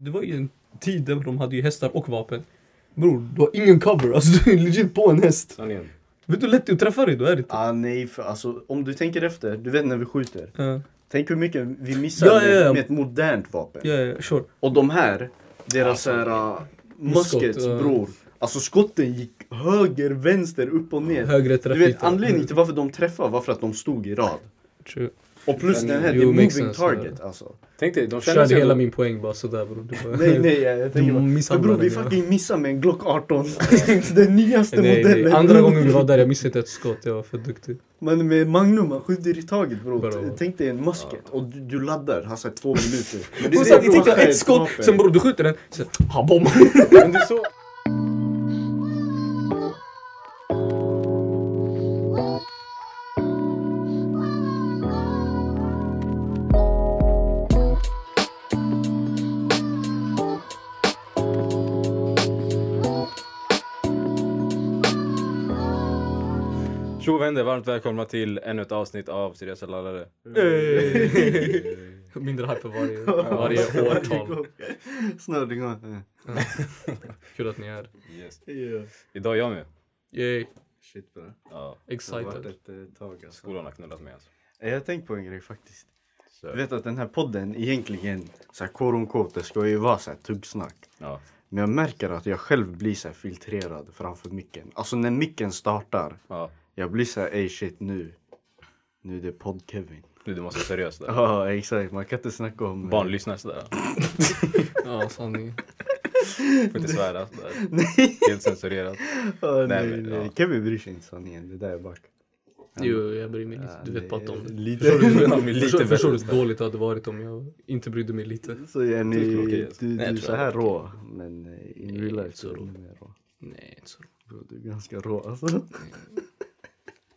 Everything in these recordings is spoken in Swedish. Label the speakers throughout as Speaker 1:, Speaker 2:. Speaker 1: Det var ju en tid där de hade ju hästar och vapen. Bror, du har ingen cover. Alltså du är legit på en häst.
Speaker 2: Sanningen.
Speaker 1: Vet du hur lätt det är att träffa dig då? Är det inte?
Speaker 3: Ah, nej, för, alltså, om du tänker efter, du vet när vi skjuter.
Speaker 1: Ja,
Speaker 3: Tänk hur mycket vi missar
Speaker 1: Ja, ja, ja.
Speaker 3: Med, med ett modernt vapen.
Speaker 1: ja, ja, sure.
Speaker 3: Och de här, deras så här, uh, muskets
Speaker 1: Skott, ja.
Speaker 3: bror. Alltså skotten gick höger, vänster, upp och ner.
Speaker 1: Högre
Speaker 3: Du
Speaker 1: trafik.
Speaker 3: vet anledningen till varför de träffade var för att de stod i rad.
Speaker 1: till...
Speaker 3: Och plus den här, det
Speaker 1: Jo,
Speaker 3: är
Speaker 1: makes
Speaker 3: moving
Speaker 1: sense,
Speaker 3: target alltså.
Speaker 2: Tänk dig, de känner
Speaker 1: Körde
Speaker 2: sig...
Speaker 1: hela
Speaker 2: Hela...
Speaker 1: min poäng bara sådär bror. Det var-
Speaker 3: Nej nej jag, jag tänker
Speaker 1: De
Speaker 3: bara, men
Speaker 1: misshandlar
Speaker 3: bror vi
Speaker 1: den, ja.
Speaker 3: fucking missar med en Glock 18. den nyaste
Speaker 1: Nej,
Speaker 3: modellen.
Speaker 1: nej. Andra gången vi var där, jag missade inte ett skott. Jag var för duktig.
Speaker 3: Men med Magnum, man skjuter i taget bror.
Speaker 1: Bra.
Speaker 3: Tänk dig en musket och du, du laddar, han säger två minuter. Men
Speaker 1: Du
Speaker 3: det är det,
Speaker 1: tänker
Speaker 3: bror,
Speaker 1: ett skott,
Speaker 3: vapen.
Speaker 1: sen bror du skjuter den. Sen, han bommar.
Speaker 2: Men det är så... Tjo vad händer? Varmt välkomna till ännu ett avsnitt av Seriösa lallare.
Speaker 1: Mindre hype för varje, varje årtal.
Speaker 3: Snart igång.
Speaker 1: Kul att ni är här.
Speaker 2: Yes.
Speaker 3: Yeah.
Speaker 2: Idag är jag med.
Speaker 1: Yay,
Speaker 3: Shit bra.
Speaker 2: Ja,
Speaker 3: Det har varit
Speaker 1: excited.
Speaker 3: ett eh, tag alltså. Eh,
Speaker 2: skolan har knullat mig alltså.
Speaker 3: Jag har tänkt på en grej faktiskt.
Speaker 2: Så,
Speaker 3: Du vet att den här podden egentligen, så här, kår om kår, det ska ju vara så här tuggsnack.
Speaker 2: ja.
Speaker 3: Men jag märker att jag själv blir så här filtrerad framför micken. Alltså när micken startar,
Speaker 2: ja.
Speaker 3: jag blir så här ey shit nu. Nu är det podd-Kevin.
Speaker 2: Du, du måste vara seriös där.
Speaker 3: Ja exakt, man kan inte snacka om...
Speaker 2: Barn lyssnar sådär.
Speaker 1: Ja, sanningen.
Speaker 2: Får inte svära sådär. Helt censurerat.
Speaker 3: Ja,
Speaker 2: Nej,
Speaker 3: nej,
Speaker 2: men,
Speaker 3: nej,
Speaker 2: ja.
Speaker 3: Kevin bryr sig inte sanningen, det där är back.
Speaker 1: Jo, jag bryr mig lite. Du vet bara om det.
Speaker 3: Lite.
Speaker 2: De är
Speaker 1: Förstår-
Speaker 2: lite
Speaker 1: Förstår du
Speaker 2: bättre.
Speaker 1: hur dåligt det hade varit om jag inte brydde mig lite?
Speaker 3: Så är ni,
Speaker 2: Det är okej,
Speaker 3: du,
Speaker 2: alltså.
Speaker 3: du
Speaker 2: Nej,
Speaker 3: är
Speaker 2: jag tror
Speaker 3: så
Speaker 2: jag
Speaker 3: här
Speaker 2: är okej.
Speaker 3: rå, men eh, in real
Speaker 1: inte
Speaker 3: life
Speaker 1: så
Speaker 3: så är du
Speaker 1: rå.
Speaker 3: mer rå.
Speaker 1: Nej, inte så.
Speaker 3: Bro, Du är ganska rå alltså.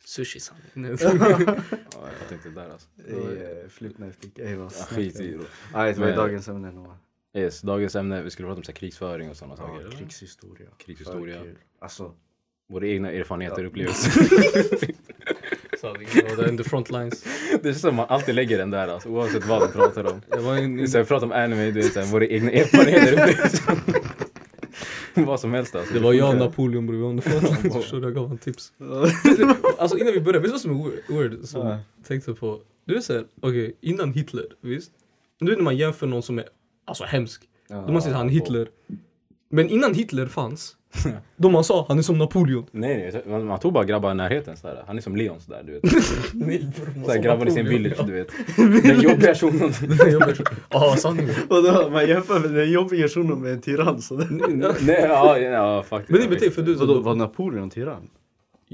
Speaker 1: Sushi sanning.
Speaker 2: Ja, jag tänkte där alltså.
Speaker 3: Ey, eh, Flip knife dick, ey vad
Speaker 2: Ja,
Speaker 3: snackar
Speaker 2: Skit
Speaker 3: du?
Speaker 2: i det.
Speaker 3: Nej, det var ju
Speaker 2: Men-
Speaker 3: dagens ämne Noah.
Speaker 2: Yes, dagens ämne, vi skulle prata om så här, krigsföring och sådana saker.
Speaker 3: Ja,
Speaker 2: eller?
Speaker 3: krigshistoria.
Speaker 2: Krigshistoria.
Speaker 3: För kul. Alltså,
Speaker 2: Våra egna erfarenheter och upplevelser.
Speaker 1: Sanningen. Jag var där in the front lines.
Speaker 2: Det känns som att man alltid lägger den där alltså, oavsett vad vi pratar om.
Speaker 1: Jag var in,
Speaker 2: Det är så här, prata om anime, du vet, så här, våra egna erfarenheter och upplevelser. vad som helst alltså.
Speaker 1: det var jag och Napoleon bredvid honom. Förstår du? Jag gav honom tips. Alltså innan vi börjar, vet du vad som är weird- weird? Som
Speaker 3: Ja.
Speaker 1: jag tänkte på. Du är såhär, okej, innan Hitler, visst? Du vet när man jämför någon som är alltså hemsk. Då man säger han är Hitler. Men innan Hitler fanns, då man sa han är som Napoleon.
Speaker 2: Nej, nej, man, man tog bara grabbar i närheten så här. Han är som Leon så där, du vet. Så här, grabbar i sin village, du vet. Den jobbiga shunon.
Speaker 1: Ja, sanningen.
Speaker 3: vadå man jämför med den jobbiga shunon med en tyrann sådär.
Speaker 2: Nej, ja, ja, faktiskt.
Speaker 1: Men det är
Speaker 2: Ja,
Speaker 1: väl det,
Speaker 2: visst.
Speaker 1: för du...
Speaker 3: Vadå, var Napoleon tyrann?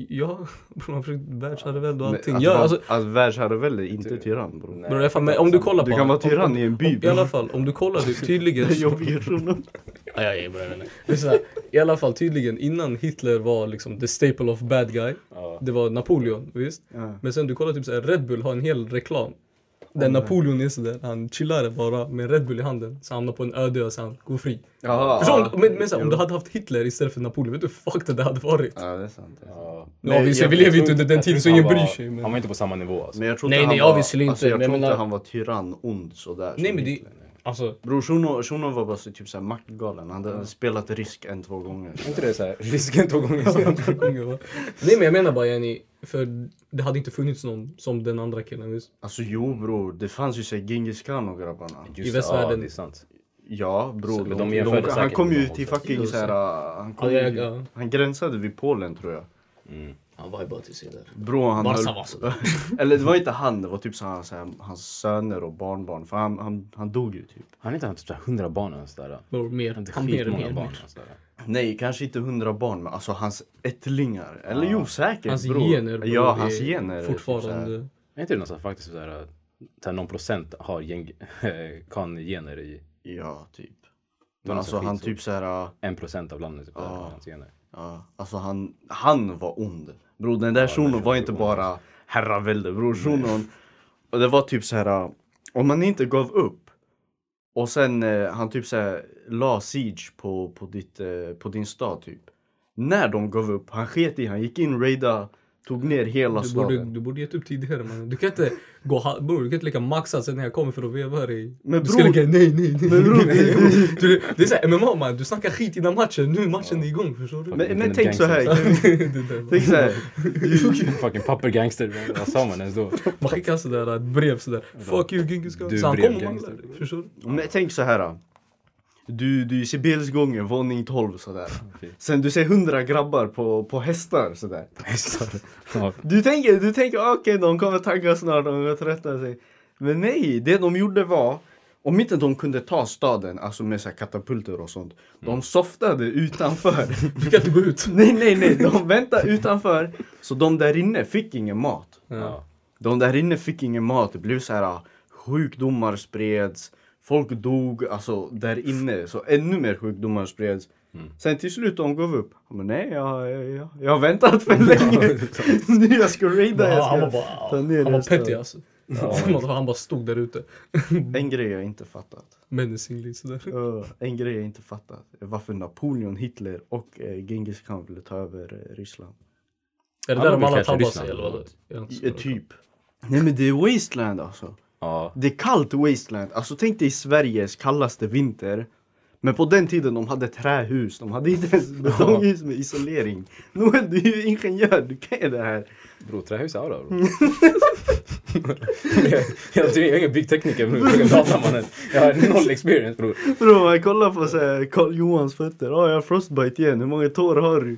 Speaker 1: Ja, bror, man försökte världsherravälde och
Speaker 3: Men
Speaker 1: allting.
Speaker 3: Att,
Speaker 1: Ja,
Speaker 3: vara-
Speaker 1: alltså,
Speaker 3: att världsherravälde är inte tyrann bror.
Speaker 2: liksom. Nej.
Speaker 1: bror, i alla fall, men Alltså, om du kollar på...
Speaker 3: Du kan vara
Speaker 1: om-
Speaker 3: tyrann i en by
Speaker 1: om- I
Speaker 3: bror.
Speaker 1: alla fall, om du kollar det tydligen...
Speaker 3: Den jobbiga shunon.
Speaker 1: Ja, ja, ja, bror, nej, nej. Det är så här, I alla fall tydligen, innan Hitler var liksom the staple of bad guy,
Speaker 2: Ja.
Speaker 1: det var Napoleon, visst?
Speaker 3: Ja.
Speaker 1: Men sen du kollar typ såhär, Red Bull har en hel reklam. Där Napoleon är sådär, han chillar bara med en Red Bull i handen. Så hamnar på en öde ö, så han går fri.
Speaker 3: Ja,
Speaker 1: Förstår du? Men, men så här, om du hade haft Hitler istället för Napoleon, vet du hur fucked det hade varit?
Speaker 3: Ja, det är sant. det är sant.
Speaker 2: Ja.
Speaker 1: Ja, visst,
Speaker 3: jag-
Speaker 1: vi
Speaker 3: jag
Speaker 1: lever ju
Speaker 2: tror-
Speaker 1: inte under den
Speaker 2: jag
Speaker 1: tiden
Speaker 2: tror
Speaker 1: så
Speaker 2: han
Speaker 1: ingen
Speaker 2: var-
Speaker 1: bryr sig. Men...
Speaker 2: Han var inte på samma nivå alltså.
Speaker 3: Men jag tror
Speaker 1: Nej,
Speaker 3: inte
Speaker 1: nej,
Speaker 3: han var,
Speaker 1: obviously inte,
Speaker 3: Alltså, jag
Speaker 1: men jag
Speaker 3: tror inte
Speaker 1: menar-
Speaker 3: han var tyrann ond sådär.
Speaker 1: Nej
Speaker 3: som
Speaker 1: men det...
Speaker 3: Hitler.
Speaker 1: Alltså,
Speaker 3: Bror shunon, shunon var bara så, typ såhär maktgalen. Han hade spelat risk en, två gånger.
Speaker 2: Är inte det såhär, risken två gånger
Speaker 1: Nej men jag menar bara yani, för det hade inte funnits någon som den andra killen visst?
Speaker 3: Alltså jo bror, det fanns ju såhär Genghis khan och grabbarna.
Speaker 1: I västvärlden.
Speaker 2: Ja, det är sant.
Speaker 3: Ja bror,
Speaker 2: Så, men
Speaker 3: de,
Speaker 2: de
Speaker 3: de,
Speaker 2: jämförde
Speaker 3: han
Speaker 2: säkert
Speaker 3: kom
Speaker 2: med
Speaker 3: ju
Speaker 2: dem
Speaker 3: till
Speaker 2: också.
Speaker 3: fucking
Speaker 1: Jo,
Speaker 3: såhär, han, kom
Speaker 1: Ja,
Speaker 3: ju
Speaker 1: jag-
Speaker 3: till-
Speaker 1: ja.
Speaker 3: han gränsade vid Polen tror jag.
Speaker 1: Han var ju bara till sig där.
Speaker 3: Bror han
Speaker 1: Barca var sådär.
Speaker 3: Eller det var inte han, det var typ såhär, såhär, hans söner och barnbarn. För han, han, han dog ju typ.
Speaker 2: Han har inte haft typ hundra barn eller sådär.
Speaker 1: Bror, mer.
Speaker 2: Han har
Speaker 1: Han
Speaker 2: inte
Speaker 1: mer,
Speaker 2: skitmånga
Speaker 1: mer,
Speaker 2: barn.
Speaker 1: mer.
Speaker 2: sådär.
Speaker 3: Nej, kanske inte hundra barn men alltså hans ättlingar. Eller
Speaker 2: Ja.
Speaker 3: jo säkert
Speaker 1: Hans
Speaker 3: bror.
Speaker 1: gener bror,
Speaker 3: Ja,
Speaker 1: är
Speaker 3: hans gener. är typ såhär.
Speaker 1: Fortfarande.
Speaker 2: Är inte det någon som faktiskt såhär, såhär någon procent har gäng, kan-gener i
Speaker 3: Ja, typ.
Speaker 2: var
Speaker 3: Men alltså
Speaker 2: alltså
Speaker 3: han
Speaker 2: skitsort.
Speaker 3: typ såhär,
Speaker 2: en procent av landet?
Speaker 3: Ja.
Speaker 2: har hans gener.
Speaker 3: ja, alltså han, han var ond. Bror den där
Speaker 2: Ja,
Speaker 3: shunon
Speaker 2: den
Speaker 3: var
Speaker 2: där
Speaker 3: inte
Speaker 2: shunon.
Speaker 3: bara herravälde bror. Shunon, och det var typ såhär, om man inte gav upp och sen eh, han typ såhär la siege på, på, ditt, eh, på din stad typ. När de gav upp, han sket i, han gick in raida Tog ner hela
Speaker 1: Du borde,
Speaker 3: staden.
Speaker 1: du borde gett upp tidigare mannen. Du kan inte gå ha- bror, du kan inte lika maxa sen när jag kommer för att veva dig.
Speaker 3: Men
Speaker 1: Du ska
Speaker 3: bror-
Speaker 1: lika, nej nej nej.
Speaker 3: Men bror,
Speaker 1: nej,
Speaker 3: det-
Speaker 1: nej. Du, det är såhär MMA man, du snackar skit innan matchen, nu är matchen är igång förstår du?
Speaker 2: Fucking
Speaker 3: Men, men
Speaker 2: internet
Speaker 3: tänk så här.
Speaker 2: gangsters.
Speaker 1: Det där, man.
Speaker 3: Tänk så här.
Speaker 2: Fucking pappergangster, vad sa man ens då?
Speaker 1: Man skickar sådär ett brev sådär, fuck you Genghis
Speaker 2: Du
Speaker 1: Khan. Så han
Speaker 2: brev,
Speaker 1: kommer och
Speaker 2: gangster.
Speaker 1: manglar dig, förstår du?
Speaker 3: Men tänk så här. Du, du ser Bilsgången, våning 12 sådär.
Speaker 2: Okej.
Speaker 3: Sen du ser 100 grabbar på, på hästar sådär.
Speaker 2: Ja,
Speaker 3: Du tänker, du tänker "Ah, okej de kommer tagga snart, de kommer tröttna sig. Men nej, det de gjorde var om inte de kunde ta staden, alltså med så här katapulter och sånt. De softade utanför.
Speaker 1: Du kan inte gå ut.
Speaker 3: nej, nej, nej. De väntade utanför. Så de där inne fick ingen mat.
Speaker 2: ja.
Speaker 3: De där inne fick ingen mat. Det blev så här ah, sjukdomar spreds. Folk dog alltså där inne. Så ännu mer sjukdomar spreds.
Speaker 1: Mm.
Speaker 3: Sen till slut de gav upp. Men nej, jag, jag, jag, jag har väntat för länge. nu jag ska raida. Jag
Speaker 1: Ja,
Speaker 3: ska
Speaker 1: Han var
Speaker 3: ta
Speaker 1: bara,
Speaker 3: ner
Speaker 1: han var
Speaker 3: resten.
Speaker 1: petty alltså. Han bara stod där ute.
Speaker 3: En grej jag inte fattat.
Speaker 1: Menacingly sådär.
Speaker 3: Ö, en grej jag inte fattat. är Varför Napoleon, Hitler och eh, Genghis khan ville ta över eh, Ryssland.
Speaker 1: Är det
Speaker 2: Han
Speaker 1: där
Speaker 2: har
Speaker 1: de alla
Speaker 2: blivit
Speaker 1: tabbar
Speaker 2: catchad
Speaker 1: sig
Speaker 2: i
Speaker 1: eller vad?
Speaker 2: Ryssland.
Speaker 1: Jag är inte så
Speaker 3: Eh,
Speaker 1: bra.
Speaker 3: typ. Nej men det är wasteland alltså.
Speaker 2: Ja.
Speaker 3: Det är kallt wasteland. Alltså tänk dig Sveriges kallaste vinter. Men på den tiden de hade trähus. De hade inte ens betonghus med isolering. Noel, du är ju ingenjör. Du kan ju det här.
Speaker 2: Bror, trähus är aura bror. jag, jag, jag är ingen byggtekniker bror, jag är ingen datamannen. Jag har noll experience bror.
Speaker 3: Bro, man kollar på så här Karl Johans fötter. Ja, jag har frostbite igen. Hur många tår har du?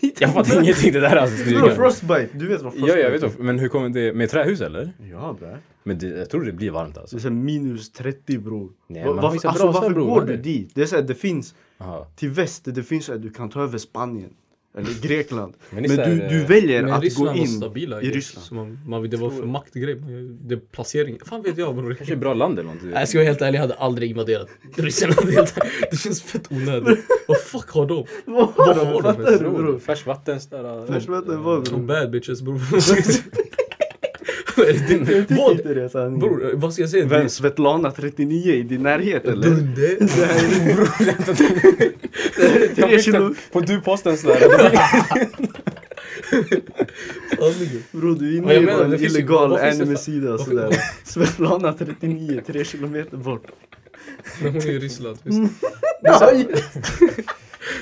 Speaker 2: Jag fattar ingenting det där alltså. det är
Speaker 3: Bro,
Speaker 2: ingen-
Speaker 3: frostbite. Du vet vad
Speaker 2: Ja,
Speaker 3: frostbite
Speaker 2: jag vet inte. Men hur kommer det, med trähus eller?
Speaker 3: Ja, bra.
Speaker 2: Men det, jag tror det blir varmt
Speaker 3: Det
Speaker 2: alltså.
Speaker 3: är såhär minus 30 bror.
Speaker 2: Nej,
Speaker 3: Va-
Speaker 2: man
Speaker 3: varför-
Speaker 2: finns en
Speaker 3: alltså,
Speaker 2: brasa,
Speaker 3: varför
Speaker 2: bror,
Speaker 3: går
Speaker 2: vad är
Speaker 3: du
Speaker 2: det?
Speaker 3: dit? Det är såhär, det finns
Speaker 2: Aha.
Speaker 3: till väst, det finns såhär, du kan ta över Spanien. Eller Grekland.
Speaker 2: Men
Speaker 3: men
Speaker 2: det är så
Speaker 3: du,
Speaker 2: här,
Speaker 3: du
Speaker 2: eh,
Speaker 3: väljer
Speaker 1: Men
Speaker 3: att
Speaker 1: Ryssland
Speaker 3: gå
Speaker 1: var
Speaker 3: in
Speaker 1: stabila
Speaker 3: i
Speaker 1: grejer.
Speaker 3: Ryssland.
Speaker 1: Så man, man, det var för maktgrej. man- Det är placering. Fan vet jag bror.
Speaker 2: Kanske ett bra land eller något. du vet.
Speaker 1: Nej, jag ska vara helt ärlig, jag hade aldrig invaderat Ryssland. Det är helt- Det känns fett onödigt. Vad fuck har de?
Speaker 3: Vad
Speaker 1: Vad har de
Speaker 3: fattar
Speaker 1: för
Speaker 3: du bror?
Speaker 2: Färskvatten sådär.
Speaker 3: Färskvatten var
Speaker 1: De
Speaker 3: bror.
Speaker 1: bad bitches bror. Vad är det?
Speaker 3: Jag tycker
Speaker 1: Vad?
Speaker 3: inte det sanningen.
Speaker 1: Bror, vad ska jag säga?
Speaker 3: Vem? Svetlana 39 i din närhet eller?
Speaker 1: Dunde?
Speaker 3: Det här är tre kilo.
Speaker 2: På du-posten sådär.
Speaker 1: Sanningen.
Speaker 3: Bror du är
Speaker 1: Vad
Speaker 3: inne
Speaker 1: jag
Speaker 3: i
Speaker 1: menar,
Speaker 3: en
Speaker 1: det finns ju-
Speaker 3: illegal
Speaker 1: vad finns det för-
Speaker 3: anime-sida
Speaker 1: vad-
Speaker 3: sådär. Svetlana 39, tre kilometer bort.
Speaker 1: Men hon är i Ryssland. Visst. Men så-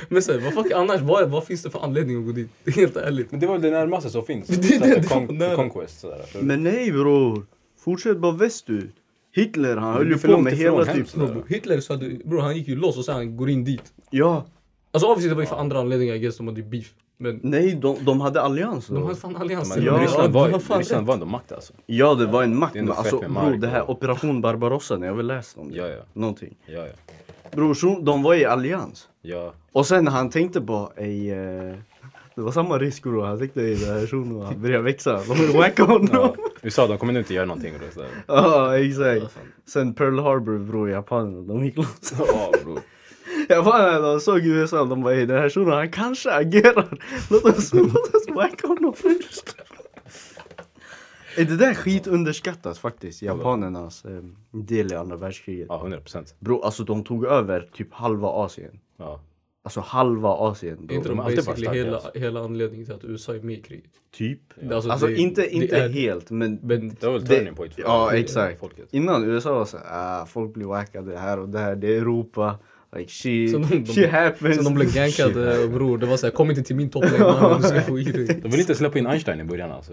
Speaker 1: Men såhär, vad fuck annars? Vad, vad finns det för anledning att gå dit? Helt ärligt.
Speaker 2: Men det var väl det närmaste som finns.
Speaker 1: Det är
Speaker 2: Så här,
Speaker 1: det-
Speaker 2: för con-
Speaker 1: det var
Speaker 2: för
Speaker 1: nära.
Speaker 2: Conquest sådär. För-
Speaker 3: Men nej bror. Fortsätt bara västut. Hitler han
Speaker 2: Det
Speaker 3: höll
Speaker 2: blir
Speaker 3: ju
Speaker 2: för
Speaker 3: på
Speaker 2: långt
Speaker 3: med
Speaker 2: ifrån
Speaker 3: hela
Speaker 2: hem,
Speaker 3: typ.
Speaker 2: sådär.
Speaker 1: Hitler så hade, bror han gick ju loss och sen han går in dit.
Speaker 3: Ja.
Speaker 1: Alltså obviously det var ju för andra anledningar I guess, de hade ju beef. Men
Speaker 3: Nej, de, de hade allians då.
Speaker 1: de hade fan allianser.
Speaker 2: Men
Speaker 3: Ja,
Speaker 2: Ryssland var,
Speaker 1: du har fan
Speaker 2: Ryssland
Speaker 1: rätt.
Speaker 2: var ändå makt alltså.
Speaker 3: Ja, det var en makt.
Speaker 2: Det är ändå
Speaker 3: Men
Speaker 2: fett
Speaker 3: alltså
Speaker 2: med
Speaker 3: bror,
Speaker 2: mark,
Speaker 3: det här
Speaker 2: ja.
Speaker 3: Operation Barbarossa, när jag väl läst om det.
Speaker 2: Ja, ja.
Speaker 3: Någonting.
Speaker 2: Ja, ja.
Speaker 3: Bror, så de var i allians.
Speaker 2: ja.
Speaker 3: Och sen han tänkte på, ej, eh, det var samma risk bror. Han tänkte i den här shunon, han började växa. De vill wacka honom.
Speaker 2: ja. USA, de kommer nog inte göra någonting. och det sådär.
Speaker 3: Ja, exakt. Sen Pearl Harbor bror, japanerna, de gick loss.
Speaker 2: Ja, bror.
Speaker 3: Japanerna, de såg USA, de bara ey den här shunon, han kanske agerar. Låt oss, låt oss wacka honom först. Ey, Det där är skitunderskattat faktiskt, japanernas eh, del i andra världskriget.
Speaker 2: Ja, 100 procent.
Speaker 3: Bro, alltså de tog över typ halva Asien.
Speaker 2: Ja.
Speaker 3: Alltså halva Asien.
Speaker 1: Är
Speaker 3: Bro.
Speaker 1: inte
Speaker 2: de
Speaker 1: de
Speaker 2: har alltid varit
Speaker 1: basically
Speaker 2: starka,
Speaker 1: hela,
Speaker 2: alltså.
Speaker 1: hela anledningen till att USA är med i kriget?
Speaker 3: Typ.
Speaker 1: Alltså,
Speaker 3: Alltså
Speaker 1: det-
Speaker 3: inte,
Speaker 1: det
Speaker 3: inte
Speaker 1: är-
Speaker 3: helt men,
Speaker 1: Men
Speaker 2: Det var väl
Speaker 3: Det-
Speaker 2: turning point för
Speaker 3: ja,
Speaker 2: för
Speaker 3: exakt.
Speaker 2: folket.
Speaker 3: innan USA var så här, ah, folk blir wackade här och där, det är Europa. Like shit,
Speaker 1: Så de- de-
Speaker 3: shit happens.
Speaker 1: sen de blev gankade och bror, det var såhär kom inte till min toppläge mannen, du ska få i dig.
Speaker 2: De ville inte släppa in Einstein i början alltså.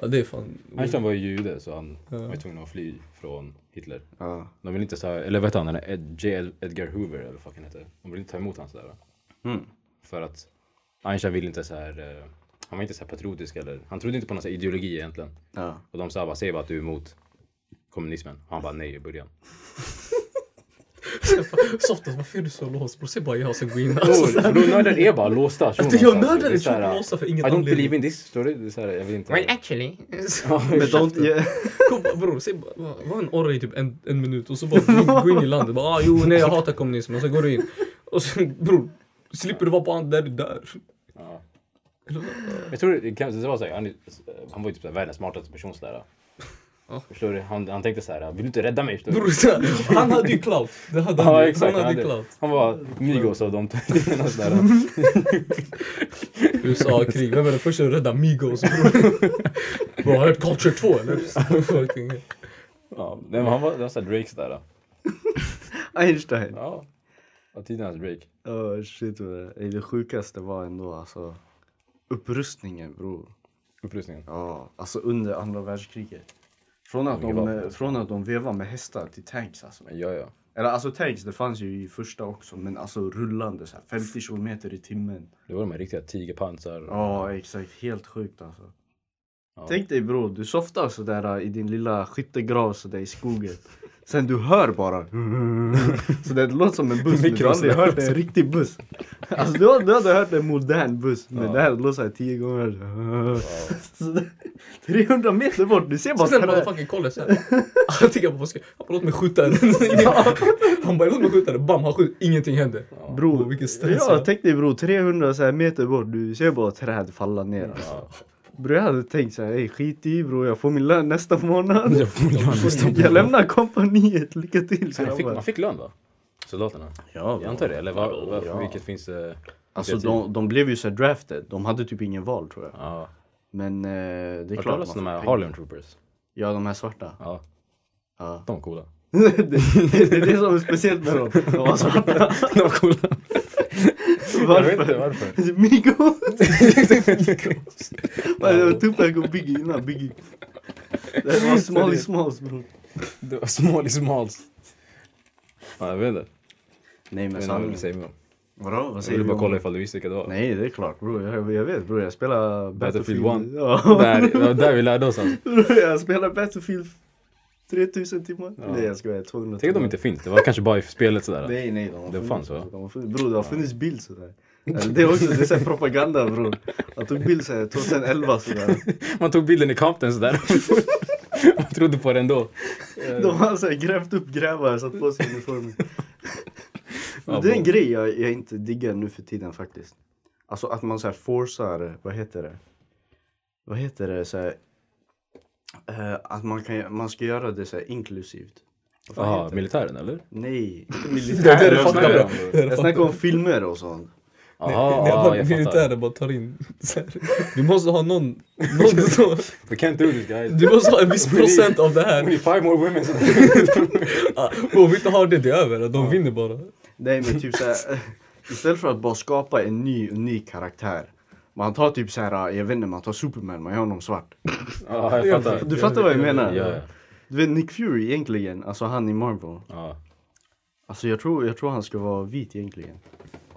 Speaker 1: Ja, det är fan...
Speaker 2: Einstein var ju jude så han var ju tvungen att fly från Hitler.
Speaker 3: Ja.
Speaker 2: De ville inte så här, eller vet han, den där Ed, J. Ed- Edgar Hoover eller vad fuck han heter. De ville inte ta emot han sådär.
Speaker 3: Mm.
Speaker 2: För att Einstein ville inte så här, eh, han var inte så här patriotisk eller, han trodde inte på någon så här ideologi egentligen.
Speaker 3: Ja.
Speaker 2: Och de sa bara, säg bara att du är emot kommunismen. Och han bara nej i början.
Speaker 1: Softas, varför är du så låst bror? Se bara jag sen gå in.
Speaker 2: Bror, bror, nördar är bara låsta. alltså.
Speaker 1: Jag tycker jag Alltså, nördar är så låsta för ingen
Speaker 2: I don't
Speaker 1: anledning.
Speaker 2: believe in this, står det? det är så här, jag vill inte.
Speaker 1: actually...
Speaker 3: Men de, ja,
Speaker 1: Kom, bror, säg bara, va- var en orre i typ en, en minut och så bara gå in- gå in i landet. Bara, ah, jo, nej, jag hatar kommunismen. Och så går du in. Och sen bror, slipper du vara på andra där du dör.
Speaker 2: Ja.
Speaker 1: Eller vad?
Speaker 2: Jag tror det, kanske- det var så här, han, han var ju typ så här, världens smartaste person sådär.
Speaker 1: Ja.
Speaker 2: Förstår du? Han, han tänkte så här, vill du inte rädda mig? Förstår du?
Speaker 1: Bror, så här, han hade ju clout. Det hade han,
Speaker 2: Ja
Speaker 1: ju.
Speaker 2: exakt,
Speaker 1: han hade
Speaker 2: hade-
Speaker 1: ju clout.
Speaker 2: han var Migos av de tydligen.
Speaker 1: USA-krig. Vem är den första att rädda Migos bror? Bro, har du hört Culture 2 eller? Fucking hell.
Speaker 2: Ja, nej, men han var, det var så här Drakes där.
Speaker 3: Einstein.
Speaker 2: Ja. Av tidernas Drake.
Speaker 3: Oh, shit, vad det, det sjukaste var ändå alltså upprustningen bror.
Speaker 2: Upprustningen.
Speaker 3: Ja, alltså under andra världskriget. Från att,
Speaker 2: Vilka
Speaker 3: de,
Speaker 2: vapen?
Speaker 3: eh, från att de vevar med hästar till tanks alltså.
Speaker 2: Ja, ja.
Speaker 3: Eller alltså tanks det fanns ju i första också men alltså rullande så här 50 kilometer i timmen.
Speaker 2: Det var de här riktiga tigerpansar.
Speaker 3: Ja exakt, helt sjukt alltså.
Speaker 2: Ja.
Speaker 3: Tänk dig bror, du softar sådär eh, i din lilla skyttegrav sådär i skogen. Sen du hör bara. Så det låter som en buss men du har aldrig
Speaker 2: Mikrosnäll.
Speaker 3: hört en riktig buss. Alltså du, har- du hade hört en modern buss men
Speaker 2: Ja.
Speaker 3: det här låter såhär 10 gånger. Så det- 300 meter bort, du ser bara
Speaker 1: Sen
Speaker 3: träd.
Speaker 1: bara fucking kollar såhär. Han tänker på vad ska Han bara låt mig skjuta den. Han bara låt mig skjuta den. Bam, han skjuter. Ingenting händer.
Speaker 2: Ja.
Speaker 3: Bro,
Speaker 1: Åh, vilken stress,
Speaker 3: Ja,
Speaker 1: ja.
Speaker 3: tänk dig bro, 300 så här meter bort, du ser bara träd falla ner.
Speaker 2: Ja.
Speaker 3: Bro, jag hade tänkt så här, "Ey, skit i bro, jag får min lön nästa månad.
Speaker 2: Jag får lön nästa
Speaker 3: Jag lämnar kompaniet, lycka till. Så
Speaker 2: Man
Speaker 3: jag
Speaker 2: fick,
Speaker 3: bara,
Speaker 2: man fick lön va? Soldaterna?
Speaker 3: ja,
Speaker 2: Jag antar det, eller var, var,
Speaker 3: Ja.
Speaker 2: vilket finns... Eh,
Speaker 3: Alltså
Speaker 2: initiativ?
Speaker 3: de, de blev ju så här drafted, de hade typ ingen val tror jag.
Speaker 2: Ja.
Speaker 3: Men eh, det är
Speaker 2: Har du
Speaker 3: klart
Speaker 2: talat om de
Speaker 3: får
Speaker 2: här
Speaker 3: pengar.
Speaker 2: Harlem Troopers?
Speaker 3: Ja, de här svarta.
Speaker 2: Ja,
Speaker 3: Ja.
Speaker 2: de var coola.
Speaker 3: det, det, det är det som är speciellt med dem, de var svarta.
Speaker 2: De var coola. Jag vet inte
Speaker 3: Varför?
Speaker 2: varför.
Speaker 3: Migos! Vad är det? Tupac och Biggie innan Biggie. Det var Smally Smalls bror.
Speaker 2: Det var smålis smals. Ja, jag vet inte.
Speaker 3: Nej
Speaker 2: Jag vet
Speaker 3: men
Speaker 2: inte vad jag
Speaker 3: sanningen.
Speaker 2: vill säga mer om.
Speaker 3: Vadå? Vad
Speaker 2: Jag ville bara kolla ifall du visste vilka det var.
Speaker 3: Nej det är klart bror, jag, jag vet bror. Jag spelar
Speaker 2: Battlefield
Speaker 3: Battlefield 1.
Speaker 2: one.
Speaker 3: Ja.
Speaker 2: Där, det var där vi lärde oss alltså.
Speaker 3: Bror, jag spelar Battlefield 3000 timmar.
Speaker 2: Ja.
Speaker 3: Nej jag skojar, 200
Speaker 2: Tänk att de inte finns, det var kanske bara i spelet sådär.
Speaker 3: Nej nej, de har
Speaker 2: Det
Speaker 3: funnits.
Speaker 2: fanns, va?
Speaker 3: De har funnits. Bror det har funnits bild sådär. Alltså, det är också det är så här propaganda bror. Jag tog bild såhär 2011 sådär.
Speaker 2: Man tog bilden i Compton sådär. Man trodde på den då.
Speaker 3: De har såhär grävt upp grävar, satt på sig uniformen.
Speaker 2: Ja,
Speaker 3: det är
Speaker 2: bra.
Speaker 3: en grej jag, jag inte diggar nu för tiden faktiskt. Alltså att man såhär forcar, vad heter det? Vad heter det? Så här, eh, att man, kan, man ska göra det såhär inklusivt. Vad fan
Speaker 2: Jaha,
Speaker 3: heter det?
Speaker 2: militären eller?
Speaker 3: Nej, inte
Speaker 1: Det är det
Speaker 3: militär.
Speaker 2: jag
Speaker 1: fucked
Speaker 2: snackar
Speaker 1: up.
Speaker 2: om det.
Speaker 1: Det är det
Speaker 3: Jag
Speaker 1: fucked
Speaker 3: snackar
Speaker 1: up.
Speaker 3: om filmer och sånt.
Speaker 1: När
Speaker 2: Jaha,
Speaker 1: bara
Speaker 2: jag fattar.
Speaker 1: militären bara tar in så här. Vi måste ha någon, någon som,
Speaker 2: We can't do this guys.
Speaker 1: Du måste ha en viss procent av det
Speaker 2: We
Speaker 1: här.
Speaker 2: need five more women.
Speaker 1: Ja, och Om vi inte har det, det är över. De vinner bara.
Speaker 3: Nej men typ såhär, istället för att bara skapa en ny unik karaktär. Man tar typ såhär, jag vet inte, man tar Superman, man gör honom svart.
Speaker 2: Ja, jag fattar.
Speaker 3: Du fattar vad jag menar?
Speaker 2: Ja, ja.
Speaker 3: Du vet Nick Fury egentligen, alltså han i Marvel.
Speaker 2: ja.
Speaker 3: Alltså jag tror, jag tror han ska vara vit egentligen.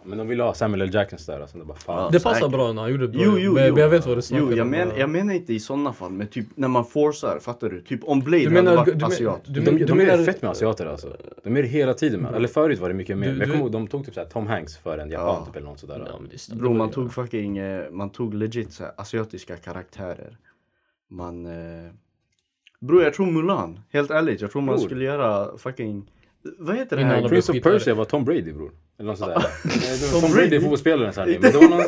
Speaker 2: Men de ville ha Samuel L. Jackson där alltså. Det bara fan.
Speaker 1: Det
Speaker 3: Säkert.
Speaker 1: passar bra när han gjorde det bra.
Speaker 3: Jo, jo,
Speaker 1: men,
Speaker 3: jo.
Speaker 1: men jag vet vad du snackar
Speaker 3: Jo, jag,
Speaker 1: om.
Speaker 3: men, jag menar inte i sådana fall, men typ när man forcar, fattar du? Typ om Blade
Speaker 1: Du menar... Du,
Speaker 3: hade varit
Speaker 1: men-
Speaker 3: asiat.
Speaker 1: du,
Speaker 2: de,
Speaker 1: men- du
Speaker 2: de är
Speaker 1: menar...
Speaker 2: fett med asiater alltså. De är det hela tiden med. Eller förut var det mycket mer.
Speaker 1: Du-
Speaker 2: Men jag
Speaker 1: du-
Speaker 2: kommer ihåg, de tog typ såhär Tom Hanks för en japan
Speaker 3: Ja.
Speaker 2: typ eller något sådär.
Speaker 1: Ja, men det är snabbt.
Speaker 3: Bro, man tog fucking, eh, man tog legit så här, asiatiska karaktärer. Man... Eh, bro, jag tror Mulan, helt ärligt, jag tror man
Speaker 2: Bror.
Speaker 3: skulle göra fucking... Vad heter det
Speaker 1: Innan
Speaker 3: här?
Speaker 1: de-
Speaker 2: Prince of
Speaker 1: skitare.
Speaker 2: Persia var Tom Brady bror. Eller något sådär. Nej, det var
Speaker 3: Tom
Speaker 2: Tom Brady är
Speaker 3: Brady?
Speaker 2: fotbollsspelaren såhär. Men det var någon sådär.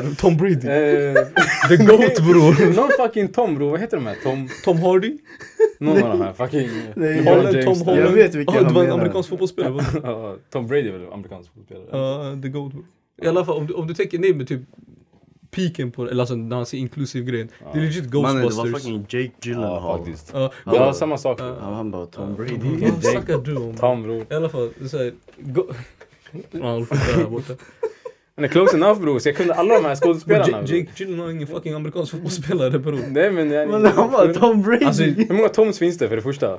Speaker 1: Svär! Tom Brady.
Speaker 2: eh,
Speaker 1: The GOAT bror.
Speaker 2: Någon fucking Tom bror. Vad heter de här? Tom...
Speaker 1: Tom Hardy?
Speaker 2: Någon av de här fucking...
Speaker 3: Nej,
Speaker 2: Lebron
Speaker 1: Eller Tom
Speaker 2: James där.
Speaker 1: Holland?
Speaker 3: Jag vet vilken
Speaker 1: Ah,
Speaker 3: han
Speaker 1: Det var en
Speaker 3: menar.
Speaker 1: amerikansk fotbollsspelare. var det?
Speaker 2: Ja, Tom Brady är väl amerikansk fotbollsspelare?
Speaker 1: Ja, The GOAT bror. I alla fall om du, om du tänker nej men typ piken på eller alltså när han ser inklusiv grejen. Det är legit
Speaker 3: Mannen, det
Speaker 1: Ghostbusters.
Speaker 3: var fucking Jake
Speaker 2: Ja,
Speaker 3: Gyllenhaal.
Speaker 2: faktiskt.
Speaker 1: Ja,
Speaker 2: Ja, samma sak.
Speaker 1: Ja.
Speaker 3: Ja, han bara Tom Brady.
Speaker 1: Vad snackar du om?
Speaker 2: Tom bror.
Speaker 1: I alla fall, det är såhär... Go- Ja, han skjuter här borta.
Speaker 2: Han är close enough bror, så jag kunde alla de här skådespelarna.
Speaker 1: Jake,
Speaker 2: bror.
Speaker 1: Jake Gyllenhaal är ingen fucking amerikansk fotbollsspelare bror.
Speaker 2: Nej men... Jag,
Speaker 3: Men han bara Tom Brady!
Speaker 2: Alltså, hur många Toms finns det för det första?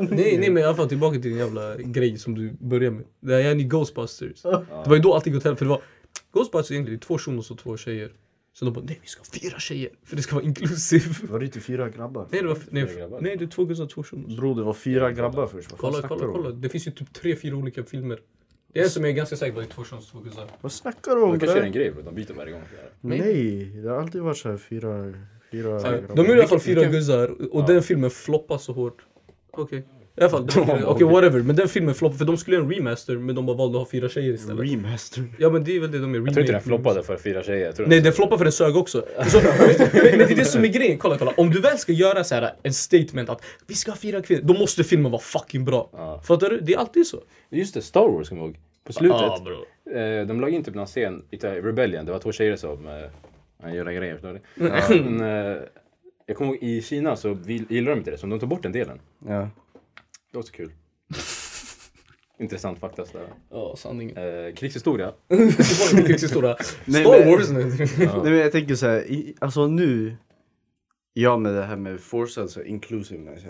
Speaker 1: Nej, nej men i alla fall tillbaka till din jävla grej som du började med. Det här är Ghostbusters. Det var ju då allting gick åt helvete för det var... Ghostbusters är egentligen två tjonos och två tjejer. Så de bara nej vi ska ha fyra tjejer för det ska vara inklusiv.
Speaker 3: Var det inte fyra grabbar?
Speaker 1: Nej det var... f- Nej,
Speaker 2: Fyra grabbar.
Speaker 1: f- nej det är två guzzar och två tjonos.
Speaker 3: Bro, det var fyra grabbar först. Vad fan
Speaker 1: Kolla,
Speaker 3: snackar du
Speaker 1: kolla,
Speaker 3: om?
Speaker 1: kolla. Det finns ju typ tre, fyra olika filmer. Det är en som jag är ganska säker på att det är två tjonos och två guzzar.
Speaker 3: Vad snackar du om?
Speaker 2: De kanske är
Speaker 3: bre?
Speaker 2: en grej bror, de byter varje gång. sådär.
Speaker 3: Nej, det har alltid varit så här fyra... Fyra
Speaker 1: De
Speaker 3: grabbar.
Speaker 1: gjorde i alla fall fyra
Speaker 2: vilken-
Speaker 1: guzzar och den filmen floppade så hårt. Okej. I alla fall, den- okej whatever. Men den filmen floppade för de skulle göra en remaster men de bara valde att ha fyra tjejer istället.
Speaker 3: Remaster.
Speaker 1: ja men det är väl det de gör.
Speaker 2: Jag tror inte den floppade för fyra tjejer. Jag tror
Speaker 1: Nej den floppade för den sög också. Så, men, men men det är det som är grejen, kolla kolla. Om du väl ska göra så här en statement att vi ska ha fyra kvinnor, då måste filmen vara fucking bra.
Speaker 2: Ja.
Speaker 1: Fattar du? Det är alltid så.
Speaker 2: Just det, Star Wars kommer jag ihåg. På slutet.
Speaker 1: Ja, bro.
Speaker 2: eh, de la in typ någon scen i Ita- Rebellion. Det var två tjejer som eh, ja, gjorde grejer. Förstår du? Ja, men, eh, jag kommer ihåg i Kina så vill, gillar de inte det. Så de tog bort den delen.
Speaker 3: Ja.
Speaker 2: Det var också kul. Intressant fakta. sådär.
Speaker 1: Ja, sanningen.
Speaker 2: Eh, krigshistoria.
Speaker 1: Det var en krigshistoria.
Speaker 3: Nej,
Speaker 1: Star
Speaker 3: men-
Speaker 1: Wars nu.
Speaker 3: Nej men jag tänker så här, i, alltså nu. Ja med det här med force, alltså inclusiveness.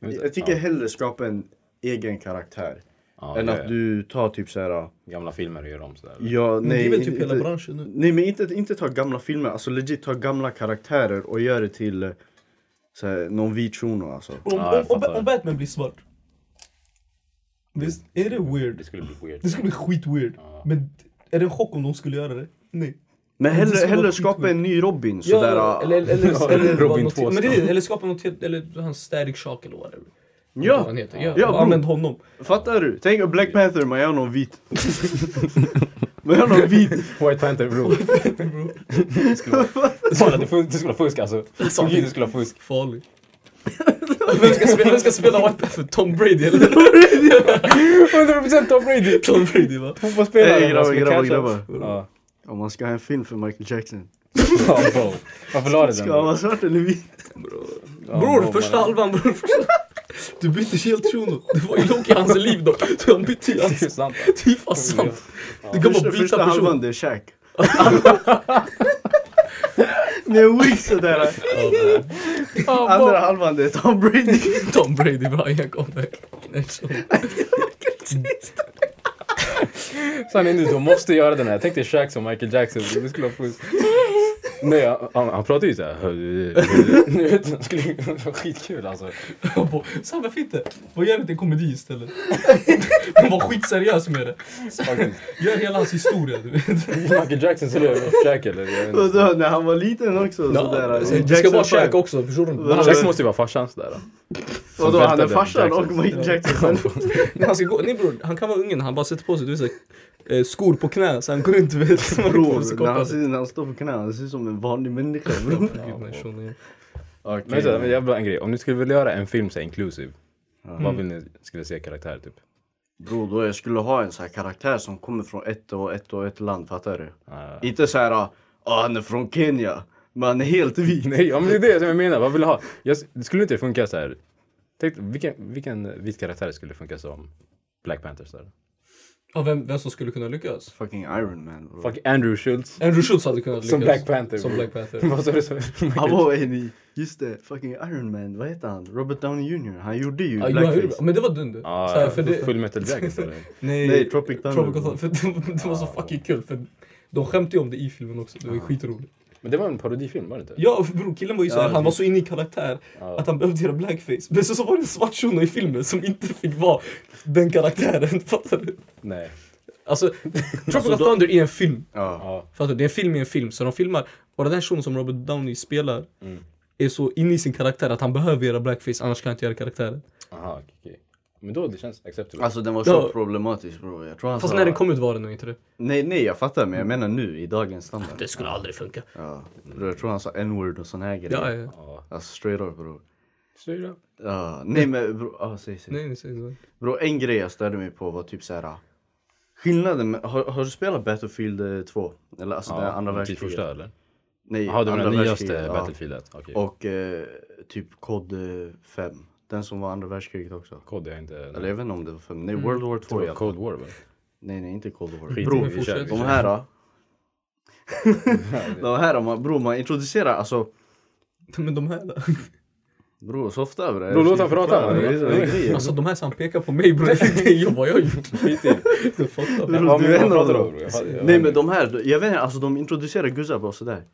Speaker 3: Jag, jag tycker hellre skapa en egen karaktär.
Speaker 2: Ja,
Speaker 3: än
Speaker 2: ja,
Speaker 3: att
Speaker 2: ja.
Speaker 3: du tar typ så här.
Speaker 2: Gamla filmer och gör om sådär.
Speaker 3: Ja, nej,
Speaker 1: Men det är väl
Speaker 3: inte-
Speaker 1: typ hela
Speaker 3: inte-
Speaker 1: branschen nu.
Speaker 3: Nej men inte, inte ta gamla filmer, alltså legit ta gamla karaktärer och gör det till eh, så här, någon vit shuno alltså.
Speaker 1: Om,
Speaker 2: Ja, jag
Speaker 1: om, om,
Speaker 2: fattar.
Speaker 1: om Batman blir svart. Visst, är det
Speaker 2: Det
Speaker 1: weird?
Speaker 2: skulle bli weird.
Speaker 1: Det skulle bli skit weird. Men är det en chock om de skulle göra det? Nej.
Speaker 3: Men
Speaker 1: det
Speaker 3: hellre,
Speaker 1: ska vara
Speaker 3: hellre skapa
Speaker 1: skitskit.
Speaker 3: en ny Robin
Speaker 1: Ja,
Speaker 3: sådär. ah.
Speaker 1: eller, eller, eller, eller, bara
Speaker 2: Robin
Speaker 1: något till-
Speaker 2: Tvåstad.
Speaker 1: men det är, eller skapa något helt, eller han Static Shock eller whatever. Vad
Speaker 3: ja,
Speaker 1: han heter. Ja,
Speaker 3: Ja,
Speaker 1: bara
Speaker 3: bro.
Speaker 1: använd honom.
Speaker 3: fattar du? Tänk om Black Panther, man gör någon vit. man gör någon vit.
Speaker 2: White Panther bro. Det skulle vara- Sara, det fun- det skulle vara fusk alltså. Som Gud, det skulle vara fusk.
Speaker 1: Farlig. vem, ska spela, vem ska spela White Panther? Tom Brady eller?
Speaker 2: 100% Tom Brady!
Speaker 1: Tom Brady va?
Speaker 2: Fotbollsspelaren.
Speaker 3: Hey, grabbar,
Speaker 2: som är
Speaker 3: grabbar,
Speaker 2: catchad.
Speaker 3: grabbar.
Speaker 2: Ja.
Speaker 3: Om man ska ha en film för Michael Jackson.
Speaker 2: Ja, bro. Varför la du den?
Speaker 3: Ska han vara svart eller vit?
Speaker 2: Ja,
Speaker 1: Bror,
Speaker 2: bro,
Speaker 1: första
Speaker 2: man-
Speaker 1: halvan bror. Första... Du bytte helt shuno. Det var ju Loki i hans liv då. Så han bytte ju
Speaker 2: Det är
Speaker 1: hans...
Speaker 2: sant.
Speaker 1: Det är fan sant. Du kan bara
Speaker 3: Första, första
Speaker 1: byta person.
Speaker 3: halvan det är Shaq. Det är weak sådär. Andra halvan det är Tom Brady.
Speaker 1: Tom Brady bra, jag kommer. Nej, så.
Speaker 2: Sanningen är du måste göra den här. Tänk dig Shaq som Michael Jackson. Det skulle vara fusk. Nej, han, han, han pratar ju såhär. Det skulle vara skitkul alltså.
Speaker 1: Jag bara, Så här, varför inte? Vad gör du till en komedi istället? Men var skitseriös med det. Så här, Gör hela hans historia du vet.
Speaker 2: Michael Jackson skulle göra Shaq eller? jag vet
Speaker 3: Och
Speaker 2: inte.
Speaker 3: då, när han var liten också sådär.
Speaker 2: Alltså,
Speaker 1: Ja,
Speaker 3: Jackson
Speaker 1: det ska vara
Speaker 3: five.
Speaker 1: Shaq också, förstår du?
Speaker 3: Vadå?
Speaker 2: Shaq måste ju vara farsan sådär.
Speaker 3: Och då han är
Speaker 2: vältade
Speaker 3: farsan och
Speaker 2: Jackson.
Speaker 3: Michael Jackson.
Speaker 1: Nej, han ska gå, nej bror, han kan vara ungen, han bara sätter på sig du vet, så här, eh, skor på knä så han går runt du vet. som en
Speaker 3: Bror, när han,
Speaker 1: kortare.
Speaker 3: ser- när han står på knä, han ser ut som en vanlig människa bror.
Speaker 1: Gud, nej, shunon, ja.
Speaker 2: Men såhär, men jag bara en grej. Om ni skulle vilja göra en film såhär inclusive.
Speaker 1: Mm.
Speaker 2: Vad vill ni skulle se karaktär typ?
Speaker 3: Bror, då jag skulle ha en sån här karaktär som kommer från ett och ett och ett land, fattar du?
Speaker 2: Ah.
Speaker 3: Inte så här, ah han är från Kenya, men han är helt vit.
Speaker 2: Nej, ja, men det är det som jag menar. Vad vill du ha? Jag, s- det skulle inte funka så här. Tänk, vilken, vilken vit karaktär skulle funka som Black Panther? Så här?
Speaker 1: Ja, vem, vem som skulle kunna lyckas?
Speaker 3: Fucking Iron Man bror.
Speaker 2: Fuck Andrew Schultz.
Speaker 1: Andrew Schultz hade kunnat lyckas.
Speaker 2: Som Black Panther.
Speaker 1: Som Black Panther.
Speaker 2: Vad sa du? så?
Speaker 3: Han var en i, just det, fucking Iron Man, vad heter han? Robert Downey Jr. Han gjorde ju
Speaker 1: Ja, jo, han gjorde det.
Speaker 3: blackface.
Speaker 1: men det var dunder. Så här,
Speaker 2: Ja,
Speaker 1: för det,
Speaker 2: Full Metal Jacket. eller?
Speaker 1: nej,
Speaker 3: Nej, Tropic Thunder.
Speaker 1: Thunder. För det, det var så fucking kul. För de skämtade ju om det i filmen också. Det var ju skitroligt.
Speaker 2: Men det var en parodifilm, var det inte?
Speaker 1: Ja, för bror, killen var ju så här,
Speaker 3: Ja,
Speaker 1: han
Speaker 3: det-
Speaker 1: var så inne i karaktär att han behövde göra blackface. Men så, så var det en svart shuno i filmen som inte fick vara den karaktären. Fattar du?
Speaker 2: Nej.
Speaker 1: Alltså, Tropical Thunder är en film.
Speaker 3: Ja.
Speaker 2: Ja.
Speaker 1: Fattar du? Det är en film i en film. Så de filmar, och den här shunon som Robert Downey spelar är så inne i sin karaktär att han behöver göra blackface annars kan han inte göra karaktären.
Speaker 2: Aha, okej. okej. Men då det känns acceptable.
Speaker 3: Alltså den var
Speaker 1: Ja.
Speaker 3: så problematisk bror. Jag tror han
Speaker 1: Fast
Speaker 3: sa-
Speaker 1: när den kom ut var det nog inte det.
Speaker 3: Nej, nej jag fattar men jag menar nu i dagens standard.
Speaker 1: Det skulle aldrig funka.
Speaker 3: Ja. Bror, Jag tror han sa n-word och sån här grejer.
Speaker 1: Ja, ja, ja.
Speaker 2: Ja.
Speaker 3: Alltså straight up bror.
Speaker 2: Straight up.
Speaker 3: Ja, nej men bror, ah, säg, säg.
Speaker 1: Nej, nej, säg så.
Speaker 3: Bro, en grej jag störde mig på var typ såhär Skillnaden med, har, har du spelat Battlefield eh, 2? Eller alltså det
Speaker 2: Ja,
Speaker 3: andra
Speaker 2: men typ
Speaker 3: världskriget?
Speaker 2: första eller?
Speaker 3: Nej,
Speaker 2: Jaha, det var den
Speaker 3: andra
Speaker 2: nyaste
Speaker 3: världskriget, ja.
Speaker 2: Battlefieldet. Okej.
Speaker 3: Och eh, typ COD eh, 5 Den som var andra världskriget också
Speaker 2: Cod är inte...
Speaker 3: Eller jag vet inte om det var 5, nej World War 2
Speaker 2: Det
Speaker 3: i
Speaker 2: var
Speaker 3: alla fall.
Speaker 2: Cold War va?
Speaker 3: Nej nej inte Cold War
Speaker 2: Skit i
Speaker 3: Bro,
Speaker 2: det, vi kör. vi
Speaker 3: de
Speaker 2: kör.
Speaker 3: här då De här, man, bro man introducerar alltså
Speaker 1: Men de här då?
Speaker 3: Bro softa bre
Speaker 2: Bro, låt han prata,
Speaker 3: Förklara,
Speaker 2: man.
Speaker 3: det är så- det är grejer.
Speaker 1: Alltså de här som pekar på mig bror, det är det jobb jag har gjort.
Speaker 2: Skit i det.
Speaker 1: Du fattar.
Speaker 3: Bro,
Speaker 2: Vad
Speaker 3: du är
Speaker 2: menar-
Speaker 3: en
Speaker 2: vad pratar
Speaker 3: av
Speaker 2: du
Speaker 3: dem.
Speaker 2: om, bro? Jag fattar- jag
Speaker 3: Nej
Speaker 2: hör
Speaker 3: men
Speaker 2: inte.
Speaker 3: de här, jag vet inte, alltså de introducerar guzzar bara sådär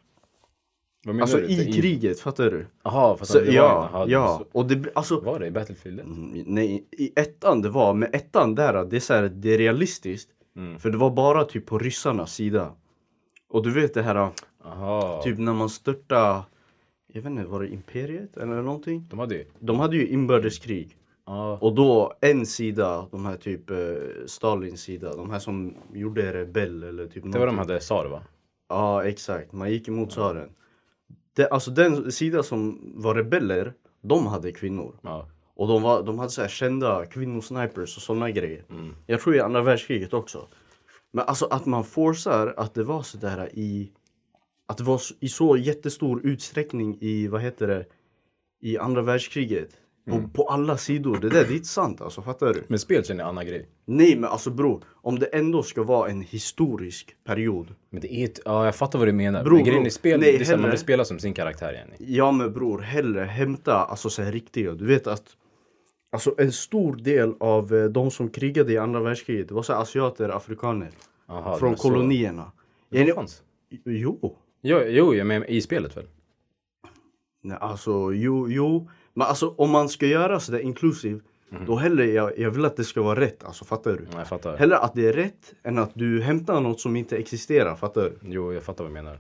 Speaker 2: Vad menar
Speaker 3: Alltså
Speaker 2: du? Det är
Speaker 3: i kriget, fattar du?
Speaker 2: Jaha, fast
Speaker 3: Så,
Speaker 2: det var
Speaker 3: ja,
Speaker 2: en- aha,
Speaker 3: ja.
Speaker 2: så-
Speaker 3: Och det, blir- alltså,
Speaker 2: Var det i Battlefieldet?
Speaker 3: Mm, Nej, i ettan det var, men ettan där, det är, så här, det är realistiskt.
Speaker 2: Mm.
Speaker 3: För det var bara typ på ryssarnas sida. Och du vet det här,
Speaker 2: Jaha.
Speaker 3: typ när man störtade, jag vet inte, var det imperiet eller någonting?
Speaker 2: De hade ju...
Speaker 3: De hade ju inbördeskrig.
Speaker 2: Ja.
Speaker 3: Och då en sida, de här typ eh, Stalins sida, de här som gjorde rebell eller typ
Speaker 2: Det var de hade tsar va?
Speaker 3: Ja, exakt. Man gick emot tsaren. Det, alltså den sida som var rebeller, de hade kvinnor.
Speaker 2: Ja.
Speaker 3: Och de, var, de hade så här kända kvinnosnipers och sådana grejer.
Speaker 2: Mm.
Speaker 3: Jag tror i andra världskriget också. Men alltså att man forcar att det var sådär i... Att det var så- i så jättestor utsträckning i, vad heter det, i andra världskriget. På, på alla sidor. Det där det är inte sant alltså, fattar du?
Speaker 2: Men spel känner jag en annan grej.
Speaker 3: Nej men alltså bro, om det ändå ska vara en historisk period.
Speaker 2: Men det är ett, ja jag fattar vad du menar.
Speaker 3: Bro,
Speaker 2: men grejen
Speaker 3: bro.
Speaker 2: i spel,
Speaker 3: Nej,
Speaker 2: det är så här, man
Speaker 3: hellre.
Speaker 2: vill spela som sin karaktär Jenny.
Speaker 3: Ja men bror, hellre hämta alltså så här riktiga. Du vet att alltså en stor del av eh, de som krigade i andra världskriget det var så här asiater, afrikaner
Speaker 2: Aha,
Speaker 3: från
Speaker 2: men så-
Speaker 3: kolonierna.
Speaker 2: Det
Speaker 3: Jenny-
Speaker 2: fanns.
Speaker 3: Jo,
Speaker 2: Jo, jo, jag menar i spelet väl?
Speaker 3: nej, alltså jo, jo. Men alltså om man ska göra sådär inclusive då hellre jag, jag vill att det ska vara rätt, alltså fattar du?
Speaker 2: Mhm. Ja, Jag fattar.
Speaker 3: Hellre att det är rätt än att du hämtar något som inte existerar, fattar du?
Speaker 2: Jo, jag fattar vad du menar.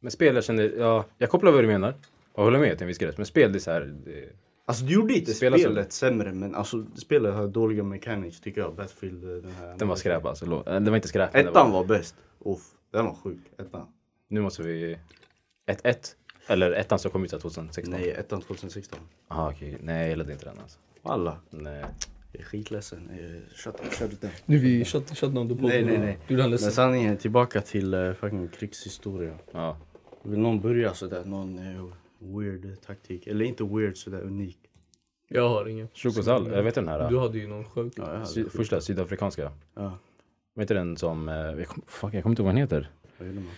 Speaker 2: Men spel, jag känner, ja, jag kopplar vad du menar. Jag håller med till en viss gräns. Men spel, det är så här, det,
Speaker 3: Alltså du gjorde inte
Speaker 2: Det spelar så-
Speaker 3: spelet sämre men alltså spelet har dåliga mechanics tycker jag, Battlefield eh, den här.
Speaker 2: den var skräp alltså. Lo- eh, Den var inte skräp. men den
Speaker 3: Ettan var bäst. Uff, den var sjuk. Ettan.
Speaker 2: Nu måste vi... 1-1? Eller ettan som kom ut här 2016?
Speaker 3: Nej, ettan 2016.
Speaker 2: Aha, okej. Nej, jag gillade inte den alltså.
Speaker 3: Alla.
Speaker 2: Nej.
Speaker 3: Jag är skitledsen. Eh, Shut, shut it down.
Speaker 1: Nu vi shut, shut down the pod.
Speaker 3: Nej, nej, nej.
Speaker 1: Du gjorde han
Speaker 3: Men
Speaker 1: ledsen.
Speaker 3: sanningen, tillbaka till eh, fucking krigshistoria.
Speaker 2: Ja.
Speaker 3: Vill någon börja sådär? Någon eh, weird taktik? Eller inte weird, sådär unik.
Speaker 1: Jag har ingen.
Speaker 2: Shukosal, jag vet den här. äh,
Speaker 1: Du hade ju någon sjuk.
Speaker 3: Ja, jag hade
Speaker 2: sy-
Speaker 3: skit.
Speaker 2: första sydafrikanska.
Speaker 3: Ja,
Speaker 2: Vet du den som... eh, Jag kom, fuck, jag kommer inte ihåg vad den heter.
Speaker 3: vad gjorde man?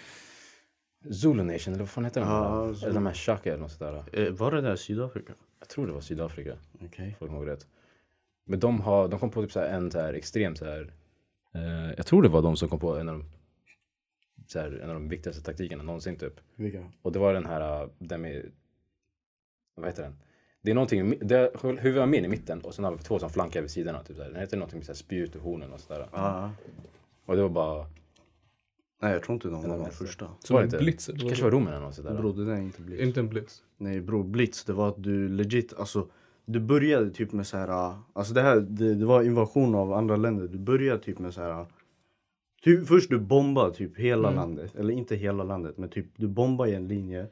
Speaker 2: Zulu Nation, eller vad fan heter den?
Speaker 3: Ja,
Speaker 2: där?
Speaker 3: Zulu.
Speaker 2: eller de här Shaka eller något sånt där.
Speaker 3: Eh, var det där Sydafrika?
Speaker 2: Jag tror det var Sydafrika.
Speaker 3: Okej.
Speaker 2: folk ihåg rätt. Men de, har, de kom på typ så här en så här extrem så här, eh, jag tror det var de som kom på en av de, så här, en av de viktigaste taktikerna någonsin typ.
Speaker 3: Vilka?
Speaker 2: Och det var den här, eh, den med, vad heter den? Det är någonting, i mi- det, huvudet har min i mitten och sen har vi två som flankar vid sidorna. Typ så här. Den heter någonting med så här spjut och hornen och sådär.
Speaker 3: Ja. ja.
Speaker 2: Och det var bara,
Speaker 3: Nej, jag tror inte de var
Speaker 2: den
Speaker 3: de
Speaker 2: nästa.
Speaker 3: första.
Speaker 1: Som
Speaker 2: var
Speaker 1: en
Speaker 2: det inte?
Speaker 1: blitz eller
Speaker 2: kanske
Speaker 1: vad?
Speaker 2: var romerna eller något sådär.
Speaker 3: Bro, det där är inte blitz.
Speaker 1: Inte en blitz.
Speaker 3: Nej bro, blitz det var att du legit, alltså du började typ med så här, ah, alltså det här, det, det var invasion av andra länder. Du började typ med så här, ah, typ, först du bombade typ hela
Speaker 2: Mm.
Speaker 3: landet, eller inte hela landet, men typ du bombade i en linje.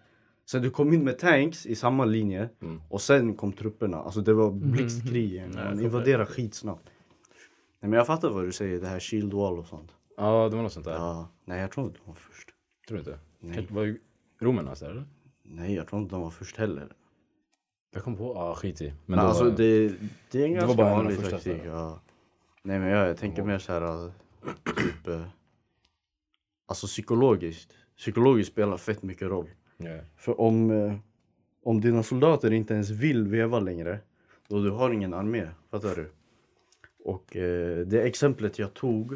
Speaker 3: Sen du kom in med tanks i samma linje
Speaker 2: Mm.
Speaker 3: och sen kom trupperna. Alltså det var blixtkrig, igen.
Speaker 2: Nej, jag
Speaker 3: man
Speaker 2: fattar.
Speaker 3: invaderade skitsnabbt. Nej men jag fattar vad du säger, det här shield wall och sånt.
Speaker 2: Ja, det var något sånt där.
Speaker 3: Ja, nej jag tror inte de var först.
Speaker 2: Tror du inte?
Speaker 3: Nej.
Speaker 2: Kanske var ju romerna sådär eller?
Speaker 3: Nej jag tror inte de var först heller.
Speaker 2: Jag kom på, ja ah, skit i. Men,
Speaker 3: Men
Speaker 2: då-
Speaker 3: alltså det, det är
Speaker 2: det
Speaker 3: en ganska
Speaker 2: var bara en av de
Speaker 3: vanlig
Speaker 2: första,
Speaker 3: taktik.
Speaker 2: så
Speaker 3: Ja. Nej men jag, jag tänker mer så här typ eh, alltså psykologiskt. Psykologiskt spelar fett mycket roll.
Speaker 2: ja.
Speaker 3: För om, eh, om dina soldater inte ens vill veva längre då du har ingen armé, fattar du? Och eh, det exemplet jag tog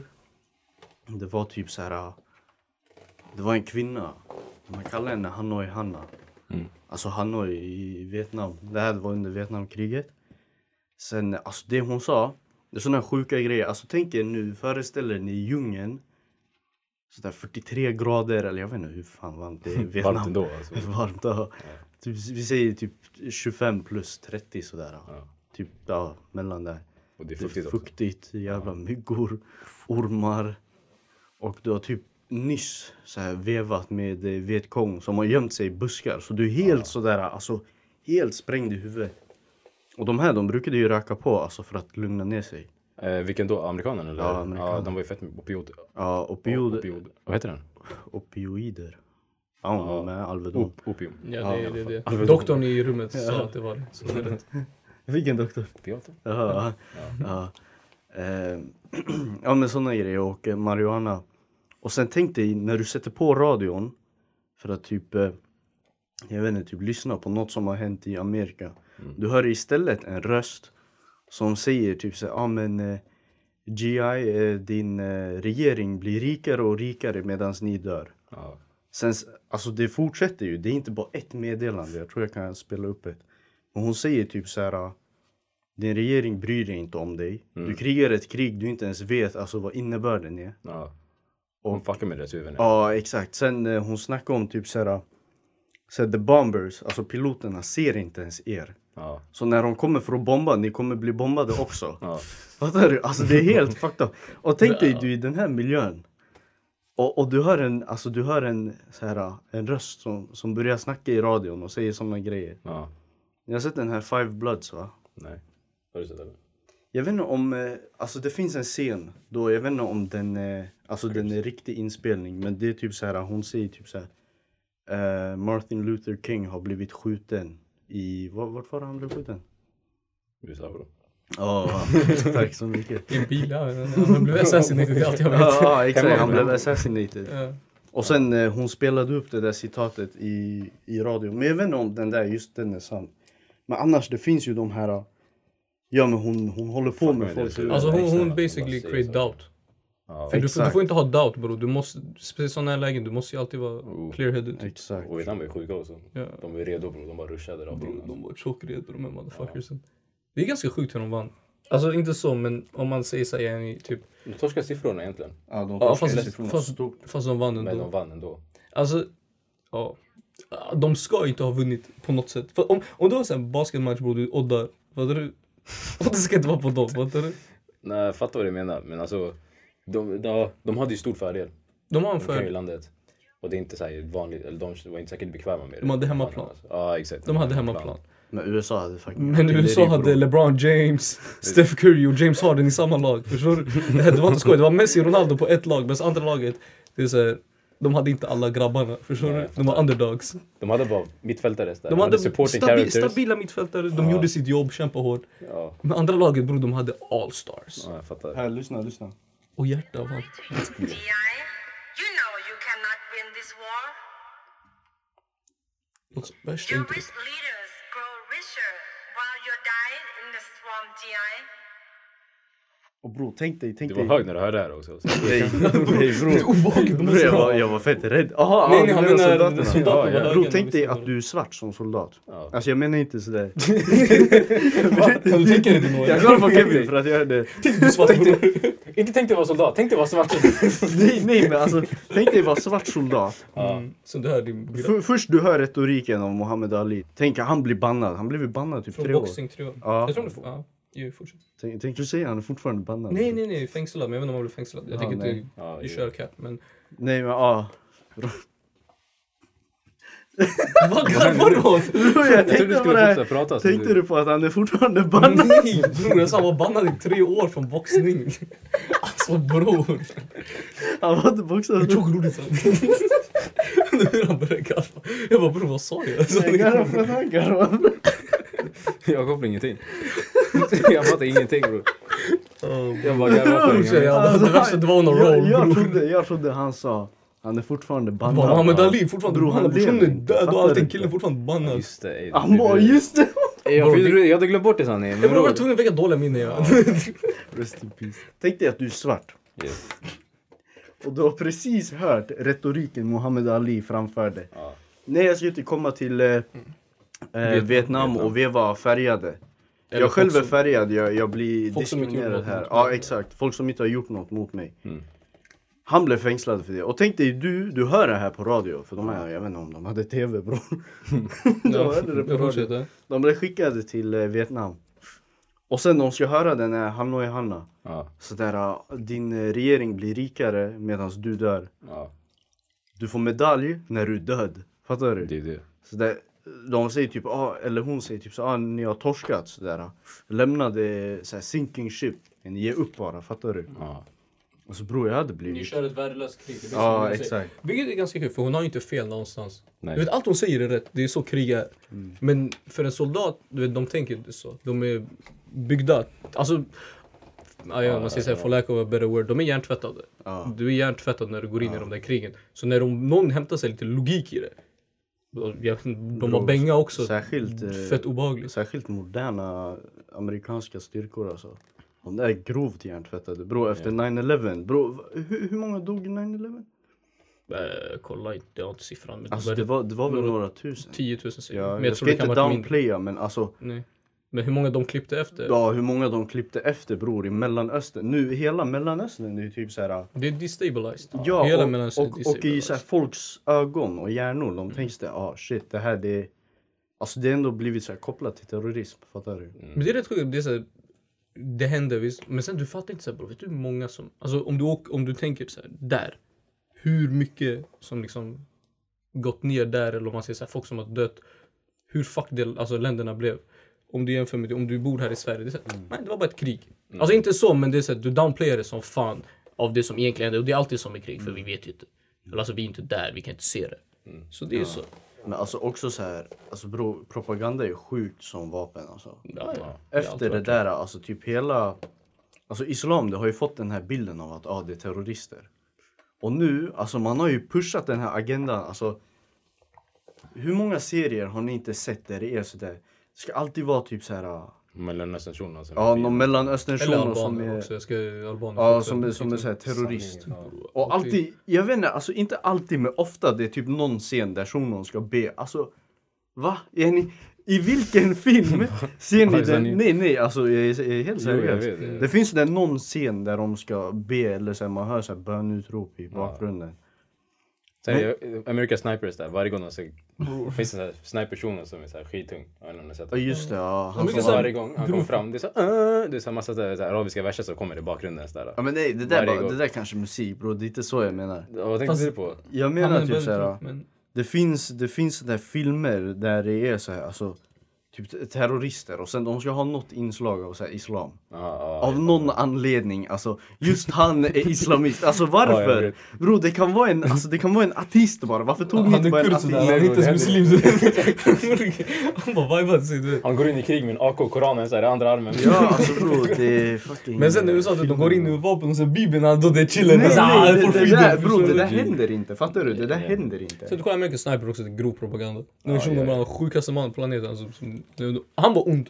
Speaker 3: det var typ så här det var en kvinna. Man kallar henne Hanoi Hanna.
Speaker 2: Mm.
Speaker 3: Alltså Hanoi i Vietnam. Det här var under Vietnamkriget. Sen, alltså det hon sa. Det är sådana sjuka grejer. Alltså tänk er nu, föreställ er ni djungeln. Sådär 43 grader eller jag vet inte hur fan varmt det är i Vietnam.
Speaker 2: Varmt ändå alltså.
Speaker 3: Varmt ja. Typ, vi säger typ 25 plus 30 sådär. Ja.
Speaker 2: Ja.
Speaker 3: Typ ja, mellan där.
Speaker 2: Och det är
Speaker 3: Det är
Speaker 2: fuktigt också.
Speaker 3: fuktigt, jävla myggor, ormar. Och du har typ nyss så här vevat med eh, vietkong som har gömt sig i buskar. Så du är helt sådär, alltså helt sprängd i huvudet. Och de här de brukade ju röka på alltså för att lugna ner sig.
Speaker 2: Eh, vilken då? Amerikanen eller?
Speaker 3: Ja, amerikanen.
Speaker 2: de var ju fett med opiod.
Speaker 3: Ja, opiod,
Speaker 2: opiod. Vad heter den?
Speaker 3: opioider. Ja, ja. med Alvedon.
Speaker 2: Op- opium.
Speaker 1: Ja, det, det, det.
Speaker 2: Alvedon.
Speaker 1: Doktorn i rummet sa att det var det. Så det är rätt.
Speaker 3: Vilken doktor?
Speaker 2: Opiater?
Speaker 3: Ja. Ja. Eh, ja men sådana grejer och eh, marijuana. Och sen tänk dig när du sätter på radion för att typ, eh, jag vet inte, typ lyssna på något som har hänt i Amerika. Du hör istället en röst som säger typ så ja ah, men eh, GI, eh, din eh, regering blir rikare och rikare medan ni dör.
Speaker 2: Ja.
Speaker 3: Sen, s- alltså det fortsätter ju. Det är inte bara ett meddelande. Jag tror jag kan spela upp ett. Men hon säger typ så här. Din regering bryr sig inte om dig. Du krigar ett krig du inte ens vet alltså, vad innebörden är.
Speaker 2: ja. Hon fuckar med deras huvuden.
Speaker 3: Ja, exakt. Sen eh, äh, hon snackar om typ så här. Så här, the bombers, alltså piloterna, ser inte ens er.
Speaker 2: Ja.
Speaker 3: Så när de kommer för att bomba, ni kommer bli bombade också.
Speaker 2: Ja.
Speaker 3: Fattar du? Alltså det är helt fucked up. Och tänk dig du är i den här miljön. Och, och du hör en, alltså, du hör en, så här, en röst som, som börjar snacka i radion och säger sådana grejer.
Speaker 2: ja.
Speaker 3: Ni har sett den här Five Bloods va?
Speaker 2: Nej. Har du sett den?
Speaker 3: Jag vet inte om, eh, alltså det finns en scen då, jag vet inte om den, eh, alltså den är riktig inspelning men det är typ så här, hon säger typ så här. eh, Martin Luther King har blivit skjuten i, var, vart var han blev skjuten?
Speaker 2: USA bro.
Speaker 3: Ja, tack så mycket.
Speaker 1: I en bil, ja. Han blev assassinated, det är allt jag vet.
Speaker 3: Ja, ja, exakt, han
Speaker 2: Hemma.
Speaker 3: blev assassinated.
Speaker 1: Ja.
Speaker 3: Och sen eh, hon spelade upp det där citatet i, i radio. Men jag vet inte om den där, just den är sann. Men annars, det finns ju de här... eh, Ja men hon, hon håller på
Speaker 2: Fuck,
Speaker 3: med
Speaker 2: men
Speaker 3: folk.
Speaker 2: det är så-
Speaker 1: Alltså hon, hon
Speaker 2: Exakt.
Speaker 1: basically create
Speaker 2: Bara säger så.
Speaker 1: doubt.
Speaker 2: Ja.
Speaker 1: För du, får- du
Speaker 3: Exakt.
Speaker 1: får inte ha doubt bro. Du måste, i sådana här lägen, du måste ju alltid vara
Speaker 2: Oh.
Speaker 1: clear-headed.
Speaker 3: Exakt.
Speaker 2: Och Vietnam var ju sjuka också.
Speaker 1: Ja.
Speaker 2: De var ju redo bro. De bara ruschade rakt in.
Speaker 1: Bro,
Speaker 2: alltså.
Speaker 1: de var tjockredor de här motherfuckersen. Det är ganska sjukt hur de vann. Alltså inte så, men om man säger såhär i typ...
Speaker 2: De torskade siffrorna egentligen.
Speaker 3: Ja, de
Speaker 1: Ja,
Speaker 3: forskar
Speaker 1: fast,
Speaker 3: utifrån
Speaker 1: fast,
Speaker 3: stort.
Speaker 1: fast de vann ändå.
Speaker 2: Men de vann ändå.
Speaker 1: Alltså, ja. De ska ju inte ha vunnit på något sätt. För om, om du har en basketmatch bror, du oddar. Fattar du? Och det ska inte vara på dem, fattar du?
Speaker 2: Nej, jag fattar vad du menar. Men alltså. De, de, de hade ju stor fördel.
Speaker 1: De har en
Speaker 2: De kan ju
Speaker 1: fördel.
Speaker 2: landet. Och det är inte så här vanligt. Eller de var inte säkert bekväma med det.
Speaker 1: De hade hemmaplan.
Speaker 2: Alltså. Ja exakt.
Speaker 1: De hade hemmaplan.
Speaker 3: Men USA hade fucking...
Speaker 1: Men USA hade LeBron James, Steph Curry och James Harden i samma lag. Förstår du? Det här- det var inte skoj. Det var Messi och Ronaldo på ett lag, men andra laget, det är så här, de hade inte alla grabbarna. Förstår du? De var underdogs.
Speaker 2: De hade bara mittfältare. så där.
Speaker 1: De hade
Speaker 2: supporting
Speaker 1: stabi
Speaker 2: characters.
Speaker 1: stabila mittfältare, de gjorde sitt jobb, kämpade hårt.
Speaker 2: Ja.
Speaker 1: Men andra laget bror, de hade all stars.
Speaker 2: ja, jag fattar.
Speaker 3: Här, lyssna, lyssna.
Speaker 1: Och hjärta vann.
Speaker 4: DI, you know you cannot win this war.
Speaker 1: Något så värst
Speaker 4: Your
Speaker 1: inte.
Speaker 4: rich leaders grow richer while you're dying in the swamp, DI.
Speaker 3: Och bror, tänk dig, tänk
Speaker 2: Du
Speaker 3: dig.
Speaker 2: var hög när du hörde det här också. Så.
Speaker 3: Nej, nej bror.
Speaker 1: obehagligt, de är
Speaker 3: Bror,
Speaker 1: så
Speaker 3: jag var,
Speaker 1: höga.
Speaker 3: jag var fett rädd. Aha,
Speaker 1: Nej,
Speaker 3: ja,
Speaker 1: nej,
Speaker 3: du
Speaker 1: han
Speaker 3: menar
Speaker 1: menar
Speaker 3: soldaterna.
Speaker 1: soldaterna
Speaker 2: Ja, ja.
Speaker 1: var
Speaker 3: Bror,
Speaker 1: höga,
Speaker 3: tänk dig
Speaker 1: visst.
Speaker 3: att du är svart som soldat.
Speaker 2: Ja.
Speaker 3: Alltså jag menar inte sådär.
Speaker 1: Kan du tänka dig det Noah?
Speaker 3: Jag kollar på Kevin för att jag är det.
Speaker 1: Tänk dig svart bror.
Speaker 2: Inte tänkte vara soldat, tänkte vara svart.
Speaker 3: Nej, nej men alltså tänk dig vara svart soldat.
Speaker 1: Mm, Så du hör din grabb.
Speaker 3: F- först du hör retoriken om Muhammad Ali. Tänk han blir bannad. Han blev ju bannad typ
Speaker 1: Från
Speaker 3: tre år.
Speaker 1: boxning tre år.
Speaker 3: Ja.
Speaker 1: Jag tror det får... Ja, ju, fortsätt.
Speaker 3: Tänk, tänk du säger han är fortfarande bannad.
Speaker 1: Nej, nej, nej. Fängslad. Men jag vet inte om han blev fängslad. Jag
Speaker 3: Ja,
Speaker 1: tänker
Speaker 3: nej.
Speaker 1: inte
Speaker 2: Ja,
Speaker 1: du
Speaker 2: jo.
Speaker 1: kör cap, men...
Speaker 3: Nej men ja.
Speaker 1: Vad garvar du åt?
Speaker 3: Bror, jag
Speaker 2: Jag trodde du
Speaker 3: tänkte på
Speaker 2: skulle
Speaker 3: det
Speaker 2: fortsätta
Speaker 3: här.
Speaker 2: prata. så
Speaker 3: Tänkte
Speaker 2: du-
Speaker 3: du på att han är fortfarande bannad?
Speaker 1: Nej bror, jag sa han var bannad i tre år från boxning. Alltså bror.
Speaker 3: Han var inte
Speaker 1: Jag
Speaker 3: boxad.
Speaker 1: tog roligt sen. Nu han började garva. Jag bara bror vad sa jag? Så,
Speaker 3: Jag garvar för att han garvar.
Speaker 2: Jag kopplar ingenting. Jag fattar ingenting bror. Jag bara garvar för
Speaker 1: Bror,
Speaker 2: ingenting.
Speaker 1: jag-
Speaker 3: Alltså,
Speaker 1: det värsta det var on a
Speaker 3: Jag,
Speaker 1: roll
Speaker 3: jag,
Speaker 1: bror.
Speaker 3: trodde, jag trodde han sa han är fortfarande
Speaker 1: Bara,
Speaker 3: bannad.
Speaker 1: Muhammad Ali fortfarande
Speaker 3: Bror, han
Speaker 1: bannad. Personen är
Speaker 3: lever inte.
Speaker 1: död och
Speaker 3: Fattar
Speaker 1: allting.
Speaker 3: inte.
Speaker 1: Killen är fortfarande bannad.
Speaker 2: Just det. ey,
Speaker 3: Han
Speaker 2: du-
Speaker 3: bara
Speaker 2: du-
Speaker 3: just det.
Speaker 2: Ey, Jag, förstod- jag hade glömt bort det sa ni. Men
Speaker 1: Jag var
Speaker 2: bror.
Speaker 1: tvungen att väcka dåliga minnen. Ja.
Speaker 3: Rest in peace. Tänk dig att du är svart.
Speaker 2: Yes.
Speaker 3: Och du har precis hört retoriken Muhammad Ali framförde.
Speaker 2: Ja.
Speaker 3: Nej, jag ska inte komma till eh, eh, Vietnam, och veva färgade.
Speaker 1: Eller
Speaker 3: jag själv
Speaker 1: folk
Speaker 3: är färgad, jag, jag blir
Speaker 1: Folk som inte gjort
Speaker 3: diskriminerad
Speaker 1: något
Speaker 3: här.
Speaker 1: mot
Speaker 3: Ja,
Speaker 1: mig.
Speaker 3: exakt. Folk som inte har gjort något mot mig. Han blev fängslad för det. Och tänk dig du, du hör det här på radio. För de här, jag vet inte om de hade tv bror. de
Speaker 1: Ja,
Speaker 3: hörde det på
Speaker 1: jag
Speaker 3: radio.
Speaker 1: fortsätter.
Speaker 3: De blev skickade till eh, Vietnam. Och sen de ska höra den här Hanoi Hanna.
Speaker 2: Ja.
Speaker 3: Sådär, ah, din eh, regering blir rikare medan du dör.
Speaker 2: Ja.
Speaker 3: Du får medalj när du är död. Fattar du?
Speaker 2: Det är det.
Speaker 3: Så där, de säger typ, ah, eller hon säger typ så ah, ni har torskat sådär. ah. Lämna det såhär, sinking ship. Ni ger upp bara, fattar du?
Speaker 2: Ja.
Speaker 3: Alltså bror jag hade blivit...
Speaker 1: kör ett värdelöst krig. Det blir som
Speaker 3: Ja
Speaker 1: du säger.
Speaker 3: exakt.
Speaker 1: Vilket är ganska kul för hon har ju inte fel någonstans.
Speaker 2: Nej.
Speaker 1: Du vet, allt hon säger är rätt, det är så krig är.
Speaker 3: Mm.
Speaker 1: Men för en soldat, du vet, de tänker inte så. De är byggda, alltså... Ja, ja, man säger såhär, for lack of a better word, de är hjärntvättade.
Speaker 3: Ja.
Speaker 1: Du är hjärntvättad när du går in i de där krigen. Så när de, någon hämtar sig lite logik i det. och jag- De har bänga också.
Speaker 3: Särskilt, eh,
Speaker 1: Fett obehagligt.
Speaker 3: Särskilt moderna amerikanska styrkor alltså. De är grovt hjärntvättade. Bror efter 9-11, bror hur, hur många dog i 9-11?
Speaker 1: Eh, kolla inte, jag har inte siffran. Men
Speaker 3: Alltså
Speaker 1: det
Speaker 3: det
Speaker 1: var
Speaker 3: var, det var väl några tusen?
Speaker 1: 10 000 säger
Speaker 3: Ja,
Speaker 1: men
Speaker 3: jag,
Speaker 1: jag, tror
Speaker 3: ska
Speaker 1: det kan
Speaker 3: inte
Speaker 1: ha varit mindre.
Speaker 3: downplaya men alltså
Speaker 1: Nej. Men hur många de klippte efter?
Speaker 3: ja, hur många de klippte efter bror i mellanöstern. Nu hela mellanöstern är ju typ såhär
Speaker 1: Det är destabilized.
Speaker 3: Ja,
Speaker 1: Hela
Speaker 3: och,
Speaker 1: Mellanöstern är
Speaker 3: och, och i
Speaker 1: destabilized. Mm.
Speaker 3: så här, folks ögon och hjärnor de tänker det, ah shit det här det är Alltså det har ändå blivit så här kopplat till terrorism, fattar du?
Speaker 1: Men det är rätt sjukt. Det, är så här, det händer visst. Men sen du fattar inte så här, bro, vet du hur många som... Alltså om du, åk, om du tänker så här, där. Hur mycket som liksom gått ner där eller om man säger så här, folk som har dött. Hur fucked det, alltså, länderna blev. Om du jämför med det, om du bor här i Sverige. Det, är så här, nej, det var bara ett krig. Alltså inte så men det är så här, du downplayar det som fan av det som egentligen händer. Och det är alltid som i krig för vi vet ju inte. Eller alltså vi är inte där, vi kan inte se det. Så det är så.
Speaker 3: Men alltså också så här, alltså bro, propaganda är sjukt som vapen alltså.
Speaker 1: Ja, ja.
Speaker 3: Efter det där, alltså typ hela... Alltså islam, det har ju fått den här bilden av att ah, det är terrorister. Och nu, alltså man har ju pushat den här agendan. Alltså, hur många serier har ni inte sett där det är sådär? Det ska alltid vara typ så här... ah,
Speaker 2: Mellanöstern-shunon. Alltså,
Speaker 3: Ja, någon
Speaker 1: Eller
Speaker 3: mellanöstern som
Speaker 1: albaner
Speaker 3: är...
Speaker 1: också. Jag ska, albaner
Speaker 3: Ja,
Speaker 1: också.
Speaker 3: som är, som är så här terrorist.
Speaker 2: Sanningen,
Speaker 3: Och
Speaker 2: typ-
Speaker 3: alltid, jag vet inte, alltså inte alltid men ofta det är typ någon scen där shunon ska be. Alltså, va? Är ni, I vilken film ser ni
Speaker 2: Vad sa
Speaker 3: den?
Speaker 2: ni?
Speaker 3: Nej, nej, alltså jag är, jag är helt
Speaker 2: Jo, jag
Speaker 3: seriös.
Speaker 2: vet det.
Speaker 3: det finns där någon scen där de ska be eller så här, man hör så här bönutrop i bakgrunden.
Speaker 2: Sen är ju America Snipers där, varje gång de ser... finns en sån här sniper-shuno som är så här skittung. Jag vet inte om ni har sett
Speaker 3: Ja,
Speaker 2: den.
Speaker 3: just det. Ja,
Speaker 1: Ja,
Speaker 3: han
Speaker 1: men
Speaker 2: Och
Speaker 1: så här-
Speaker 2: Varje gång han kommer fram, det är så här, "Äh", det är så här massa så här, så här, arabiska verser som kommer i bakgrunden. Så där.
Speaker 3: Ja men nej, det där,
Speaker 2: Varje
Speaker 3: bara,
Speaker 2: gång.
Speaker 3: det där kanske är musik bro, det är inte så jag menar.
Speaker 2: Vad tänkte
Speaker 1: Fast-
Speaker 2: du på?
Speaker 3: Jag
Speaker 1: Ja,
Speaker 3: menar typ
Speaker 1: väldigt
Speaker 3: såhär,
Speaker 1: roligt, men-
Speaker 3: det finns, det finns sådana här filmer där det är så här, alltså typ terrorister och sen de ska ha något inslag av så här, islam.
Speaker 2: Ja, ja,
Speaker 3: Av någon anledning, alltså just han är islamist, alltså
Speaker 2: Ja, jag
Speaker 3: varför?
Speaker 2: vet.
Speaker 3: Bro det kan vara en, alltså, det kan vara en ateist bara, varför tog ni inte bara en ateist?
Speaker 1: Han är inte ens muslim. Han bara vibar sig. du vet.
Speaker 2: Han går in i krig med en AK-Koranen så här i andra armen.
Speaker 3: Ja alltså bro det är fucking...
Speaker 1: Men sen när du sa att de går in med vapen och sen bibeln, han då det är chillen.
Speaker 3: Nej
Speaker 1: Alltså, ah,
Speaker 3: nej,
Speaker 1: får
Speaker 3: det, det
Speaker 1: freedom,
Speaker 3: där,
Speaker 1: förstår
Speaker 3: bro det
Speaker 1: du?
Speaker 3: där händer inte, fattar du? Det där händer
Speaker 1: Så
Speaker 3: inte.
Speaker 1: du kollar American Sniper också, det är grov propaganda. Den
Speaker 2: Ja,
Speaker 1: personen
Speaker 2: ja,
Speaker 1: var den sjukaste mannen på planeten. Alltså, som, han var ond.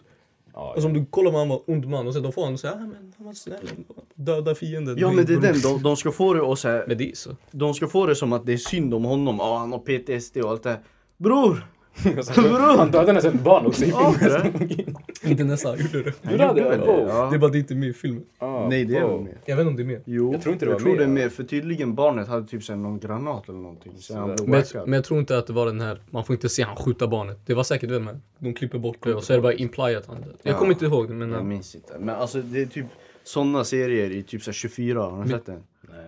Speaker 2: Ja,
Speaker 1: Alltså om du kollar med han var ond man och sen de får han och säger ah, men han var snäll. Döda fienden.
Speaker 3: Ja men det är den, de, de ska få det och så här,
Speaker 1: Men det är så.
Speaker 3: de ska få det som att det är synd om honom, ja han har PTSD och allt det här. Bror!
Speaker 1: Alltså,
Speaker 2: Bror! Han dödade nästan ett barn också i
Speaker 3: Ja,
Speaker 2: filmen.
Speaker 3: bror.
Speaker 1: Inte nästan, han gjorde det.
Speaker 2: Hur hade jag? Wow.
Speaker 1: Det är
Speaker 3: Ja.
Speaker 1: bara det är inte med i filmen.
Speaker 2: Ah,
Speaker 3: Nej det är
Speaker 2: wow.
Speaker 3: väl med.
Speaker 1: Jag vet inte om det är med.
Speaker 3: Jo,
Speaker 2: Jag tror inte det var
Speaker 3: tror
Speaker 2: med,
Speaker 3: det är
Speaker 2: ja.
Speaker 3: med. För tydligen barnet hade typ så här någon granat eller någonting. Så han blev
Speaker 1: Men,
Speaker 3: whackad.
Speaker 1: jag- men jag tror inte att det var den här, man får inte se han skjuta barnet. Det var säkert den här. De klipper bort det och så är det bara imply att han dör. Jag
Speaker 3: Ja.
Speaker 1: kommer inte ihåg det men... eh,
Speaker 3: Jag
Speaker 1: men
Speaker 3: minns inte. Men alltså det är typ sådana serier i typ så här 24, har ni sett den?
Speaker 2: Nej.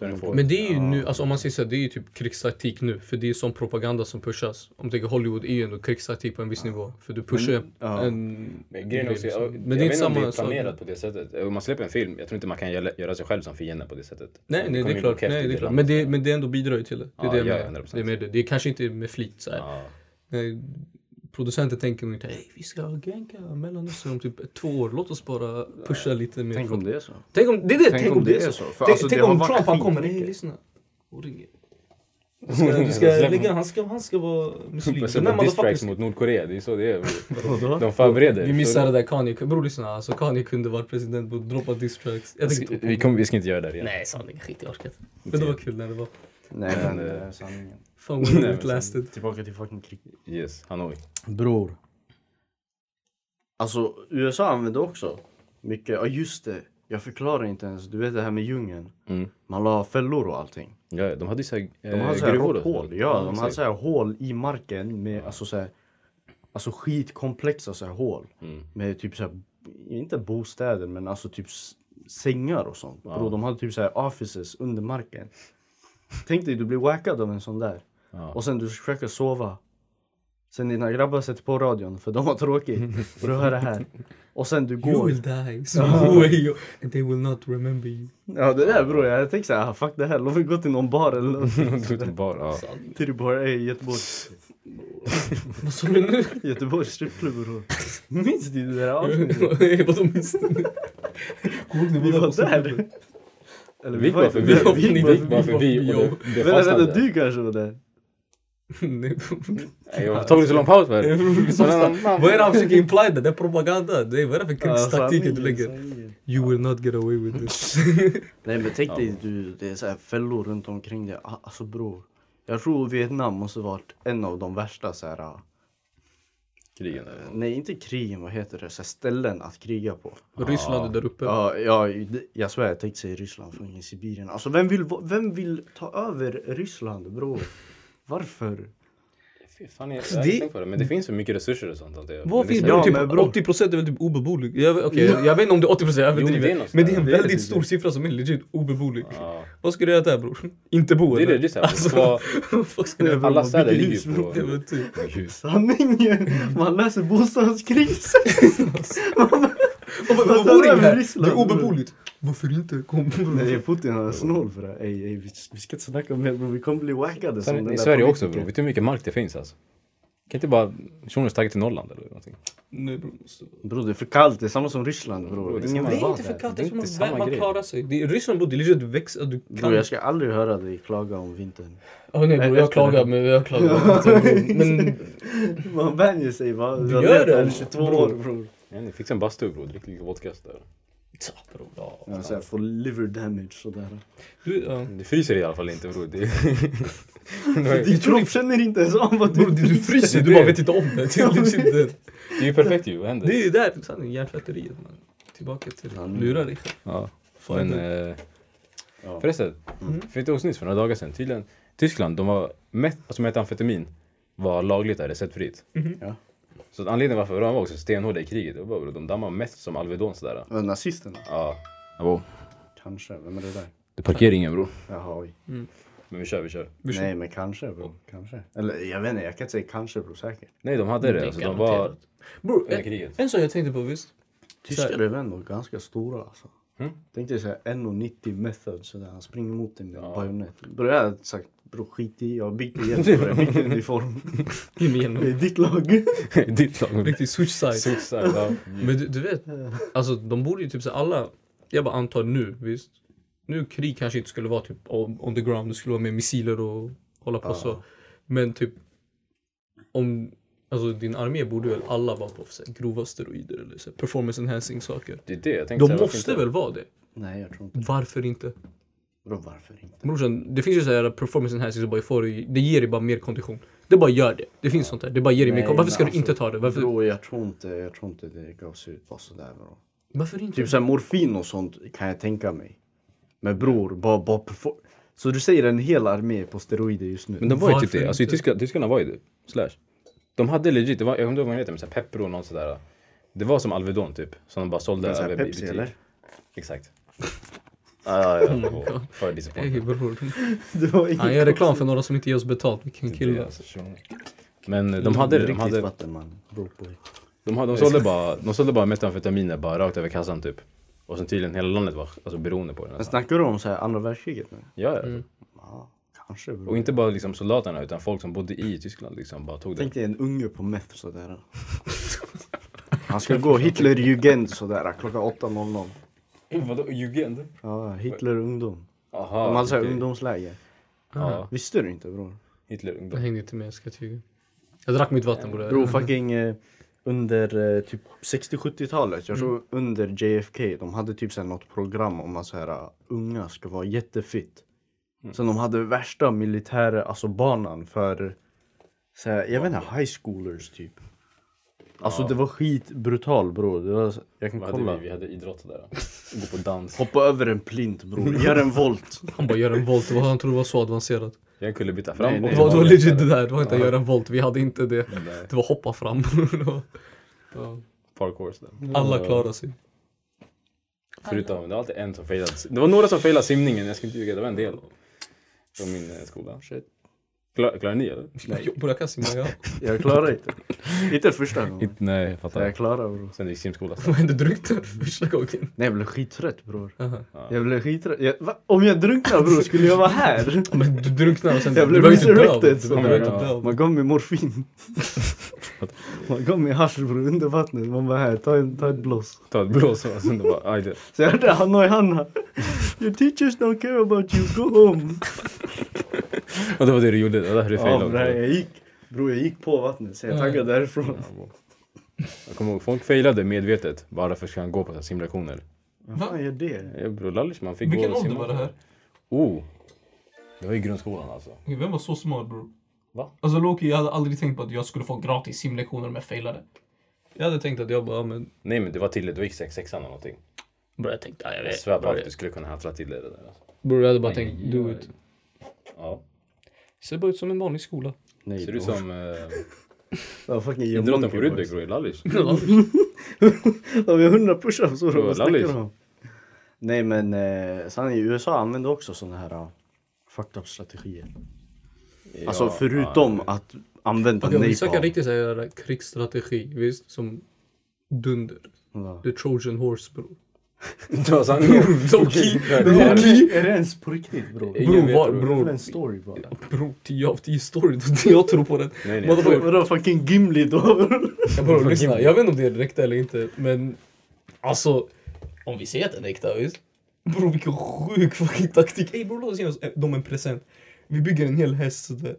Speaker 2: Den är få.
Speaker 1: men det är ju nu, alltså om man säger så här, det är ju typ krigstaktik nu. För det är ju sån propaganda som pushas. Om du tänker Hollywood är ju ändå krigstaktik på en viss nivå. För du pushar ju
Speaker 3: ja.
Speaker 1: en...
Speaker 2: Men grejen är också,
Speaker 1: grej,
Speaker 2: jag,
Speaker 1: liksom.
Speaker 2: jag
Speaker 1: Men det är inte
Speaker 2: vet inte om det
Speaker 1: samma
Speaker 2: är
Speaker 1: sak.
Speaker 2: planerat på det sättet. Om man släpper en film, jag tror inte man kan göra göra sig själv som fiende på det sättet.
Speaker 1: Nej, nej det
Speaker 2: kommer
Speaker 1: är
Speaker 2: ju
Speaker 1: klart.
Speaker 2: bli
Speaker 1: Nej, det är
Speaker 2: häftigt
Speaker 1: klart.
Speaker 2: ibland.
Speaker 1: Men det, men det ändå bidrar ju till det. Det är
Speaker 2: Ja,
Speaker 1: det jag
Speaker 2: ja,
Speaker 1: menar.
Speaker 2: 100%.
Speaker 1: Det är med det. Det är kanske inte med flit så här.
Speaker 2: Ja.
Speaker 1: Nej, Producenten tänker nog inte hej vi ska ganka Mellanöstern om typ två år. Låt oss bara pusha lite mer.
Speaker 3: Tänk om det är så.
Speaker 1: Tänk om det är det,
Speaker 3: Tänk
Speaker 1: tänk
Speaker 3: om
Speaker 1: om det
Speaker 3: det
Speaker 1: är
Speaker 3: är
Speaker 1: så.
Speaker 3: så. För
Speaker 1: Tänk,
Speaker 3: alltså, det
Speaker 1: tänk
Speaker 3: har
Speaker 1: om
Speaker 3: varit
Speaker 1: Trump han kommer,
Speaker 3: skitmycket.
Speaker 1: nej lyssna och ringer. Du ska, du ska
Speaker 2: Släpp-
Speaker 1: lägga, han ska, han ska vara muslim.
Speaker 2: Men så
Speaker 1: Den där
Speaker 2: bara diss tracks
Speaker 1: motherfuckern-
Speaker 2: mot Nordkorea, det är så det är. De förbereder.
Speaker 1: Vi missade det där Kanye, bror lyssna alltså Kanye kunde varit president och droppa distracks. Jag tänkte
Speaker 3: Alltså,
Speaker 2: Vi, kom, vi ska inte göra det här igen.
Speaker 1: Nej sanningen, skit i orkat. Men det var kul när det var.
Speaker 3: Nej men det är sanningen.
Speaker 1: Fan vad roligt lasted.
Speaker 3: Tillbaka till fucking krig.
Speaker 2: Yes, Hanoi.
Speaker 3: Bror. Alltså USA använde också mycket, ja just det. Jag förklarar inte ens, du vet det här med djungeln.
Speaker 2: Mm.
Speaker 3: Man la fällor och allting.
Speaker 2: Ja, de hade ju eh, såhär
Speaker 3: De hade så här rått hål, ja, de hade
Speaker 2: precis.
Speaker 3: så här hål i marken med alltså så här, alltså skitkomplexa så här hål.
Speaker 2: Mm.
Speaker 3: Med typ så här, inte bostäder men alltså typ s- sängar och sånt. Bro, de hade typ så här offices under marken. Tänk dig du blir wackad av en sån där.
Speaker 2: Ja.
Speaker 3: Och sen du försöker sova. Sen dina grabbar sätter på radion för de har tråkigt. Och du hör det här. Och sen du
Speaker 1: You
Speaker 3: går.
Speaker 1: will die, so away and they will not remember you.
Speaker 3: Ja det där bror, jag tänkte såhär, fuck det här, låt mig gå till någon bar eller något.
Speaker 2: De tog till bar, ja.
Speaker 3: Till bar, ey Göteborg.
Speaker 1: Vad sa du nu?
Speaker 3: Göteborgs strippklubb bror. Minns ni det där avsnittet?
Speaker 1: Vadå minns du? Kommer du ihåg när
Speaker 3: Vi
Speaker 1: där på
Speaker 3: var där.
Speaker 1: Sophiebron?
Speaker 3: Eller
Speaker 2: Vi gick bara
Speaker 3: inte
Speaker 2: förbi.
Speaker 3: där,
Speaker 1: vi gick
Speaker 2: Vi gick bara förbi och det- det
Speaker 3: Vänta, vänta,
Speaker 2: fastnade.
Speaker 3: du kanske var där?
Speaker 1: Nej,
Speaker 2: Nej, Jag tog lite lång paus för det.
Speaker 1: Vad är det han försöker imply? där? Det är propaganda. Det är, vad är det för
Speaker 3: Ja,
Speaker 1: krigstaktik du
Speaker 3: sanningen,
Speaker 1: lägger?
Speaker 3: sanningen.
Speaker 1: You will not get away with this.
Speaker 3: Nej men tänk dig du, det är så här fällor runt omkring dig. Ah, Alltså bror. Jag tror Vietnam måste varit en av de värsta så här. ah,
Speaker 2: Krigen.
Speaker 3: Nej inte krigen, vad heter det? Så här ställen att kriga på.
Speaker 1: Ryssland är där uppe.
Speaker 3: Ja, ja, det- jag svär jag tänkte säga Ryssland, fucking Sibirien. Alltså vem vill, va- vem vill ta över Ryssland bror? Varför?
Speaker 2: Fy fan, jag,
Speaker 1: Alltså,
Speaker 2: jag har inte
Speaker 1: det-
Speaker 2: tänkt på det. Men det finns så mycket resurser och sånt. Att det,
Speaker 1: Vad
Speaker 2: det är
Speaker 1: finns
Speaker 2: så-
Speaker 1: det?
Speaker 3: Ja,
Speaker 1: Typ
Speaker 3: men bro.
Speaker 1: 80% är väl typ obeboelig? Jag, vet- okej, jag vet inte om det är 80% jag
Speaker 2: men det är
Speaker 1: överdriver.
Speaker 2: något sånt
Speaker 1: men det är en
Speaker 2: där.
Speaker 1: väldigt
Speaker 3: Det är det.
Speaker 1: stor siffra som är legit obeboelig.
Speaker 2: Ja.
Speaker 1: Vad ska du göra där bror? Inte bo
Speaker 2: Det är
Speaker 1: eller?
Speaker 2: det, det är såhär. Alltså,
Speaker 1: Vad ska du göra?
Speaker 2: alla städer
Speaker 3: Byter
Speaker 2: ligger
Speaker 3: hus,
Speaker 2: ju på...
Speaker 1: Det var typ-
Speaker 2: på hus.
Speaker 3: Sanningen! Man läser bostadskrisen!
Speaker 1: Vad- vad-
Speaker 3: Vad
Speaker 1: vad bor
Speaker 3: där
Speaker 1: ingen
Speaker 3: med
Speaker 1: här?
Speaker 3: Ryssland,
Speaker 1: Det är
Speaker 3: bror?
Speaker 1: obeboeligt. Varför inte? Kom bror.
Speaker 3: Nej, Putin han är snål för det. Ey, ey, vi, vi ska inte snacka om det bro. vi kommer bli wackade. som den
Speaker 2: Sen, I
Speaker 3: där
Speaker 2: Sverige också
Speaker 3: politikern.
Speaker 2: bror. Vet du hur mycket mark det finns alltså? Kan inte bara personer tagga till Norrland eller någonting?
Speaker 1: Nej bror. måste vara-
Speaker 3: Bror det är för kallt, det är samma som Ryssland bror.
Speaker 2: det är
Speaker 3: Ingen
Speaker 2: samma-
Speaker 1: Det
Speaker 3: vill
Speaker 1: är
Speaker 3: vara
Speaker 1: inte
Speaker 3: där.
Speaker 1: för kallt,
Speaker 2: Det
Speaker 1: det
Speaker 2: är
Speaker 1: är som
Speaker 2: inte
Speaker 1: att
Speaker 2: samma
Speaker 1: man
Speaker 2: grej.
Speaker 1: klarar sig. Det är, Ryssland borde legit växa, du
Speaker 3: Bror
Speaker 1: kan
Speaker 3: jag ska aldrig höra dig klaga om vintern.
Speaker 1: Ja, nej bror,
Speaker 3: Nej,
Speaker 1: jag
Speaker 3: efter det
Speaker 1: klagar,
Speaker 3: här.
Speaker 1: men jag klagar. Alltså, bror, men
Speaker 3: Man vänjer sig va? Du
Speaker 1: gör det,
Speaker 3: här i 22
Speaker 1: bror.
Speaker 3: år bror.
Speaker 2: Ja, ni fixar en bastu bror. Drick lite vodka så där.
Speaker 1: ta bror. ja.
Speaker 3: Ja,
Speaker 2: alltså.
Speaker 3: så här, Alltså, får liver damage sådär.
Speaker 1: Du, ja.
Speaker 2: Det fryser i alla fall inte bror. Det...
Speaker 3: Din kropp känner inte ens av vad
Speaker 1: Bror
Speaker 3: du...
Speaker 1: du, du fryser, du bara vet inte om det. Det är legit det.
Speaker 2: Det är ju perfekt ju, vad händer?
Speaker 1: Det är ju där sanningen, hjärntvätteriet man. Tillbaka till liksom. lura dig själv.
Speaker 2: Ja.
Speaker 1: Fan,
Speaker 2: Men
Speaker 1: det-
Speaker 2: eh,
Speaker 3: Ja.
Speaker 2: förresten, fick det också nyss för några dagar sedan. Tydligen, Tyskland, de var met, alltså metamfetamin var lagligt där receptfritt.
Speaker 3: Ja.
Speaker 2: Så att anledningen varför de var också stenhårda i kriget, det var bara de dammar mest som Alvedon sådär.
Speaker 3: Vad, Nazisterna?
Speaker 2: Ja. Abo.
Speaker 3: Kanske, vem är det där?
Speaker 2: Det är parkeringen bror.
Speaker 3: Jaha oj.
Speaker 2: Men vi kör, vi kör.
Speaker 1: Vi kör.
Speaker 3: Nej men kanske bror, kanske. Eller jag vet inte, jag kan inte säga kanske bror, säkert.
Speaker 2: Nej de hade det, alltså, de var...
Speaker 1: garanterat. Bror,
Speaker 2: Under
Speaker 1: en,
Speaker 2: kriget.
Speaker 1: en sak jag tänkte på visst.
Speaker 3: Tyskar
Speaker 1: här.
Speaker 3: är väl ändå ganska stora alltså.
Speaker 2: Mm.
Speaker 3: Tänk dig såhär 1,90 method sådär, han springer mot dig med en bajonett. Bror jag hade sagt bror skit i, jag har byggt igen bror, jag bytte uniform.
Speaker 1: Ge mig
Speaker 3: Det
Speaker 1: igenom.
Speaker 3: är ditt lag.
Speaker 2: Ditt lag.
Speaker 1: Riktig switch side.
Speaker 2: Sossar, ja.
Speaker 1: Men du, du vet, alltså de borde ju typ så här, alla, jag bara antar nu visst. Nu krig kanske inte skulle vara typ on, on the ground, det skulle vara med missiler och hålla på så. Men typ om, alltså din armé borde väl alla vara på så här, grova steroider eller så här, performance enhancing saker.
Speaker 2: Det är det jag tänkte
Speaker 1: De
Speaker 2: säga, varför
Speaker 1: måste
Speaker 2: inte?
Speaker 1: väl vara det?
Speaker 3: Nej jag tror inte.
Speaker 1: Varför inte?
Speaker 3: Bror varför inte?
Speaker 1: Brorsan, det finns ju såhär performance enhancing som bara får dig- det ger dig bara mer kondition. Det bara gör det. Det finns sånt där. Det bara ger dig mer
Speaker 3: Nej,
Speaker 1: kondition. Varför ska
Speaker 3: men alltså,
Speaker 1: du inte ta det? Varför,
Speaker 3: Bror jag tror inte, jag tror inte det gavs ut bara sådär bror.
Speaker 1: varför inte?
Speaker 3: Typ såhär morfin och sånt kan jag tänka mig. Men bror, bara, bara perfor- Så du säger en hel armé på steroider just nu?
Speaker 2: Men de var ju typ
Speaker 1: Varför
Speaker 2: det. Alltså i
Speaker 1: inte?
Speaker 2: Tyskland, tyskarna var ju det. Slash. De hade legit, det var, jag kommer inte ihåg vad den heter, men så här Pepro och något sådär. Det var som Alvedon typ, som de bara sålde
Speaker 3: Så här
Speaker 2: över i
Speaker 3: Pepsi
Speaker 2: butik.
Speaker 3: eller?
Speaker 2: Exakt. ja, ja, ja.
Speaker 1: God.
Speaker 2: Och För
Speaker 1: Ey
Speaker 2: disappointment.
Speaker 1: bror.
Speaker 3: Det var inget
Speaker 1: Han gör reklam för några som inte ger oss betalt.
Speaker 3: Typ
Speaker 1: Vilken
Speaker 2: Det är
Speaker 1: kille.
Speaker 2: alltså så- Men eh, de hade det, de
Speaker 3: Riktigt
Speaker 2: hade,
Speaker 3: vatten man. Broboy.
Speaker 2: de, hade, de sålde bara, de sålde bara metamfetaminer bara rakt över kassan typ. Och sen tydligen hela landet var alltså beroende på det.
Speaker 3: Men
Speaker 2: nästan.
Speaker 3: snackar du om så här andra världskriget nu?
Speaker 2: Ja, ja.
Speaker 3: Mm. Ja, kanske bror.
Speaker 2: Och inte bara liksom soldaterna utan folk som bodde i Tyskland liksom bara tog det.
Speaker 3: Tänk dig en unge på meth sådär. Han ska gå Hitlerjugend sådär klockan 8.00.
Speaker 2: Vadå, jugend?
Speaker 3: Ja, Hitler ungdom.
Speaker 2: Aha,
Speaker 3: De hade såhär
Speaker 2: okej.
Speaker 3: ungdomsläger.
Speaker 2: Ja,
Speaker 3: Visste du inte bror?
Speaker 2: Hitler
Speaker 1: Jag
Speaker 2: ungdom.
Speaker 1: hängde inte med, jag ska tyga. Jag drack mitt vatten bror.
Speaker 3: Bro, fucking eh, under eh, typ 60-70-talet, jag tror under JFK, de hade typ såhär något program om att så här, uh, unga ska vara jättefit. Sen de hade värsta militära, alltså banan för, så här, jag vet inte, high schoolers typ. Alltså det var skitbrutal bror. Det var, så- jag kan
Speaker 2: Vad hade
Speaker 3: kolla.
Speaker 2: vi? Vi hade idrott där. Gå på dans.
Speaker 3: Hoppa över en plint bror, gör en volt.
Speaker 1: Han bara gör en volt. Vad Han trodde det var så avancerat.
Speaker 2: Jag kunde byta fram.
Speaker 3: Nej, nej.
Speaker 1: Det
Speaker 2: och
Speaker 1: var, det var
Speaker 2: tillbaka.
Speaker 1: legit det där. Det var inte att göra en volt. Vi hade inte det. Det var hoppa fram. Ja.
Speaker 2: Parkour. sådär.
Speaker 1: Alla klarade sig.
Speaker 2: Förutom, det var alltid en som failade. Det var några som failade simningen, jag ska inte ljuga. Det var en del. Från min eh, skola.
Speaker 3: Shit.
Speaker 2: Klar, klarar ni eller?
Speaker 1: Jo, bror, Jag kan simma, ja.
Speaker 3: Jag klarar inte. Inte första gången.
Speaker 2: Nej, jag
Speaker 3: Så Jag klarar bror.
Speaker 2: Sen gick simskola.
Speaker 1: Vad hände? Drunknade du första gången?
Speaker 3: Nej jag blev skittrött bror.
Speaker 1: Aha.
Speaker 3: Jag blev skittrött. Jag, va? Om jag drunknar bror, skulle jag vara här?
Speaker 1: Men du drunknade och sen...
Speaker 3: Jag blev
Speaker 1: du var ju inte
Speaker 3: resurrected,
Speaker 1: död.
Speaker 3: så
Speaker 1: Du var ju
Speaker 2: där.
Speaker 1: inte död.
Speaker 3: Man gav mig morfin. Man gav mig hasch bror under vattnet. Man bara här, ta, en, ta ett blås.
Speaker 2: Ta ett blås och sen då bara, aj det.
Speaker 3: Så jag hörde Hanoi Hanna. Your teachers don't care about you, go home.
Speaker 2: Och det var det du gjorde, det var därför du
Speaker 3: Ja,
Speaker 2: failade.
Speaker 3: bror, jag gick, bror jag gick på vattnet så jag taggade därifrån.
Speaker 2: jag kommer ihåg, folk failade medvetet bara för att kunna gå på så här simlektioner.
Speaker 3: Vad fan gör det?
Speaker 2: Eh, Bror Lallish man fick
Speaker 1: Vilken
Speaker 2: gå och
Speaker 1: ålder
Speaker 2: simma.
Speaker 1: var det här?
Speaker 2: Oh! Det var i grundskolan alltså.
Speaker 1: Okej, Vem var så smart bror?
Speaker 2: Va?
Speaker 1: Alltså Loki, jag hade aldrig tänkt på att jag skulle få gratis simlektioner om jag failade. Jag hade tänkt att jag bara, ja, men...
Speaker 2: Nej men det var till det, du gick sex- sexan eller någonting.
Speaker 1: Bror jag tänkte, ja, jag
Speaker 3: Eh,
Speaker 2: Jag
Speaker 1: vet.
Speaker 2: svär på
Speaker 1: Bror
Speaker 2: att
Speaker 1: jag-
Speaker 2: du skulle kunna haffla till det där. Alltså.
Speaker 1: bror, jag hade bara tänkt, do it.
Speaker 2: Ja.
Speaker 1: Ser bara ut som en vanlig skola.
Speaker 3: Nej,
Speaker 2: Ser ut
Speaker 3: bror.
Speaker 2: som eh,
Speaker 3: Ja, fucking
Speaker 2: idrotten
Speaker 3: Jamonke,
Speaker 2: på
Speaker 3: boys.
Speaker 2: Rudbeck bror, Lallish.
Speaker 3: De har 100 push-ups och
Speaker 2: Bro,
Speaker 3: vad snackar
Speaker 2: lallis.
Speaker 3: du om? Nej men eh, sen i USA använder också sådana här uh, fucked up strategier. alltså
Speaker 2: Ja,
Speaker 3: förutom
Speaker 2: ja,
Speaker 3: att använda
Speaker 1: Okej, om vi snackar
Speaker 3: napalm.
Speaker 1: riktigt såhär krigsstrategi, visst? Som dunder.
Speaker 3: Ja.
Speaker 1: The Trojan Horse bror.
Speaker 2: Det var sanningen.
Speaker 3: Är det- Är det ens på riktigt bror?
Speaker 2: Ingen
Speaker 1: Bror,
Speaker 2: vet,
Speaker 1: var,
Speaker 2: bror.
Speaker 3: Det är väl
Speaker 1: bror,
Speaker 3: en story bara?
Speaker 1: bror, 10 av 10 story. Jag tror på den.
Speaker 2: Nej, nej.
Speaker 1: Motherfucker.
Speaker 3: Vadå fucking Gimli då?
Speaker 1: Jag bara lyssna, jag vet inte om det är direkt eller inte men alltså om vi ser att den är äkta visst? Bror vilken sjuk fucking taktik. Ey bror låt oss ge oss eh, dem en present. Vi bygger en hel häst sådär.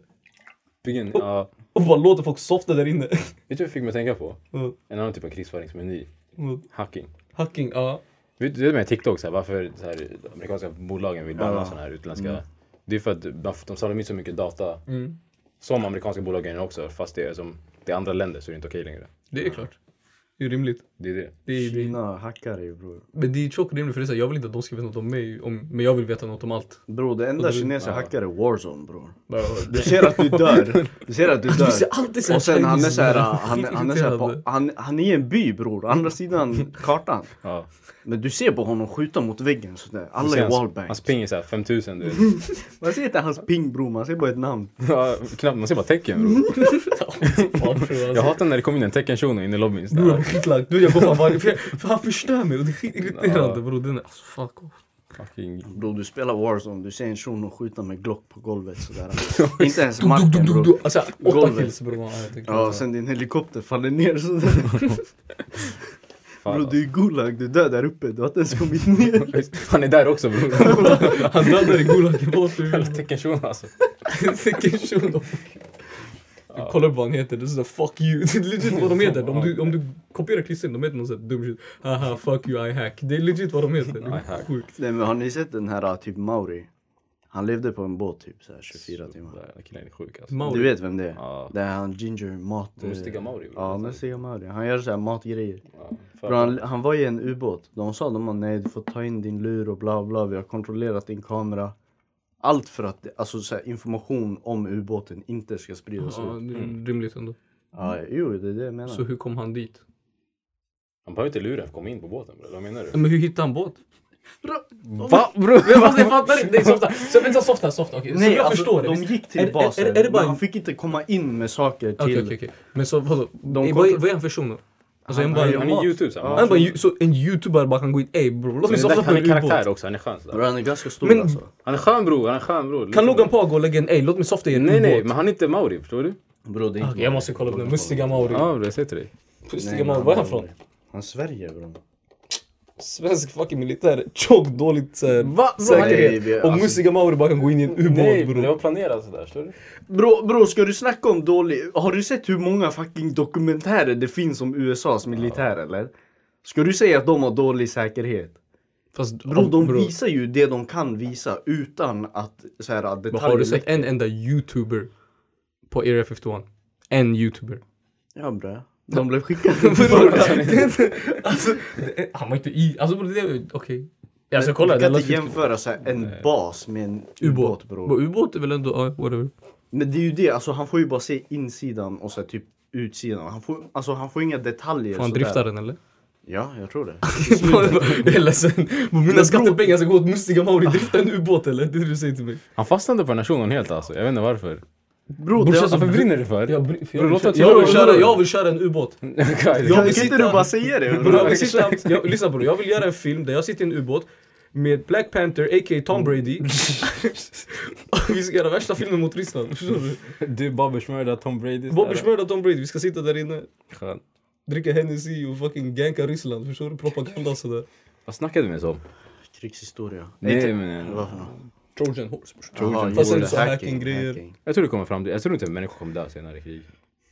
Speaker 2: Vilken, ja.
Speaker 1: Och bara låter folk softa där inne.
Speaker 2: Vet du vad jag fick mig att tänka på?
Speaker 1: Mm,
Speaker 2: En annan typ av krigsföringsmeny.
Speaker 1: mm.
Speaker 2: Hacking.
Speaker 1: Hacking, ja.
Speaker 2: Vet du det med TikTok, så här, varför så här, de amerikanska bolagen vill banna sådana här utländska? Det är för att de- de samlar in så mycket data
Speaker 1: Mm.
Speaker 2: som amerikanska bolagen också fast det är, som, det är andra länder så är det inte okej längre.
Speaker 1: Det är klart. Det är rimligt.
Speaker 2: Det är det.
Speaker 1: Det är, det är,
Speaker 3: Kina hackar dig bror.
Speaker 1: men det är tjockt rimligt för det är så här, jag vill inte att de ska veta något om mig om, men jag vill veta något om allt.
Speaker 3: Bror det enda
Speaker 1: Och du-
Speaker 3: kineser
Speaker 2: ja.
Speaker 3: hackar är Warzone bror.
Speaker 1: Bara,
Speaker 3: Du ser att du dör. Du ser att du
Speaker 1: Alltså, Du ser
Speaker 3: dör.
Speaker 1: alltid
Speaker 3: Och sen han är
Speaker 1: Chinese,
Speaker 3: såhär,
Speaker 1: bror.
Speaker 3: han, han är såhär på,
Speaker 1: Skitirriterande.
Speaker 3: han, han är i en by bror, andra sidan kartan.
Speaker 2: Ja.
Speaker 3: Men du ser på honom skjuta mot väggen sådär.
Speaker 2: Du
Speaker 3: Alla
Speaker 2: ser
Speaker 3: är
Speaker 2: hans-
Speaker 3: wallbang.
Speaker 2: Hans ping är såhär 5000 du. vet.
Speaker 3: Man ser inte hans ping bror, man ser bara ett namn.
Speaker 2: Ja, Knappt, man ser bara tecken bror.
Speaker 1: Fan, bror, alltså.
Speaker 2: Jag hatar när det kommer in en teckenshuno in i lobbyn. så
Speaker 1: Bror jag
Speaker 2: här.
Speaker 1: blir skitlack, du jag går fan varje... För, jag- för han förstör mig och det är skitirriterande
Speaker 2: Ja.
Speaker 1: bror. Den är alltså fuck off.
Speaker 2: Fucking...
Speaker 3: Bror du spelar Warzone, du ser en shuno skjuta med Glock på golvet sådär. inte ens marken bror.
Speaker 1: du. Alltså åtta
Speaker 3: Golvet.
Speaker 1: kills bror. man, jag tycker
Speaker 3: Ja,
Speaker 1: inte.
Speaker 3: sen din helikopter faller ner sådär.
Speaker 2: Fan,
Speaker 3: Bror du är Gulag, du dör där uppe, du har inte ens kommit ner.
Speaker 2: alltså. Han är där också bror.
Speaker 1: Han dödar i Gulagen bort
Speaker 2: Jävla
Speaker 1: ur
Speaker 2: teckenshuno alltså.
Speaker 1: shuno. Du kollar upp vad han heter, det är sådär fuck you. Det är legit vad de heter. Om du, om du kopierar klistren, de heter någon sån här dum shit. Haha fuck you I hack. Det är legit vad de heter. Det
Speaker 2: I hack.
Speaker 1: är sjukt.
Speaker 3: Nej men har ni sett den här typ Mauri? Han levde på en båt typ såhär 24 timmar.
Speaker 2: Den killen är sjuk alltså.
Speaker 1: Mauri.
Speaker 3: Du vet vem det är?
Speaker 2: Ja.
Speaker 3: Det är han Ginger Mat...
Speaker 2: Mustiga Mauri, bror.
Speaker 3: Ja, Mustiga Mauri. Han gör såhär matgrejer.
Speaker 2: Ja,
Speaker 3: Bro, han, han var i en ubåt. De sa de bara, nej du får ta in din lur och bla bla. Vi har kontrollerat din kamera. Allt för att det- alltså, så här, information om ubåten inte ska spridas
Speaker 1: Ja,
Speaker 3: ut.
Speaker 1: det är rimligt ändå.
Speaker 3: Mm. Ja, jo, det är det jag menar.
Speaker 1: Så hur kom han dit?
Speaker 2: Han behöver inte lura för att komma in på båten bror. Vad menar du?
Speaker 1: Men hur hittade han båt?
Speaker 3: Va bror?
Speaker 1: Jag fattar inte. Nej softa. Så, vänta softa, softa. Okej, så
Speaker 3: Nej,
Speaker 1: jag
Speaker 3: alltså,
Speaker 1: förstår det.
Speaker 3: de
Speaker 1: visst?
Speaker 3: gick till
Speaker 1: Är- är-
Speaker 3: basen.
Speaker 1: är- är det bara
Speaker 3: men
Speaker 1: en-
Speaker 3: han fick inte komma in med saker till...
Speaker 1: Okej okej okej. Men så vadå?
Speaker 3: De
Speaker 1: Eh,
Speaker 3: kom-
Speaker 1: Vad är vad är han för shuno? Alltså
Speaker 3: Han-
Speaker 1: en bara...
Speaker 3: han
Speaker 2: Han är youtube så här.
Speaker 3: Ja.
Speaker 1: Han är bara en- så en youtuber bara kan gå in. Ey bror låt mig
Speaker 2: Men det
Speaker 1: softa
Speaker 2: där-
Speaker 1: på en
Speaker 2: Han är
Speaker 1: ubåt.
Speaker 2: karaktär också, han är skön. så
Speaker 3: Bro,
Speaker 2: där.
Speaker 3: han är ganska stor
Speaker 1: Men-
Speaker 3: alltså.
Speaker 2: Han är skön bror, han är skön bror.
Speaker 1: Kan Logan Pago lägga en ey låt mig softa i en
Speaker 2: Nej nej,
Speaker 1: ubåt?
Speaker 2: men han är inte maori, förstår du?
Speaker 3: Bro, det är inte
Speaker 1: Okej, jag måste kolla upp den. Mustiga Mauri.
Speaker 2: Ja bror, jag säger till dig.
Speaker 1: Mustiga Mauri, var är han från?
Speaker 3: Han är Sverige bror.
Speaker 1: Svensk fucking militär. Tjock, dåligt såhär.
Speaker 2: Va? Bro,
Speaker 3: Nej, vi-
Speaker 1: Säkerhet. Och
Speaker 3: alltså-
Speaker 1: Mustiga Mauri bara kan gå in i en
Speaker 2: Nej,
Speaker 1: ubåt
Speaker 2: det
Speaker 1: bror.
Speaker 2: var planerat sådär, förstår du?
Speaker 3: Bro, bro, ska du snacka om dålig... Har du sett hur många fucking dokumentärer det finns om USAs militär eller? Ska du säga att de har dålig säkerhet?
Speaker 1: Fast
Speaker 3: Bro, de
Speaker 1: bror,
Speaker 3: visar ju det de kan visa utan att så här, att
Speaker 1: men Har du
Speaker 3: detaljer...
Speaker 1: sett en enda youtuber på Area 51? En youtuber.
Speaker 3: Ja bra. De blev skickade.
Speaker 1: Bror, alltså, det- han var inte i... Alltså bror, det är... Okej. Jag ska kolla.
Speaker 3: Du
Speaker 1: det
Speaker 3: kan
Speaker 1: lät
Speaker 3: inte
Speaker 1: fiktivt.
Speaker 3: jämföra så här, en bas med en ubåt
Speaker 1: Bara,
Speaker 3: bror.
Speaker 1: Ubåt är väl ändå... Ja, whatever.
Speaker 3: Men det är ju det, alltså han får ju bara se insidan och så här, typ utsidan. Han får, alltså han får inga detaljer.
Speaker 1: Får han
Speaker 3: sådär.
Speaker 1: drifta den eller?
Speaker 3: Ja, jag tror det.
Speaker 1: Jag är ledsen. Mina skattepengar ska gå åt Mustiga Mauri. Drifta en ubåt eller? Det är det du säger till mig.
Speaker 2: Han fastnade på den här shunon helt alltså, jag vet inte varför.
Speaker 3: Bro,
Speaker 1: Brorsan
Speaker 3: det,
Speaker 1: som-
Speaker 2: Varför brinner du för?
Speaker 1: Jag, br- för
Speaker 2: Bror,
Speaker 1: jag, vill köra,
Speaker 2: låt oss
Speaker 1: jag, vill
Speaker 2: göra-
Speaker 1: köra, jag vill köra en ubåt.
Speaker 3: kan
Speaker 1: vill
Speaker 3: inte
Speaker 1: sitta-
Speaker 3: du bara säga det?
Speaker 1: Bror,
Speaker 3: bror?
Speaker 1: jag vill sitta, jag, lyssna bror, jag vill göra en film där jag sitter i en ubåt med Black Panther, a.k.a. Tom Brady. Och vi ska göra värsta filmen mot Ryssland. förstår du?
Speaker 2: Du Bobbers mördar Tom Brady.
Speaker 1: Bobbys mördar Tom Brady, vi ska sitta där inne,
Speaker 2: mördar.
Speaker 1: dricka Hennessy och fucking ganka Ryssland. Förstår du? Propaganda och sådär.
Speaker 2: Vad snackade vi ens om?
Speaker 3: Krigshistoria. typ-
Speaker 2: Nej men... eh,
Speaker 3: Varför då?
Speaker 1: Trojan horse brorsan.
Speaker 3: Jaha,
Speaker 1: Fast
Speaker 3: jo,
Speaker 1: sen
Speaker 3: det.
Speaker 1: så hacking-grejer.
Speaker 3: hacking.
Speaker 2: Jag tror det kommer fram till, jag tror inte människor kommer dö senare i krig.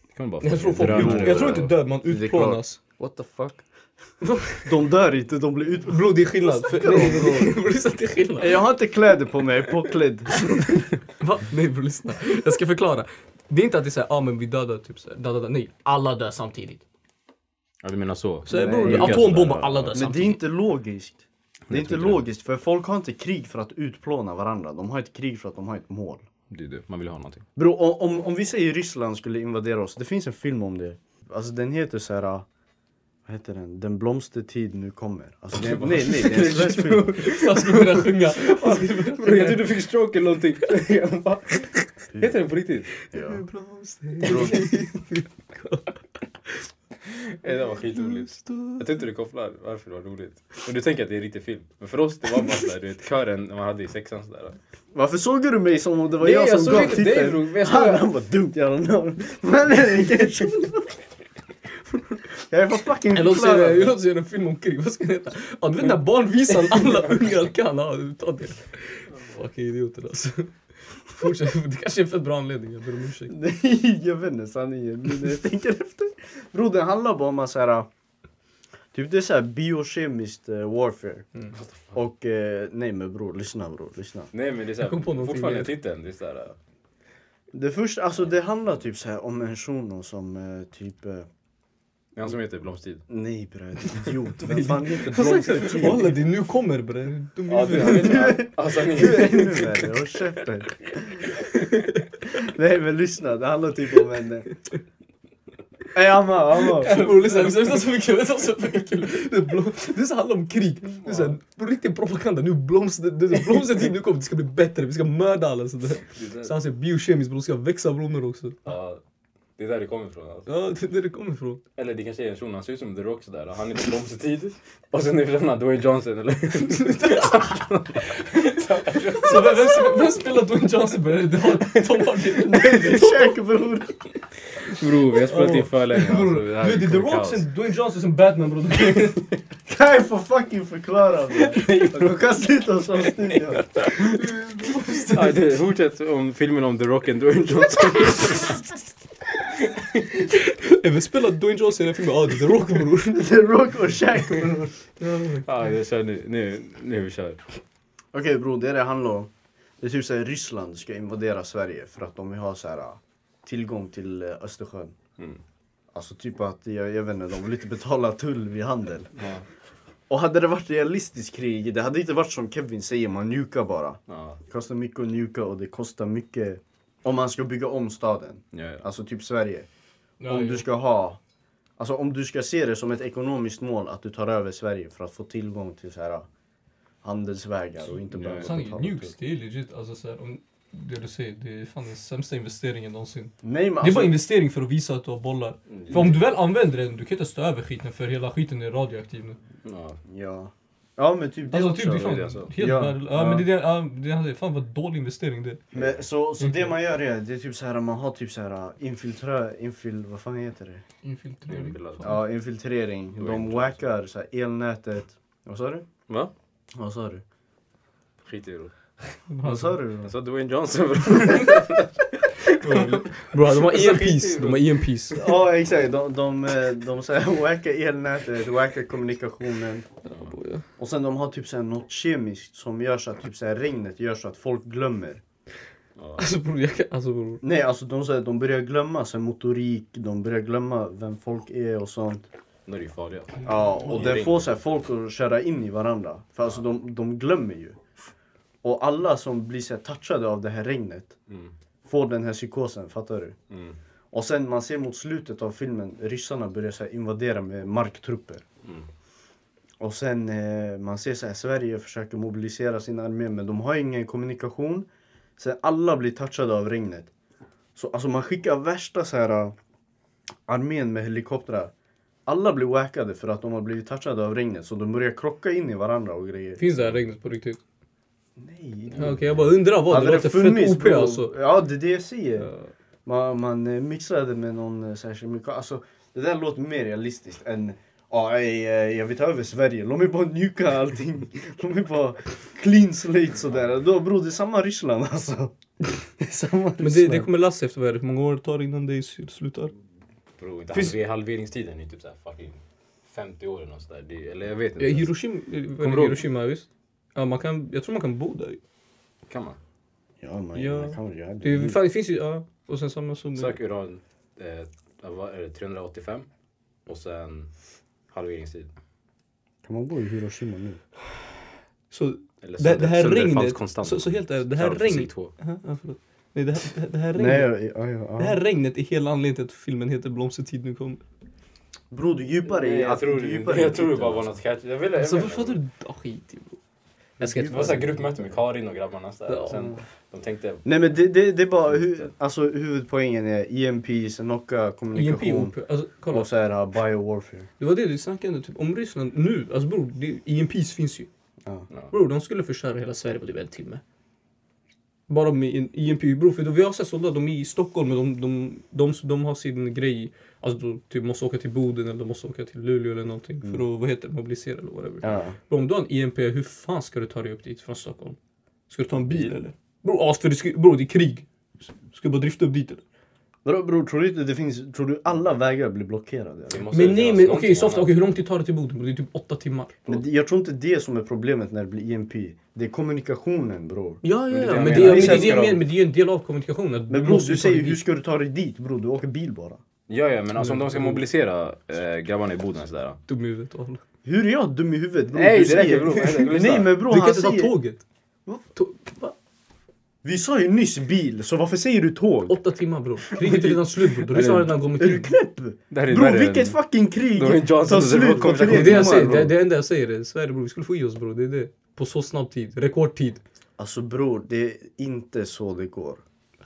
Speaker 2: Det kommer bara
Speaker 1: Jag tror, folk,
Speaker 2: drönare
Speaker 1: jag tror
Speaker 2: och-
Speaker 1: inte död, man
Speaker 3: är klart.
Speaker 1: utplånas.
Speaker 3: What the fuck? de dör inte, de blir ut...
Speaker 1: Bror det är skillnad. För, nej, nej, nej, bror, lyssna, det är skillnad.
Speaker 3: Jag har inte kläder på mig, jag är påklädd.
Speaker 1: Va? Nej bror lyssna. Jag ska förklara. Det är inte att det är såhär, ja ah, men vi dödar typ såhär, da, da, da. Nej, alla dör samtidigt.
Speaker 2: Ja du menar så?
Speaker 1: Så
Speaker 3: Nej,
Speaker 1: bror,
Speaker 3: jag
Speaker 1: atombombar, alla dör
Speaker 3: Men det är
Speaker 1: samtidigt.
Speaker 3: inte logiskt. Det är inte
Speaker 2: tror inte det.
Speaker 3: logiskt, för folk har inte krig för att utplåna varandra. De har ett krig för att de har ett mål.
Speaker 2: Det är det. Man vill ha någonting.
Speaker 3: Bro, o- om, om vi säger Ryssland skulle invadera oss, det finns en film om det. Alltså den heter så här. ah, Vad heter den? Den blomstertid nu kommer. Alltså, det är, nej, nej, det är en svensk film.
Speaker 1: Han skulle börja sjunga. Han skulle börja
Speaker 2: Bro, jag trodde du fick stroke eller någonting. Va? Heter den på riktigt?
Speaker 3: Ja.
Speaker 2: Nej, det var skitroligt. Jag tror inte du kopplar varför det var roligt. Och du tänker att det är en riktig film. Men för oss det var bara sådär, du vet, kören när man hade i sexan sådär.
Speaker 3: Varför såg du mig som om det var
Speaker 2: Nej,
Speaker 3: jag
Speaker 2: jag
Speaker 3: som
Speaker 2: såg
Speaker 3: gav
Speaker 2: inte dig, bror,
Speaker 3: titeln?
Speaker 2: men jag såg-
Speaker 3: Han, han bara dumt jävla namn. Men Erik, Jag är för fucking
Speaker 1: Jag låter göra- jag
Speaker 3: förklarad.
Speaker 1: låter göra en film om krig, vad ska den heta? Ja du vet den där barnvisan alla ungar kan, ja du, ta det. Fucking idioter alltså. Fortsätt, det kanske är en fett bra anledning, jag ber om ursäkt.
Speaker 3: Nej, jag vet inte sanningen. Men när jag tänker efter. Bror, den handlar bara om en så här... Typ det är så här biokemiskt eh, warfare.
Speaker 2: Mm,
Speaker 3: Och eh, nej men bror, lyssna bror, lyssna.
Speaker 2: Nej men det är
Speaker 1: Jag kom på
Speaker 2: såhär,
Speaker 1: någonting
Speaker 2: fortfarande
Speaker 1: mer.
Speaker 2: titeln. Det är sådär.
Speaker 3: Det första, alltså det handlar typ så här om en shuno som eh, typ... Eh,
Speaker 2: Han som heter Blomstid.
Speaker 3: nej bror, idiot. Vem fan Alltså, heter
Speaker 1: Han sa
Speaker 3: blomster?
Speaker 1: såhär, walla det är nu kommer bre, dum i
Speaker 2: Ja, du, han
Speaker 1: huvudet.
Speaker 2: heter... Alltså, han
Speaker 3: Du
Speaker 2: är-
Speaker 3: är ännu värre, håll käften. Nej men lyssna, det handlar typ om en... eh, Ey amma, amma.
Speaker 1: Bror lyssna, lyssna, lyssna så mycket, lyssna så mycket. Det, är blom, det är så handlar om krig. Det är såhär, riktig propaganda. Nu blomster, det är blomstertid nu kommer, det ska bli bättre, vi ska mörda alla sådär. Så han säger biokemiskt bror, det ska växa blommor också.
Speaker 2: Ja, det är där det kommer ifrån alltså.
Speaker 1: Ja, det är där det kommer ifrån.
Speaker 2: Eller det kanske är en shuno, han ser ut som The Rock sådär. och Han heter Blomstertid. Och sen är det den Dwayne Johnson eller...
Speaker 1: Så vem, vem, vem spelar Dwayne Johnson bre? Det har- Tom Hardy.
Speaker 3: Käk bror.
Speaker 2: Bror, vi har spelat in för länge alltså.
Speaker 1: Bror,
Speaker 2: här
Speaker 1: du vet det är The
Speaker 2: kommer
Speaker 1: Rock
Speaker 2: kaos.
Speaker 1: som Dwayne Johnson som Batman bror.
Speaker 3: Kan jag få fucking förklara bror? Kasta ut oss från studion.
Speaker 2: Ja, det, fortsätt om filmen om The Rock and Dwayne Johnson.
Speaker 1: Vem spelar Dwayne Johnson i den filmen? Ja, det är The Rock bror.
Speaker 3: The Rock och Shaq bror.
Speaker 2: Ja, jag kör nu. Nu, nu vi kör.
Speaker 3: Okej bror, det det handlar om. Det är typ såhär Ryssland ska invadera Sverige för att de vill ha så här äh, tillgång till äh, Östersjön.
Speaker 2: Mm.
Speaker 3: Alltså typ att, jag, jag vet inte, de vill inte betala tull vid handel.
Speaker 2: Ja.
Speaker 3: Och hade det varit realistiskt krig, det hade inte varit som Kevin säger, man njuka bara.
Speaker 2: Ja,
Speaker 3: Det kostar mycket att njuka och det kostar mycket om man ska bygga om staden.
Speaker 2: ja, ja.
Speaker 3: Alltså typ Sverige.
Speaker 1: Om
Speaker 3: om du ska ha, alltså om du ska se det som ett ekonomiskt mål att du tar över Sverige för att få tillgång till så här äh, handelsvägar och inte
Speaker 2: Ja,
Speaker 3: behöva
Speaker 2: ja.
Speaker 1: Sanningen,
Speaker 3: betala
Speaker 1: nukes,
Speaker 3: tull.
Speaker 1: det är legit alltså så här, om det du säger, det är fan den sämsta investeringen någonsin.
Speaker 3: Nej men
Speaker 1: Det är bara
Speaker 3: alltså, Mm.
Speaker 1: investering för att visa att du har bollar. För om du väl använder den, du kan inte stå över skiten för hela skiten är radioaktiv nu.
Speaker 2: ja.
Speaker 3: ja. Ja men typ det
Speaker 1: Alltså typ, det är
Speaker 3: också.
Speaker 1: fan
Speaker 2: det är så.
Speaker 1: helt
Speaker 3: Ja,
Speaker 1: värdelöst. Ja,
Speaker 3: ja.
Speaker 1: men det är det, ja, det han säger, fan vad dålig investering det är.
Speaker 3: Men, så,
Speaker 1: Mm.
Speaker 3: så det man gör är, det är typ så här man har typ så här infiltrö, infil, vad fan heter det?
Speaker 1: Infiltrering.
Speaker 3: Ja, infiltrering. De wackar så här, elnätet. Vad sa du?
Speaker 2: Va?
Speaker 3: Vad sa du?
Speaker 2: Skit i det.
Speaker 1: Alltså,
Speaker 3: Vad sa du?
Speaker 2: Jag sa Dwayne Johnson bror.
Speaker 1: Bro, de har EMPs, de har EMPs.
Speaker 3: Ja, exakt. De, de, eh, de så här, wackar elnätet, wackar kommunikationen. Och sen de har typ så här, något kemiskt som gör så att typ så här, regnet gör så att folk glömmer.
Speaker 1: Alltså bror, jag kan, alltså bror.
Speaker 3: Nej, alltså de, så här, de börjar glömma så här, motorik, de börjar glömma vem folk är och sånt.
Speaker 2: Då är det ju farliga.
Speaker 3: Ja, och
Speaker 2: ring.
Speaker 3: det får så här, folk att köra in i varandra. För alltså de, de glömmer ju. Och alla som blir så här, touchade av det här regnet
Speaker 2: Mm.
Speaker 3: får den här psykosen, fattar du?
Speaker 2: Mm.
Speaker 3: Och sen man ser mot slutet av filmen, ryssarna börjar så här invadera med marktrupper.
Speaker 2: Mm.
Speaker 3: Och sen eh, man ser så här, Sverige försöker mobilisera sin armé men de har ingen kommunikation. Så alla blir touchade av regnet. Så alltså man skickar värsta så här eh, armén med helikoptrar. Alla blir wackade för att de har blivit touchade av regnet så de börjar krocka in i varandra och grejer.
Speaker 1: Finns det här regnet på riktigt?
Speaker 3: Nej.
Speaker 1: Ja, Okej, jag bara undrar vad. Det
Speaker 3: Mm. Hade
Speaker 1: låter fett OP
Speaker 3: bro-
Speaker 1: alltså.
Speaker 3: Ja, det är det jag säger. Man, man eh, mixar det med någon eh, så här kemikal. Alltså, det där låter mer realistiskt än Ja, ej, eh, jag vill ta över Sverige. Låt mig bara njuka allting. Låt mig bara clean slate sådär. Då bror, det är samma Ryssland alltså. Det är samma Ryssland.
Speaker 1: Men det, det kommer lassa efter vad är det? Hur många år tar det innan det slutar?
Speaker 2: Bro, inte
Speaker 1: Finns-
Speaker 2: halver- halveringstiden är typ såhär fucking 50 år eller något sådär. Det, eller jag vet
Speaker 1: Ja,
Speaker 2: inte.
Speaker 1: Hiroshima, eh,
Speaker 2: Kommer
Speaker 1: Kommer
Speaker 2: du ihåg?
Speaker 1: Hiroshima visst? Ja, man kan, jag tror man kan bo där.
Speaker 2: Kan man?
Speaker 3: Ja, man,
Speaker 1: Ja.
Speaker 3: man kan väl göra
Speaker 1: Det, är-
Speaker 3: det.
Speaker 1: fan, det finns ju, ja. Och sen samma som...
Speaker 2: Sök uran, eh, vad är det, 385 och sen halveringstid.
Speaker 3: Kan man bo i Hiroshima nu?
Speaker 1: Så
Speaker 2: Eller
Speaker 1: det, det här
Speaker 2: sönder- sönder fanns
Speaker 1: regnet,
Speaker 2: konstant.
Speaker 1: så, så helt ärligt, det här
Speaker 2: Kör fossil
Speaker 1: regnet...
Speaker 2: två.
Speaker 1: Ja, ja, förlåt. Nej, det här, det här regnet.
Speaker 3: Nej, ja, ja, ja.
Speaker 1: Det här regnet är hela anledningen till att filmen heter Blomstertid nu kommer.
Speaker 3: Bror du är djupare i...
Speaker 2: Nej, jag
Speaker 3: att-
Speaker 2: tror,
Speaker 3: du är
Speaker 2: det-
Speaker 3: djupare i
Speaker 2: jag tror det bara
Speaker 3: titeln,
Speaker 2: var något catchy. Jag ville...
Speaker 1: Alltså
Speaker 2: jag
Speaker 1: varför hade
Speaker 2: menar-
Speaker 1: du... Ah, skit i det.
Speaker 2: Jag ska, det var så här gruppmöte med Karin och grabbarna. Så
Speaker 1: Ja.
Speaker 2: där. Sen, de tänkte...
Speaker 3: Nej men det, det, det är bara, hu, alltså huvudpoängen är E EMP, sen
Speaker 1: E
Speaker 3: knocka,
Speaker 1: IMP
Speaker 3: kommunikation
Speaker 1: OP. Alltså kolla.
Speaker 3: och så här uh, biowarfare.
Speaker 1: Det var det du snackade typ, om Ryssland nu. Alltså bror, det- IMPs finns ju.
Speaker 3: Ja.
Speaker 1: Bror, de skulle förstöra hela Sverige på typ en timme. Bara med en IMP. Bror, för då vi har sett sådana, de är i Stockholm men de, de, de, de, har sin grej. Alltså de typ måste åka till Boden eller de måste åka till Luleå eller någonting. För att, vad heter det, mobilisera eller whatever.
Speaker 3: Ja.
Speaker 1: Bro, om du har en EMP, E hur fan ska du ta dig upp dit från Stockholm? Ska du ta en bil eller? Bro, as för det, ska, bro, det är krig. Ska du bara drifta upp dit eller?
Speaker 3: Bror bror, tror du inte det finns, tror du alla vägar blir blockerade?
Speaker 2: det
Speaker 3: Eller?
Speaker 2: måste
Speaker 1: Men
Speaker 2: finnas
Speaker 1: nej, men okej,
Speaker 2: någonting
Speaker 1: okay, soft,
Speaker 2: annat.
Speaker 1: okay, hur lång tid tar det till Boden? bro? Det är typ åtta timmar.
Speaker 3: Men det- jag tror inte det som är problemet när det blir EMP. Det är kommunikationen bror.
Speaker 1: Ja, ja,
Speaker 2: det är
Speaker 1: ja.
Speaker 2: det
Speaker 1: Men
Speaker 2: jag
Speaker 1: det, men det,
Speaker 2: menar.
Speaker 1: men
Speaker 2: Vissa
Speaker 1: det,
Speaker 2: ska
Speaker 1: är-
Speaker 2: de-
Speaker 1: men det är ju en del av kommunikationen. att
Speaker 3: Men bror
Speaker 1: måste
Speaker 3: du
Speaker 1: ta dig
Speaker 3: säger hur
Speaker 1: dit.
Speaker 3: ska du ta dig dit bror? Du åker bil bara.
Speaker 2: Ja, ja, men alltså om de ska mobilisera eh, grabbarna i Boden sådär.
Speaker 1: Dum i huvudet och alla.
Speaker 3: Hur är jag dum i huvudet bror?
Speaker 2: Nej,
Speaker 3: Du
Speaker 2: det räcker, bror. Vad är det? Lyssna.
Speaker 3: Nej men bror
Speaker 1: Du kan
Speaker 3: han
Speaker 1: inte ta
Speaker 3: säger...
Speaker 1: tåget.
Speaker 3: Va?
Speaker 1: Tå- va?
Speaker 3: Vi sa ju nyss bil, så varför säger du tåg?
Speaker 1: Åtta timmar bror. Kriget är redan slut bror. Ryssland har redan kommit
Speaker 3: Är du
Speaker 1: in.
Speaker 3: knäpp?
Speaker 2: Det här är
Speaker 3: Bror
Speaker 2: värre
Speaker 3: vilket
Speaker 2: än-
Speaker 3: fucking krig
Speaker 2: Då är Johnson
Speaker 3: tar
Speaker 2: och Zero
Speaker 3: slut på
Speaker 2: kommer
Speaker 1: Det
Speaker 3: tre
Speaker 1: är det jag
Speaker 3: timmar
Speaker 1: säger. Det,
Speaker 3: bror?
Speaker 1: det enda jag säger är Sverige bror, vi skulle få i oss bror. Det är det. På så snabb tid. Rekordtid.
Speaker 3: Alltså bror, det är inte så det går.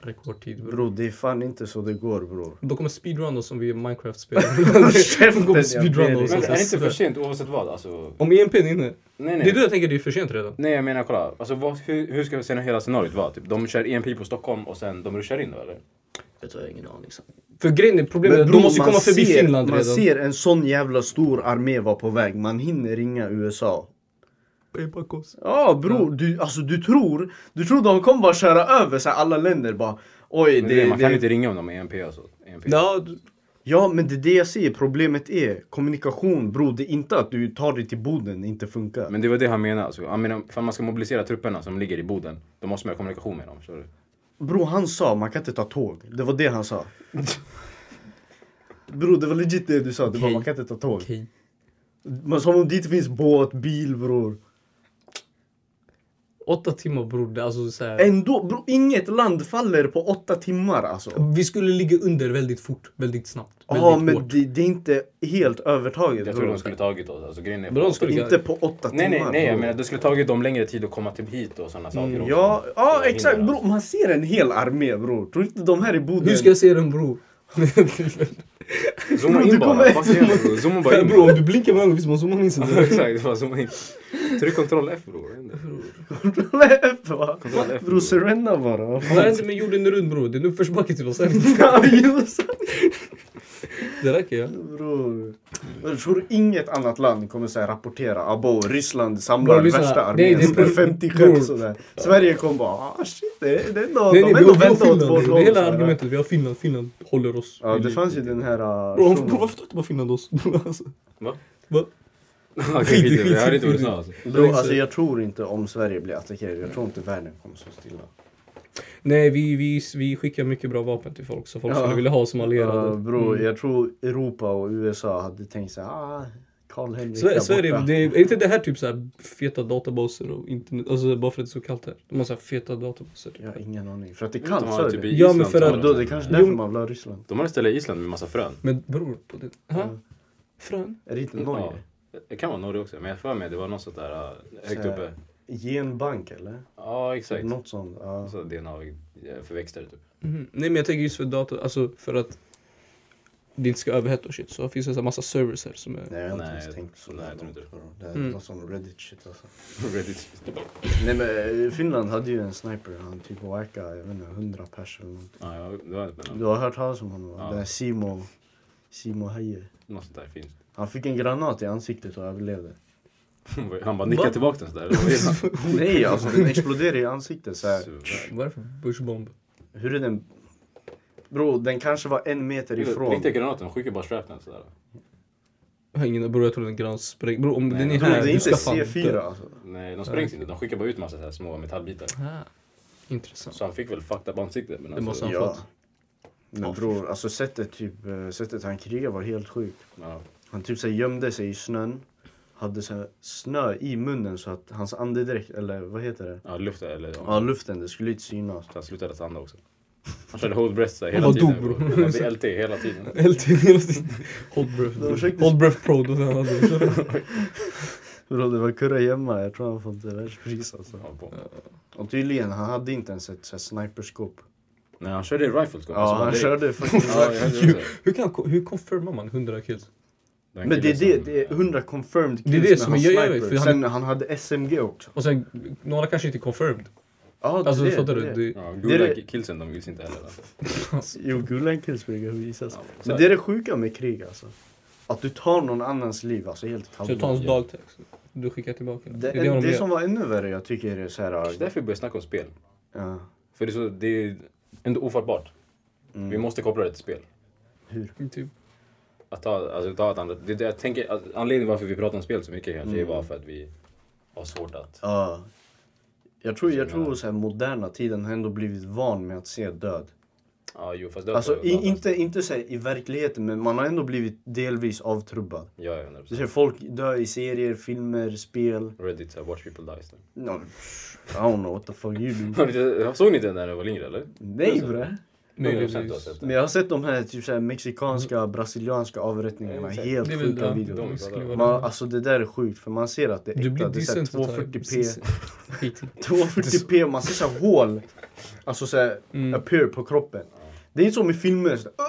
Speaker 1: Rekordtid bror.
Speaker 3: Bror, det är fan inte så det går bror.
Speaker 1: De kommer speedrunna oss som vi är Minecraft-spelare. De kommer speedrunna oss.
Speaker 2: Men är det
Speaker 1: alltså,
Speaker 2: inte för
Speaker 1: jag svär.
Speaker 2: sent oavsett vad? Alltså,
Speaker 1: Om EMP är inne.
Speaker 2: nej,
Speaker 1: Det är då
Speaker 2: nej.
Speaker 1: jag tänker det är för sent redan.
Speaker 2: Nej, jag menar kolla. Alltså, vad, hur, hur ska sen hela scenariot vara? Typ, de kör EMP på Stockholm och sen de ruschar in då eller?
Speaker 1: Vet du, jag har ingen aning. För grejen är problemet, är att de måste ju
Speaker 3: man
Speaker 1: komma förbi
Speaker 3: ser,
Speaker 1: Finland
Speaker 3: Man
Speaker 1: redan.
Speaker 3: ser en sån jävla stor armé vara på väg, man hinner ringa USA. Ja bror, du, alltså du tror, du tror de kommer bara köra över så här, alla länder bara. Oj,
Speaker 2: Men
Speaker 3: det,
Speaker 2: det, man kan
Speaker 3: det,
Speaker 2: inte ringa om de är EMP alltså. EMP.
Speaker 1: Ja, du-
Speaker 3: Ja men det är det jag säger, problemet är kommunikation bror. Det är inte att du tar dig till Boden, inte funkar.
Speaker 2: Men det var det han menade. Alltså. Han menar, för man ska mobilisera trupperna som ligger i Boden, då måste man ha kommunikation med dem. förstår du?
Speaker 3: Bro, han sa man kan inte ta tåg. Det var det han sa. Bro, det var legit det du sa. Det var
Speaker 1: Okej.
Speaker 3: man kan inte ta tåg.
Speaker 1: okej.
Speaker 3: Men som om det inte finns båt, bil bror.
Speaker 1: Åtta timmar bror, det är alltså så här.
Speaker 3: Ändå, bro, inget land faller på åtta timmar alltså.
Speaker 1: Vi skulle ligga under väldigt fort, väldigt snabbt, väldigt
Speaker 3: Ja, men
Speaker 1: hårt.
Speaker 3: det, det är inte helt övertaget.
Speaker 2: Jag tror
Speaker 3: bror.
Speaker 2: de skulle tagit oss. Alltså, grejen är
Speaker 1: Men de skulle-
Speaker 3: Inte på åtta
Speaker 2: Nej, nej,
Speaker 3: timmar.
Speaker 2: nej. Jag
Speaker 3: bror.
Speaker 2: menar, det skulle tagit dem längre tid att komma till hit och sådana saker. också.
Speaker 3: Ja, ja
Speaker 2: Så
Speaker 3: exakt
Speaker 2: hinner de.
Speaker 3: bror. Man ser en hel armé bror. Tror inte de här i Boden...
Speaker 1: Hur ska jag se den bror?
Speaker 2: alltså. Zooma
Speaker 3: Bro, du
Speaker 2: in bara.
Speaker 3: kommer-
Speaker 2: Vad fan gör du, bro? Zooma bara in.
Speaker 1: bror, om du blinkar med ögonen visst man zoomar in sig.
Speaker 2: Ja, Exakt, bara zooma in. Tryck kontroll F bror. Vad händer? Kontroll F,
Speaker 3: Bror,
Speaker 2: bror.
Speaker 3: surrender bara. vad fan.
Speaker 1: Vad händer med jorden runt bror? Det är nu uppförsbacke till oss. här.
Speaker 3: Ja, just det.
Speaker 1: Det räcker ja.
Speaker 3: Bror. Jag tror inget annat land kommer så här rapportera abo Ryssland
Speaker 1: Bror,
Speaker 3: samlar
Speaker 1: lyssna.
Speaker 3: värsta
Speaker 1: Nej,
Speaker 3: armén
Speaker 1: det är
Speaker 3: som är
Speaker 1: pro-
Speaker 3: 50
Speaker 1: bror.
Speaker 3: skepp sådär. Sverige kommer bara ah shit det, det är ändå,
Speaker 1: Nej,
Speaker 3: de
Speaker 1: nej,
Speaker 3: är
Speaker 1: vi
Speaker 3: ändå
Speaker 1: har vi har
Speaker 3: vända åt vårt
Speaker 1: Finland. Det
Speaker 3: håll.
Speaker 1: är hela
Speaker 3: sådär.
Speaker 1: argumentet. Vi har Finland. Finland håller oss.
Speaker 3: Ja
Speaker 1: vid
Speaker 3: det
Speaker 1: liv.
Speaker 3: fanns ju den här... Uh,
Speaker 1: Bror,
Speaker 3: shunon.
Speaker 1: bror, varför tog inte bara Finland oss? alltså,
Speaker 2: Va?
Speaker 1: va?
Speaker 2: Okej, skit i det. Jag hörde inte vad du sa. alltså.
Speaker 3: Bror alltså jag tror inte om Sverige blir attackerat, jag tror inte världen kommer stå stilla.
Speaker 1: Nej, vi, vi, vi skickar mycket bra vapen till folk så folk
Speaker 3: Ja.
Speaker 1: skulle vilja ha som allierade.
Speaker 3: Uh, bror
Speaker 1: Mm.
Speaker 3: jag tror Europa och USA hade tänkt såhär ah Karl Henrik
Speaker 1: Sverige,
Speaker 3: där
Speaker 1: Sverige
Speaker 3: borta.
Speaker 1: det är, är inte det här typ så här feta databaser och internet? Alltså bara för att det är så kallt här. De har så här feta databaser.
Speaker 3: Jag har ingen aning för att det är
Speaker 2: De
Speaker 3: kallt
Speaker 2: har
Speaker 3: sa
Speaker 2: typ
Speaker 3: du.
Speaker 2: i
Speaker 1: Ja, men
Speaker 2: Island
Speaker 1: för
Speaker 2: så har
Speaker 1: att-
Speaker 2: de-
Speaker 3: Då det är kanske därför
Speaker 1: Jo.
Speaker 3: man vill ha Ryssland.
Speaker 2: De har ett ställe i Island med massa frön.
Speaker 1: Men bror på det. Ha? Frön?
Speaker 3: Är det inte Norge?
Speaker 2: Ja. Det kan vara Norge också, men jag får med det var något sånt där äh, högt
Speaker 3: Så-
Speaker 2: uppe.
Speaker 3: Genbank eller?
Speaker 2: Ja, exakt.
Speaker 3: Något sånt. Ja.
Speaker 2: Alltså DNA-förväxtare typ.
Speaker 1: Mhm. Nej men jag tänker just för data, alltså för att det inte ska överhetta och shit så finns det så här massa servers här som är...
Speaker 3: Nej, jag har inte
Speaker 2: Nej,
Speaker 3: ens
Speaker 2: jag-
Speaker 3: tänkt så
Speaker 2: nej,
Speaker 3: där
Speaker 2: jag tror
Speaker 3: långt.
Speaker 2: inte
Speaker 3: bro. Det är
Speaker 1: Mm.
Speaker 3: något sån Reddit shit alltså.
Speaker 2: Reddit.
Speaker 3: Nej men eh, Finland hade ju en sniper, han typ wackade, jag vet inte, 100 pers eller någonting.
Speaker 2: Ja, ja, det var spännande.
Speaker 3: Du har hört talas om honom va?
Speaker 2: Ja.
Speaker 3: Den här Simo, Simo Heje.
Speaker 2: Något sånt där fint.
Speaker 3: Han fick en granat i ansiktet och överlevde.
Speaker 2: Han bara nickade
Speaker 1: Va?
Speaker 2: tillbaka den sådär. Det var illa.
Speaker 3: Nej alltså den exploderade i ansiktet så här.
Speaker 2: Så-
Speaker 1: Vad är det för bushbomb?
Speaker 3: Hur är den? Bro, den kanske var en meter ifrån.
Speaker 2: Riktiga granaten, skjuter bara strapen sådär.
Speaker 1: Jag har ingen, bror jag tror den gransprängd. Bror om
Speaker 2: Nej,
Speaker 1: den är
Speaker 2: jag
Speaker 3: Bro, det
Speaker 1: här,
Speaker 3: är
Speaker 1: du
Speaker 3: inte
Speaker 1: ska fan
Speaker 3: C4
Speaker 1: dö.
Speaker 3: alltså.
Speaker 2: Nej, de sprängs inte. De skickar bara ut massa så här små metallbitar.
Speaker 1: Ah, intressant.
Speaker 2: Så han fick väl fucked up ansikte. Men
Speaker 1: Det måste
Speaker 2: alltså,
Speaker 1: han
Speaker 3: Ja.
Speaker 1: fått.
Speaker 3: Men bror, alltså sättet, typ, eh, sättet han krigade var helt sjukt.
Speaker 2: ja.
Speaker 3: Han typ så här gömde sig i snön. Hade så här snö i munnen så att hans andedräkt, eller vad heter det?
Speaker 2: ja, luft eller...
Speaker 3: Ja, luften, det skulle inte synas.
Speaker 2: Så han slutade att andas också.
Speaker 3: Alltså-
Speaker 2: Han körde hold breath så här hela
Speaker 1: Han
Speaker 2: tiden.
Speaker 1: dog, bro.
Speaker 2: Han hade LT hela tiden.
Speaker 1: Helt in hela tiden. Hold
Speaker 3: Det var
Speaker 1: breath.
Speaker 3: säkert-
Speaker 1: Hold breath pro. Då han hade.
Speaker 3: Bro, det var kurra hemma. Jag tror han fått eh, världspris alltså.
Speaker 2: Han på.
Speaker 3: Och tydligen, han hade inte ens ett så här, sniperskop.
Speaker 2: Nej, han körde rifles. kom.
Speaker 3: Ja,
Speaker 2: Alltså,
Speaker 3: han
Speaker 2: det-
Speaker 3: körde faktiskt...
Speaker 2: Ja, jag hörde det.
Speaker 1: Hur, kan, hur confirmar man 100 kills?
Speaker 2: Den
Speaker 3: Men det är
Speaker 2: killen
Speaker 3: det,
Speaker 2: som-
Speaker 3: det är 100 confirmed kills
Speaker 1: Det är det
Speaker 3: med
Speaker 1: som
Speaker 3: hans
Speaker 1: jag- jag vet,
Speaker 3: sniper.
Speaker 1: för han-
Speaker 3: Sen han hade SMG också.
Speaker 1: Och sen, några kanske inte är confirmed.
Speaker 3: Ja, det,
Speaker 1: Alltså
Speaker 3: är
Speaker 1: fattar
Speaker 3: det.
Speaker 1: du? Det,
Speaker 2: Ja,
Speaker 3: Det är
Speaker 2: goda
Speaker 3: det-
Speaker 2: killsen de gills inte heller. Alltså.
Speaker 3: Jo, Gulen Killsbrygga visas.
Speaker 2: Ja, så
Speaker 3: men
Speaker 2: är
Speaker 3: det är det sjuka med krig alltså. Att du tar någon annans liv, alltså helt
Speaker 1: så du
Speaker 3: kallt.
Speaker 1: tar hans
Speaker 2: Ja.
Speaker 1: dagtext. Du skickar tillbaka den.
Speaker 3: Det,
Speaker 1: är
Speaker 3: en,
Speaker 1: de
Speaker 3: det
Speaker 1: gör.
Speaker 3: som var ännu värre jag tycker är så här...
Speaker 2: Det är därför vi börjar snacka om spel.
Speaker 3: Ja,
Speaker 2: För det är, så, det är ändå ofattbart.
Speaker 3: Mm.
Speaker 2: Vi måste koppla det till spel.
Speaker 1: Typ.
Speaker 2: Att ta, alltså, ta ett annat. Det, det, jag tänker, att anledningen varför vi pratar om spel så mycket kanske
Speaker 3: Mm.
Speaker 2: är bara för att vi har svårt att...
Speaker 3: ja. Jag tror, jag tror så här moderna tiden har ändå blivit van med att se död.
Speaker 2: Ja, jo fast det
Speaker 3: Alltså i, inte, inte så här, i verkligheten, men man har ändå blivit delvis avtrubbad.
Speaker 2: Ja, ja, 100%.
Speaker 3: Du ser folk dö i serier, filmer, spel.
Speaker 2: Reddit, så här, watch people die. Så.
Speaker 3: No, I don't know what the fuck you do.
Speaker 2: Har du- Såg ni den när jag var yngre eller?
Speaker 3: Nej bre.
Speaker 1: Möjligtvis.
Speaker 2: 100% har sett
Speaker 3: Men
Speaker 2: den.
Speaker 3: jag har sett de här typ så här, mexikanska, brasilianska avrättningarna.
Speaker 2: Exakt.
Speaker 3: Helt
Speaker 1: Mm. Det är väl
Speaker 3: sjuka
Speaker 1: den.
Speaker 3: videor.
Speaker 2: de-
Speaker 1: det skulle vara
Speaker 3: Man,
Speaker 1: den.
Speaker 3: alltså det där är sjukt för man ser att det är
Speaker 1: Du blir
Speaker 3: äkta. Det är så här
Speaker 1: decentraliserad.
Speaker 3: 240p.
Speaker 1: Precis.
Speaker 3: 240p, man ser så här hål. Alltså så här,
Speaker 1: Mm.
Speaker 3: appear på kroppen. Det är inte som i filmer. Så, här, "Åh!"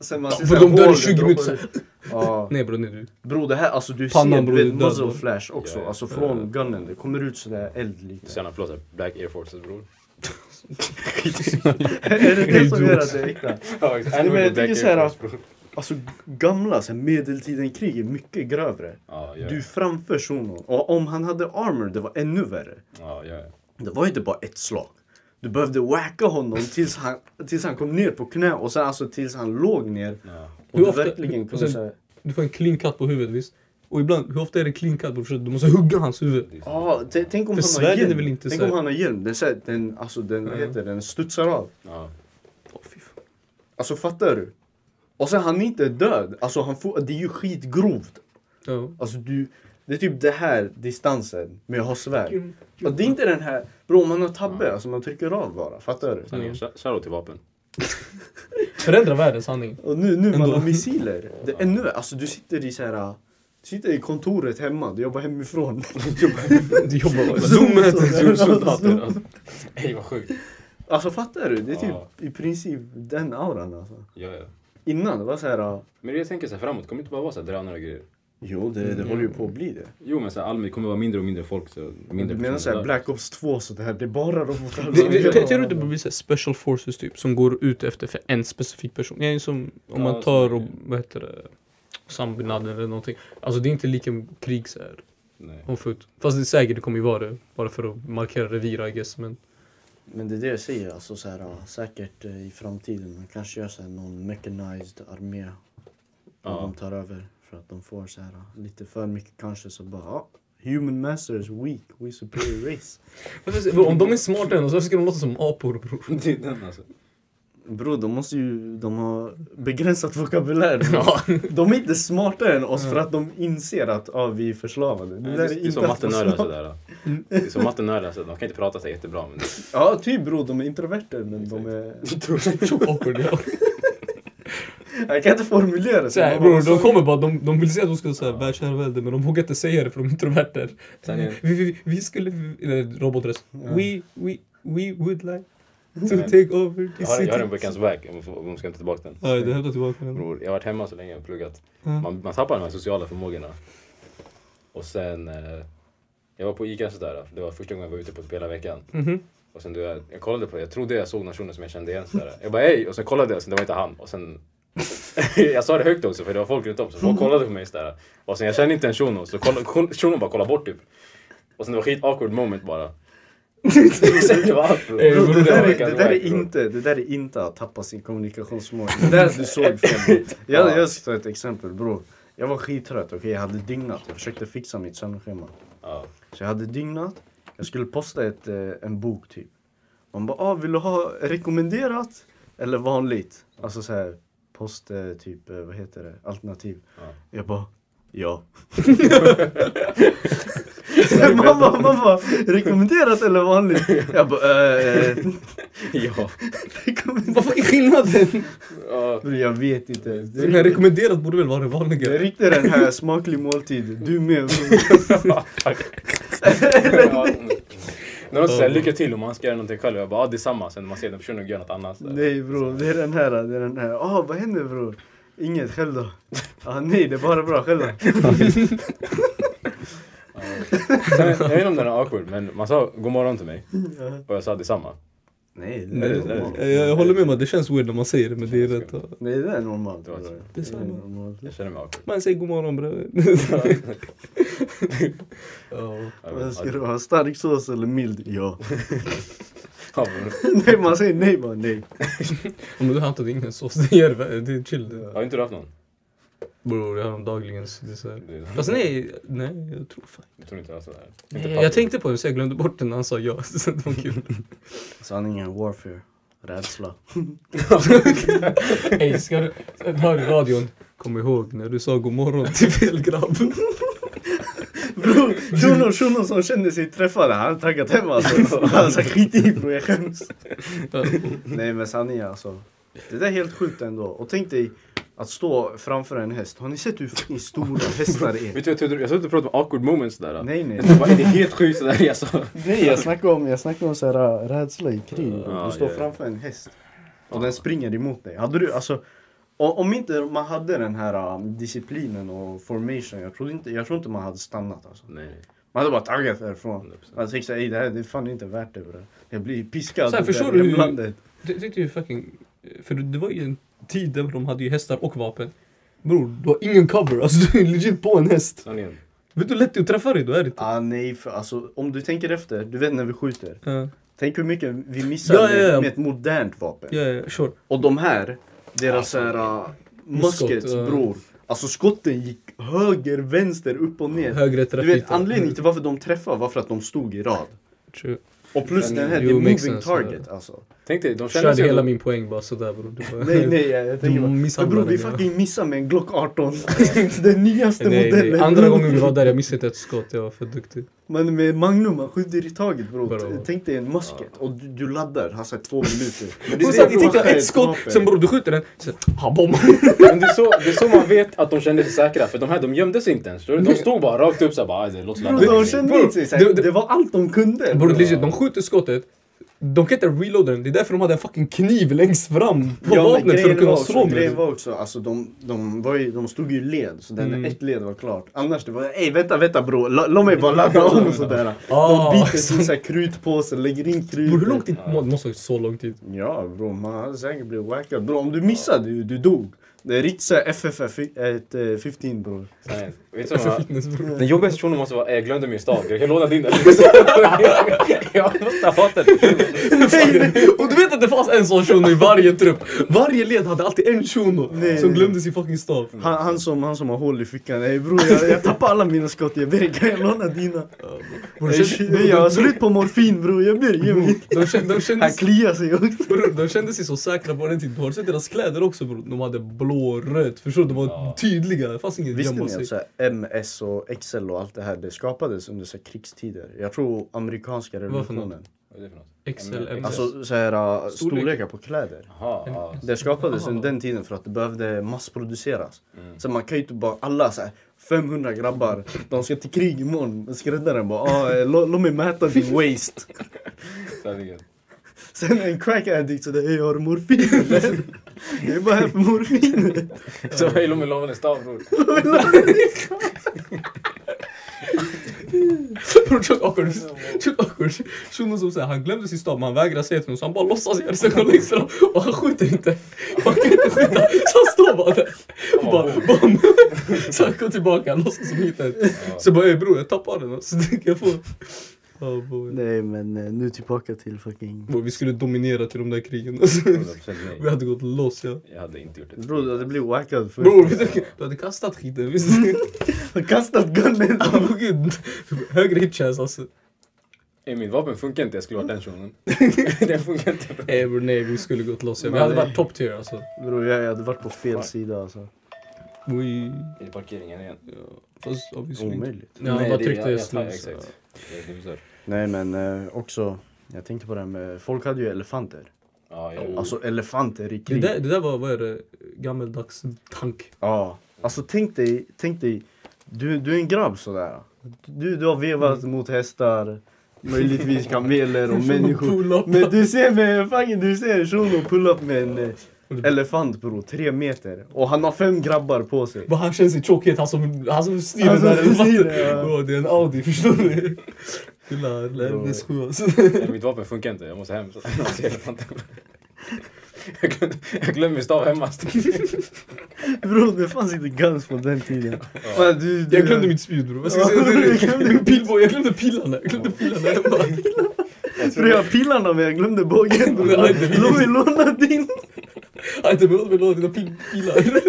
Speaker 3: Sen man
Speaker 1: Ja,
Speaker 3: ser
Speaker 1: för
Speaker 3: så här
Speaker 1: de dör i
Speaker 3: hål,
Speaker 1: 20
Speaker 3: det
Speaker 1: minuter,
Speaker 3: droppar ut. Ja.
Speaker 1: Nej bror, nej du.
Speaker 3: Bro det här, alltså du
Speaker 1: Pannan,
Speaker 3: ser
Speaker 1: bror,
Speaker 3: du
Speaker 1: du
Speaker 3: vet,
Speaker 1: dör,
Speaker 3: muzzle
Speaker 1: bror.
Speaker 3: flash också.
Speaker 2: Ja, ja.
Speaker 3: Alltså från gunnen. Det kommer ut sådär eld lite.
Speaker 2: Sen han förlåt, så här, Black Air Forces bror.
Speaker 3: är det det som gör att det är äkta?
Speaker 2: Ja, exakt.
Speaker 3: men jag
Speaker 2: Black
Speaker 3: tycker
Speaker 2: Air
Speaker 3: så här-
Speaker 2: Force, bror.
Speaker 3: Alltså gamla så här, medeltiden-krig är mycket grövre.
Speaker 2: Ja, ja.
Speaker 3: Du är framför shunon. Och om han hade armor, det var ännu värre.
Speaker 2: Ja, ja. ja.
Speaker 3: Det var inte bara ett slag. Du behövde wacka honom tills han, tills han kom ner på knä och sen alltså tills han låg ner.
Speaker 2: ja.
Speaker 3: Och
Speaker 1: Hur
Speaker 3: du
Speaker 1: ofta-
Speaker 3: verkligen
Speaker 1: och
Speaker 3: kunde
Speaker 1: sen-
Speaker 3: säga...
Speaker 1: Du får en clean cut på huvudet visst. Och ibland, hur ofta är det clean cut bror? För Du måste hugga hans huvud.
Speaker 2: Det är så.
Speaker 3: Ja, t- tänk om
Speaker 1: För
Speaker 3: han har
Speaker 1: svärden
Speaker 3: hjälm.
Speaker 1: är väl inte
Speaker 3: tänk
Speaker 1: så här-
Speaker 3: om han har hjälm. Den, så här, den, alltså, den, vad heter, det? den studsar av.
Speaker 2: Ja.
Speaker 1: Åh, fy fan.
Speaker 3: Alltså fattar du? Och sen han är inte död. Alltså han får, det är ju skitgrovt.
Speaker 1: Ja.
Speaker 3: Alltså du, det är typ det här distansen med att ha svärd. Och det är inte den här, bro man har tabbe, alltså man trycker av bara, fattar du?
Speaker 2: Sanningen, shou- Shoutout till vapen.
Speaker 1: Förändra världen sanning.
Speaker 3: Och nu, nu man
Speaker 1: Ändå.
Speaker 3: har missiler, det är ännu värre. alltså du sitter i så här, du sitter i kontoret hemma, du jobbar hemifrån.
Speaker 1: Du jobbar
Speaker 3: Zoom,
Speaker 2: Zoom,
Speaker 3: zoom,
Speaker 2: soldater, alltså. Ey vad sjukt.
Speaker 3: Alltså fattar du? Det är typ
Speaker 2: Ja.
Speaker 3: i princip den auran alltså.
Speaker 2: Ja, ja.
Speaker 3: Innan det var så här,
Speaker 2: Men jag tänker så här framåt, kommer det inte bara vara så här drönare och grejer?
Speaker 3: jo det, det håller ju på att bli det.
Speaker 2: Jo men så här, allmänt kommer det vara mindre och mindre folk. Så mindre
Speaker 3: Du menar
Speaker 2: personer
Speaker 3: såhär
Speaker 2: där.
Speaker 3: Black Ops 2 så det här, det är bara de mot alla.
Speaker 1: Det- det- Tror du inte det blir såhär special forces typ som går ut efter för en specifik person? Ja, alltså, som om
Speaker 2: Ja,
Speaker 1: man tar
Speaker 2: så-
Speaker 1: och, vad heter det, Osama bin Laden eller någonting. Alltså det är inte lika krig såhär.
Speaker 2: Nej.
Speaker 1: Om förut. Fast det är säkert det kommer ju vara det. Bara för att markera revir I guess. Men
Speaker 3: Men det är det jag säger, alltså så här, ja, säkert eh, i framtiden man kanske gör så här, någon mechanized armé. Och
Speaker 2: Ja.
Speaker 3: de tar över för att de får så här, ja, lite för mycket kanske så bara ja, Human master is weak, we superior race.
Speaker 1: om de är smartare än oss, varför ska de låta som apor bror?
Speaker 2: Det är den alltså.
Speaker 3: Bro, de måste ju, de har begränsat vokabulär. De är inte smartare än oss för att de inser att ja, vi är förslavade.
Speaker 2: Det är, alltså det är
Speaker 3: inte
Speaker 2: som
Speaker 3: att vara
Speaker 2: mattenördar
Speaker 3: smart.
Speaker 2: sådär. Det är som mattenördar, så de kan inte prata så jättebra men...
Speaker 3: Ja, typ bro, de är introverter men de är...
Speaker 1: Så awkward ja.
Speaker 3: Jag kan inte formulera
Speaker 1: Så här,
Speaker 3: Man bara-
Speaker 1: bror, de kommer bara, de, de vill säga att de ska säga världsherravälde men de vågar inte säga det för de är introverter.
Speaker 2: Sanningen.
Speaker 1: Vi, vi, vi skulle, nej, robotröst. We, we, we would like to
Speaker 2: Sanningen.
Speaker 1: take over the
Speaker 2: Jag har,
Speaker 1: city.
Speaker 2: jag har en veckans väg, om om man ska inte tillbaka den.
Speaker 1: Ja, du hämtar tillbaka den.
Speaker 2: Bror, jag har varit hemma så länge och pluggat.
Speaker 1: Mm.
Speaker 2: Man, man tappar de här sociala förmågorna. Och sen... Eh, jag var på Ica sådär, för det var första gången jag var ute på typ hela veckan.
Speaker 3: Mm-hmm.
Speaker 1: Mhm.
Speaker 2: Och sen du, vet, jag kollade på det, jag trodde jag såg nationen som jag kände igen sådär. Jag bara hej! Och sen kollade jag, sen det var inte han. Och sen... jag sa det högt också för det var folk runt om, så folk kollade på mig sådär. Och sen jag kände inte en shuno, så kolla- kon- shunon bara kollade bort typ. Och sen det var skit awkward moment bara. sen det var allt bro.
Speaker 1: Eh,
Speaker 3: Bro, det,
Speaker 2: var
Speaker 3: där är,
Speaker 2: veckans
Speaker 3: det, där
Speaker 2: wack,
Speaker 3: är
Speaker 2: bro.
Speaker 3: inte, det där är inte att tappa sin kommunikationsförmåga. Det där du såg fel. Jag, jag ska ta ett exempel bror. Jag var skittrött, okej jag hade dygnat. Jag försökte fixa mitt sömnschema.
Speaker 2: Ja.
Speaker 3: Så jag hade dygnat. Jag skulle posta ett, eh, en bok typ. Man bara, ah, vill du ha rekommenderat eller vanligt? Alltså så här, post eh, typ, eh, vad heter det, alternativ.
Speaker 2: Ja.
Speaker 3: Jag bara, ja. mamma, mamma, rekommenderat eller vanligt? Jag bara, eh,
Speaker 2: ja.
Speaker 3: rekommenderat.
Speaker 1: Vad fucking skillnaden?
Speaker 2: Ja.
Speaker 3: Bror, Jag vet inte. ens. Det
Speaker 1: Den här
Speaker 3: är-
Speaker 1: rekommenderat borde väl vara det
Speaker 3: det är
Speaker 1: vanliga?
Speaker 3: riktigt den här smaklig måltid. Du med. bror.
Speaker 2: Ja. När någon säger lycka till om man ska göra någonting själv, jag bara ah, det är samma. Sen när man ser den personen gör något annat. så här.
Speaker 3: Nej bror, det är den här. Det är den här. Ah, vad händer bror? Inget, själv då? Ah, nej, det är bara bra, själv då?
Speaker 2: Sen, jag vet inte om den är awkward, men man sa god morgon till mig. Och jag sa detsamma.
Speaker 3: Nej,
Speaker 1: Nej,
Speaker 3: det är normalt.
Speaker 1: jag, jag håller med om att det känns weird när man säger det men det är rätt.
Speaker 3: Nej, det är normalt. bror.
Speaker 2: Det var-
Speaker 3: Det är
Speaker 1: samma.
Speaker 3: normalt.
Speaker 2: Jag känner mig awkward.
Speaker 1: Man säger god morgon bror. Ja.
Speaker 2: Jag vet
Speaker 3: Men
Speaker 2: inte.
Speaker 3: Ska du ha stark sås eller mild? Ja.
Speaker 2: Ja, men-
Speaker 3: nej, man säger nej bara nej.
Speaker 1: Men du har inte ingen sås, det gör det. Det är chill.
Speaker 2: Har inte du haft någon?
Speaker 1: Bror, jag har en dagligens dessert.
Speaker 2: Det-
Speaker 1: Fast nej, nej jag tror fan
Speaker 2: Jag tror inte jag har sådär.
Speaker 1: Nej, jag tänkte på det så jag glömde bort den när han sa ja. Så det var kul.
Speaker 3: Sanningen, warfare. Rädsla.
Speaker 1: Ey, ska du... Hör i radion. Kom ihåg när du sa god morgon till fel grabb.
Speaker 3: Bror, shunon, shunon som kände sig träffad, han hade taggat hem alltså. Han sa skit i bror, jag skäms. Nej men sanningen alltså. Det där är helt sjukt ändå. Och tänk dig att stå framför en häst. Har ni sett hur fucking stora hästar är?
Speaker 2: Vet du, jag trodde- jag satt och pratade om awkward moments där.
Speaker 3: Nej, nej.
Speaker 2: Jag bara, är det helt sjukt sådär jag sa?
Speaker 3: Nej jag snackar om, jag snackar om så här, äh, rädsla i krig.
Speaker 2: Ja,
Speaker 3: du står
Speaker 2: ja, ja.
Speaker 3: framför en häst och den springer emot dig. Hade du, alltså, o- om inte man hade den här um, disciplinen och formation, jag tror inte, jag tror inte man hade stannat. Alltså.
Speaker 2: Nej.
Speaker 3: Man hade bara taggat därifrån.
Speaker 2: 100%.
Speaker 3: Man tänkte såhär, "Ey, det här det är fan inte värt det. Bro. Jag blir piskad.
Speaker 1: Så här,
Speaker 3: i det
Speaker 1: förstår
Speaker 3: här
Speaker 1: du hur-
Speaker 3: hemlandet."
Speaker 1: Jag tyckte ju fucking... För det var ju en tid där de hade ju hästar och vapen. Bror, du har ingen cover. Alltså du är legit på en häst.
Speaker 2: Sanningen.
Speaker 1: Vet du hur lätt det är att träffa dig då? Är det inte?
Speaker 3: Ah, nej, för, alltså, om du tänker efter, du vet när vi skjuter.
Speaker 1: Ja,
Speaker 3: Tänk hur mycket vi missar
Speaker 1: Ja, ja, ja.
Speaker 3: Med, med ett modernt vapen.
Speaker 1: ja, ja, sure.
Speaker 3: Och de här, deras så här, uh, muskets
Speaker 1: Skott, ja.
Speaker 3: bror. Alltså skotten gick höger, vänster, upp och ner.
Speaker 1: Högre
Speaker 3: Du
Speaker 1: trafik.
Speaker 3: vet anledningen till varför de träffade var för att de stod i rad.
Speaker 1: till...
Speaker 3: Och plus den här,
Speaker 1: Jo,
Speaker 3: det är
Speaker 1: makes
Speaker 3: moving
Speaker 1: sense,
Speaker 3: target alltså.
Speaker 2: Tänk dig, de känner
Speaker 1: Körde
Speaker 2: sig...
Speaker 1: hela min poäng bara sådär bror. Det var-
Speaker 3: Nej nej jag, jag tänker
Speaker 1: De
Speaker 3: bara,
Speaker 1: misshandlar
Speaker 3: bror vi
Speaker 1: den, ja.
Speaker 3: fucking missar med en Glock 18. den nyaste
Speaker 1: Nej,
Speaker 3: modellen.
Speaker 1: nej. Andra gången vi var där, jag missade inte ett skott. Jag var för duktig.
Speaker 3: Men med Magnum, man skjuter i taget bror.
Speaker 1: Bra.
Speaker 3: Tänk dig en musket och du, du laddar, har sagt två minuter. Men
Speaker 1: Hon
Speaker 3: det är
Speaker 1: satt och tittade
Speaker 3: vapen,
Speaker 1: ett skott,
Speaker 3: vapen.
Speaker 1: sen bror du skjuter den, sen han bommar.
Speaker 2: Men det är, så, det är så man vet att de kände sig säkra, för de här de gömde sig inte ens. De stod bara rakt upp såhär bara, "Aj, det låter
Speaker 3: Bror
Speaker 2: laddning."
Speaker 3: de kände
Speaker 1: Bror,
Speaker 3: inte sig såhär,
Speaker 1: det- det-
Speaker 3: det var allt de kunde.
Speaker 1: Bror legit, de skjuter skottet, de kan inte reloada den, det är därför de hade en fucking kniv längst fram på
Speaker 3: Ja, men
Speaker 1: vapnet för
Speaker 3: grejen
Speaker 1: att kunna
Speaker 3: var också-
Speaker 1: slå med
Speaker 3: Grejen
Speaker 1: den.
Speaker 3: var också, alltså de, de, var ju, de stod ju i led, så
Speaker 1: Mm.
Speaker 3: den ett led var klart. Annars det var ej vänta vänta bror, la, låt mig bara ladda om sådär.
Speaker 1: Ah,
Speaker 3: de biter sin såhär krutpåse, lägger in krut.
Speaker 1: Bror hur lång tid? Det måste ha varit så lång tid.
Speaker 3: Ja bror, man hade säkert blivit wackad. Bror om du missade, du, du dog. Det är riktigt såhär FFF, ett, eh, 15 bror.
Speaker 2: Nej, Vet du vad?
Speaker 1: Fitness, bror.
Speaker 2: Den jobbigaste personen måste vara, "Eh, jag glömde min stav, jag kan låna din. jag måste ha den.
Speaker 1: Och du vet att det fanns en sån shuno i varje trupp. Varje led hade alltid en shuno
Speaker 3: Nej,
Speaker 1: som
Speaker 3: nej.
Speaker 1: glömde sin fucking stav.
Speaker 3: Han, han, som, han som har hål i fickan. Ey bror jag, jag tappar alla mina skott, jag ber kan jag låna dina?
Speaker 1: Bror,
Speaker 3: Ey,
Speaker 1: de
Speaker 3: shit,
Speaker 1: kände-
Speaker 3: nej, jag har slut på morfin bror, jag ber ge mig.
Speaker 1: de kände- de
Speaker 3: Han
Speaker 1: kände sig-
Speaker 3: kliar sig också.
Speaker 1: bror, De kände sig så säkra på den tiden. Har du sett deras kläder också bror? De hade blå, rött, förstår du? De var
Speaker 2: Ja.
Speaker 1: tydliga, det fanns inget
Speaker 3: Visste ni
Speaker 1: gömma
Speaker 3: att
Speaker 1: sig.
Speaker 3: så här, MS och XL och allt det här det skapades under så här, krigstider? Jag tror amerikanska
Speaker 1: för något?
Speaker 3: revolutionen.
Speaker 2: Vad är det för något?
Speaker 1: XL,
Speaker 2: Mm,
Speaker 1: XL.
Speaker 3: Alltså så här, uh,
Speaker 1: Storlek.
Speaker 3: storlekar på kläder.
Speaker 2: Jaha, ja.
Speaker 3: Det skapades
Speaker 1: Aha.
Speaker 3: under den tiden för att det behövde massproduceras.
Speaker 2: Mm.
Speaker 3: Så man kan ju inte bara alla så här, 500 grabbar, de ska till krig imorgon. Skräddaren bara ah, eh, lå- låt mig mäta din waist.
Speaker 2: sanningen.
Speaker 3: Sen en crack addict sådär, hej har du morfin eller? Jag är bara här för morfinet.
Speaker 2: Så hej, låt mig låna din stav bror.
Speaker 1: Bror Chuck Awkward, Chuck Awkward, shunon som säger han glömde sin stav men han vägrar säga till honom så han bara låtsas göra sig själv längst fram och han skjuter inte. Han kan inte skjuta så han står bara där. Och bara bom. Så han kom tillbaka, han låtsas som inget hänt. Så jag bara ey bror jag tappade den så kan jag få. Ja, boy.
Speaker 3: Nej men eh, nu tillbaka till fucking...
Speaker 1: Bror, Vi skulle dominera till de där krigen. alltså.
Speaker 2: 100%
Speaker 1: Vi
Speaker 2: nej.
Speaker 1: hade gått loss ja.
Speaker 2: Jag hade inte gjort det.
Speaker 3: Bror du hade blivit wackad först.
Speaker 1: Bror vet du, du hade kastat skiten visst?
Speaker 3: Han kastat gunnen.
Speaker 1: Åh, gud. Högre hitchance alltså.
Speaker 2: Ey, Eh, Mitt vapen funkar inte, jag skulle varit den shunon. Den funkar inte.
Speaker 1: Ey bror nej vi skulle gått loss ja. Vi hade varit top tier alltså.
Speaker 3: Bror jag, jag hade varit på fel sida alltså.
Speaker 1: Oj.
Speaker 2: I parkeringen igen.
Speaker 1: Fast obviously inte.
Speaker 3: Omöjligt.
Speaker 1: Ja,
Speaker 2: Nej,
Speaker 1: han bara
Speaker 2: det-
Speaker 1: tryckte
Speaker 2: ja, ja,
Speaker 1: snus.
Speaker 2: Exakt. Det är bizarrt.
Speaker 3: Nej men eh, också, jag tänkte på det här med, folk hade ju elefanter.
Speaker 2: Ja, jag-
Speaker 3: Alltså elefanter i
Speaker 1: Oh. Det
Speaker 3: krig.
Speaker 1: där, det där var, vad är det, gammeldags tank.
Speaker 3: Ja, alltså tänk dig, tänk dig, du, du är en grabb sådär. Du, du har vevat
Speaker 1: Mm.
Speaker 3: mot hästar, möjligtvis kameler och människor.
Speaker 1: Pull-up.
Speaker 3: Men du ser med, fucking, du ser Shuno pull-up med en eh, elefant bro, tre meter. Och han har fem grabbar på sig.
Speaker 1: Men han känns i tråkighet, han som, han som styr
Speaker 3: Han
Speaker 1: den
Speaker 3: som
Speaker 1: där.
Speaker 3: styr det,
Speaker 1: elefanten.
Speaker 3: ja.
Speaker 1: Åh, det är en Audi, förstår du? Killar, LMS7 alltså.
Speaker 2: Nej, mitt vapen funkar inte, jag måste hem. Så- Jag ser elefanten. Jag glömde- Jag glömde min stav hemma.
Speaker 3: Bro, det fanns inte guns på den tiden. Men du, du,
Speaker 1: Jag glömde mitt spjut bror. Vad ska jag
Speaker 3: Ja,
Speaker 1: säga?
Speaker 3: jag glömde
Speaker 1: Jag glömde, jag glömde pilarna. Jag glömde pilarna hemma.
Speaker 2: Jag
Speaker 3: Bro, jag
Speaker 2: trodde,
Speaker 3: har pilarna men jag glömde bågen bror.
Speaker 1: Nej, det-
Speaker 3: Låt mig låna din.
Speaker 1: Jag inte behövt låna dina pil, pilar.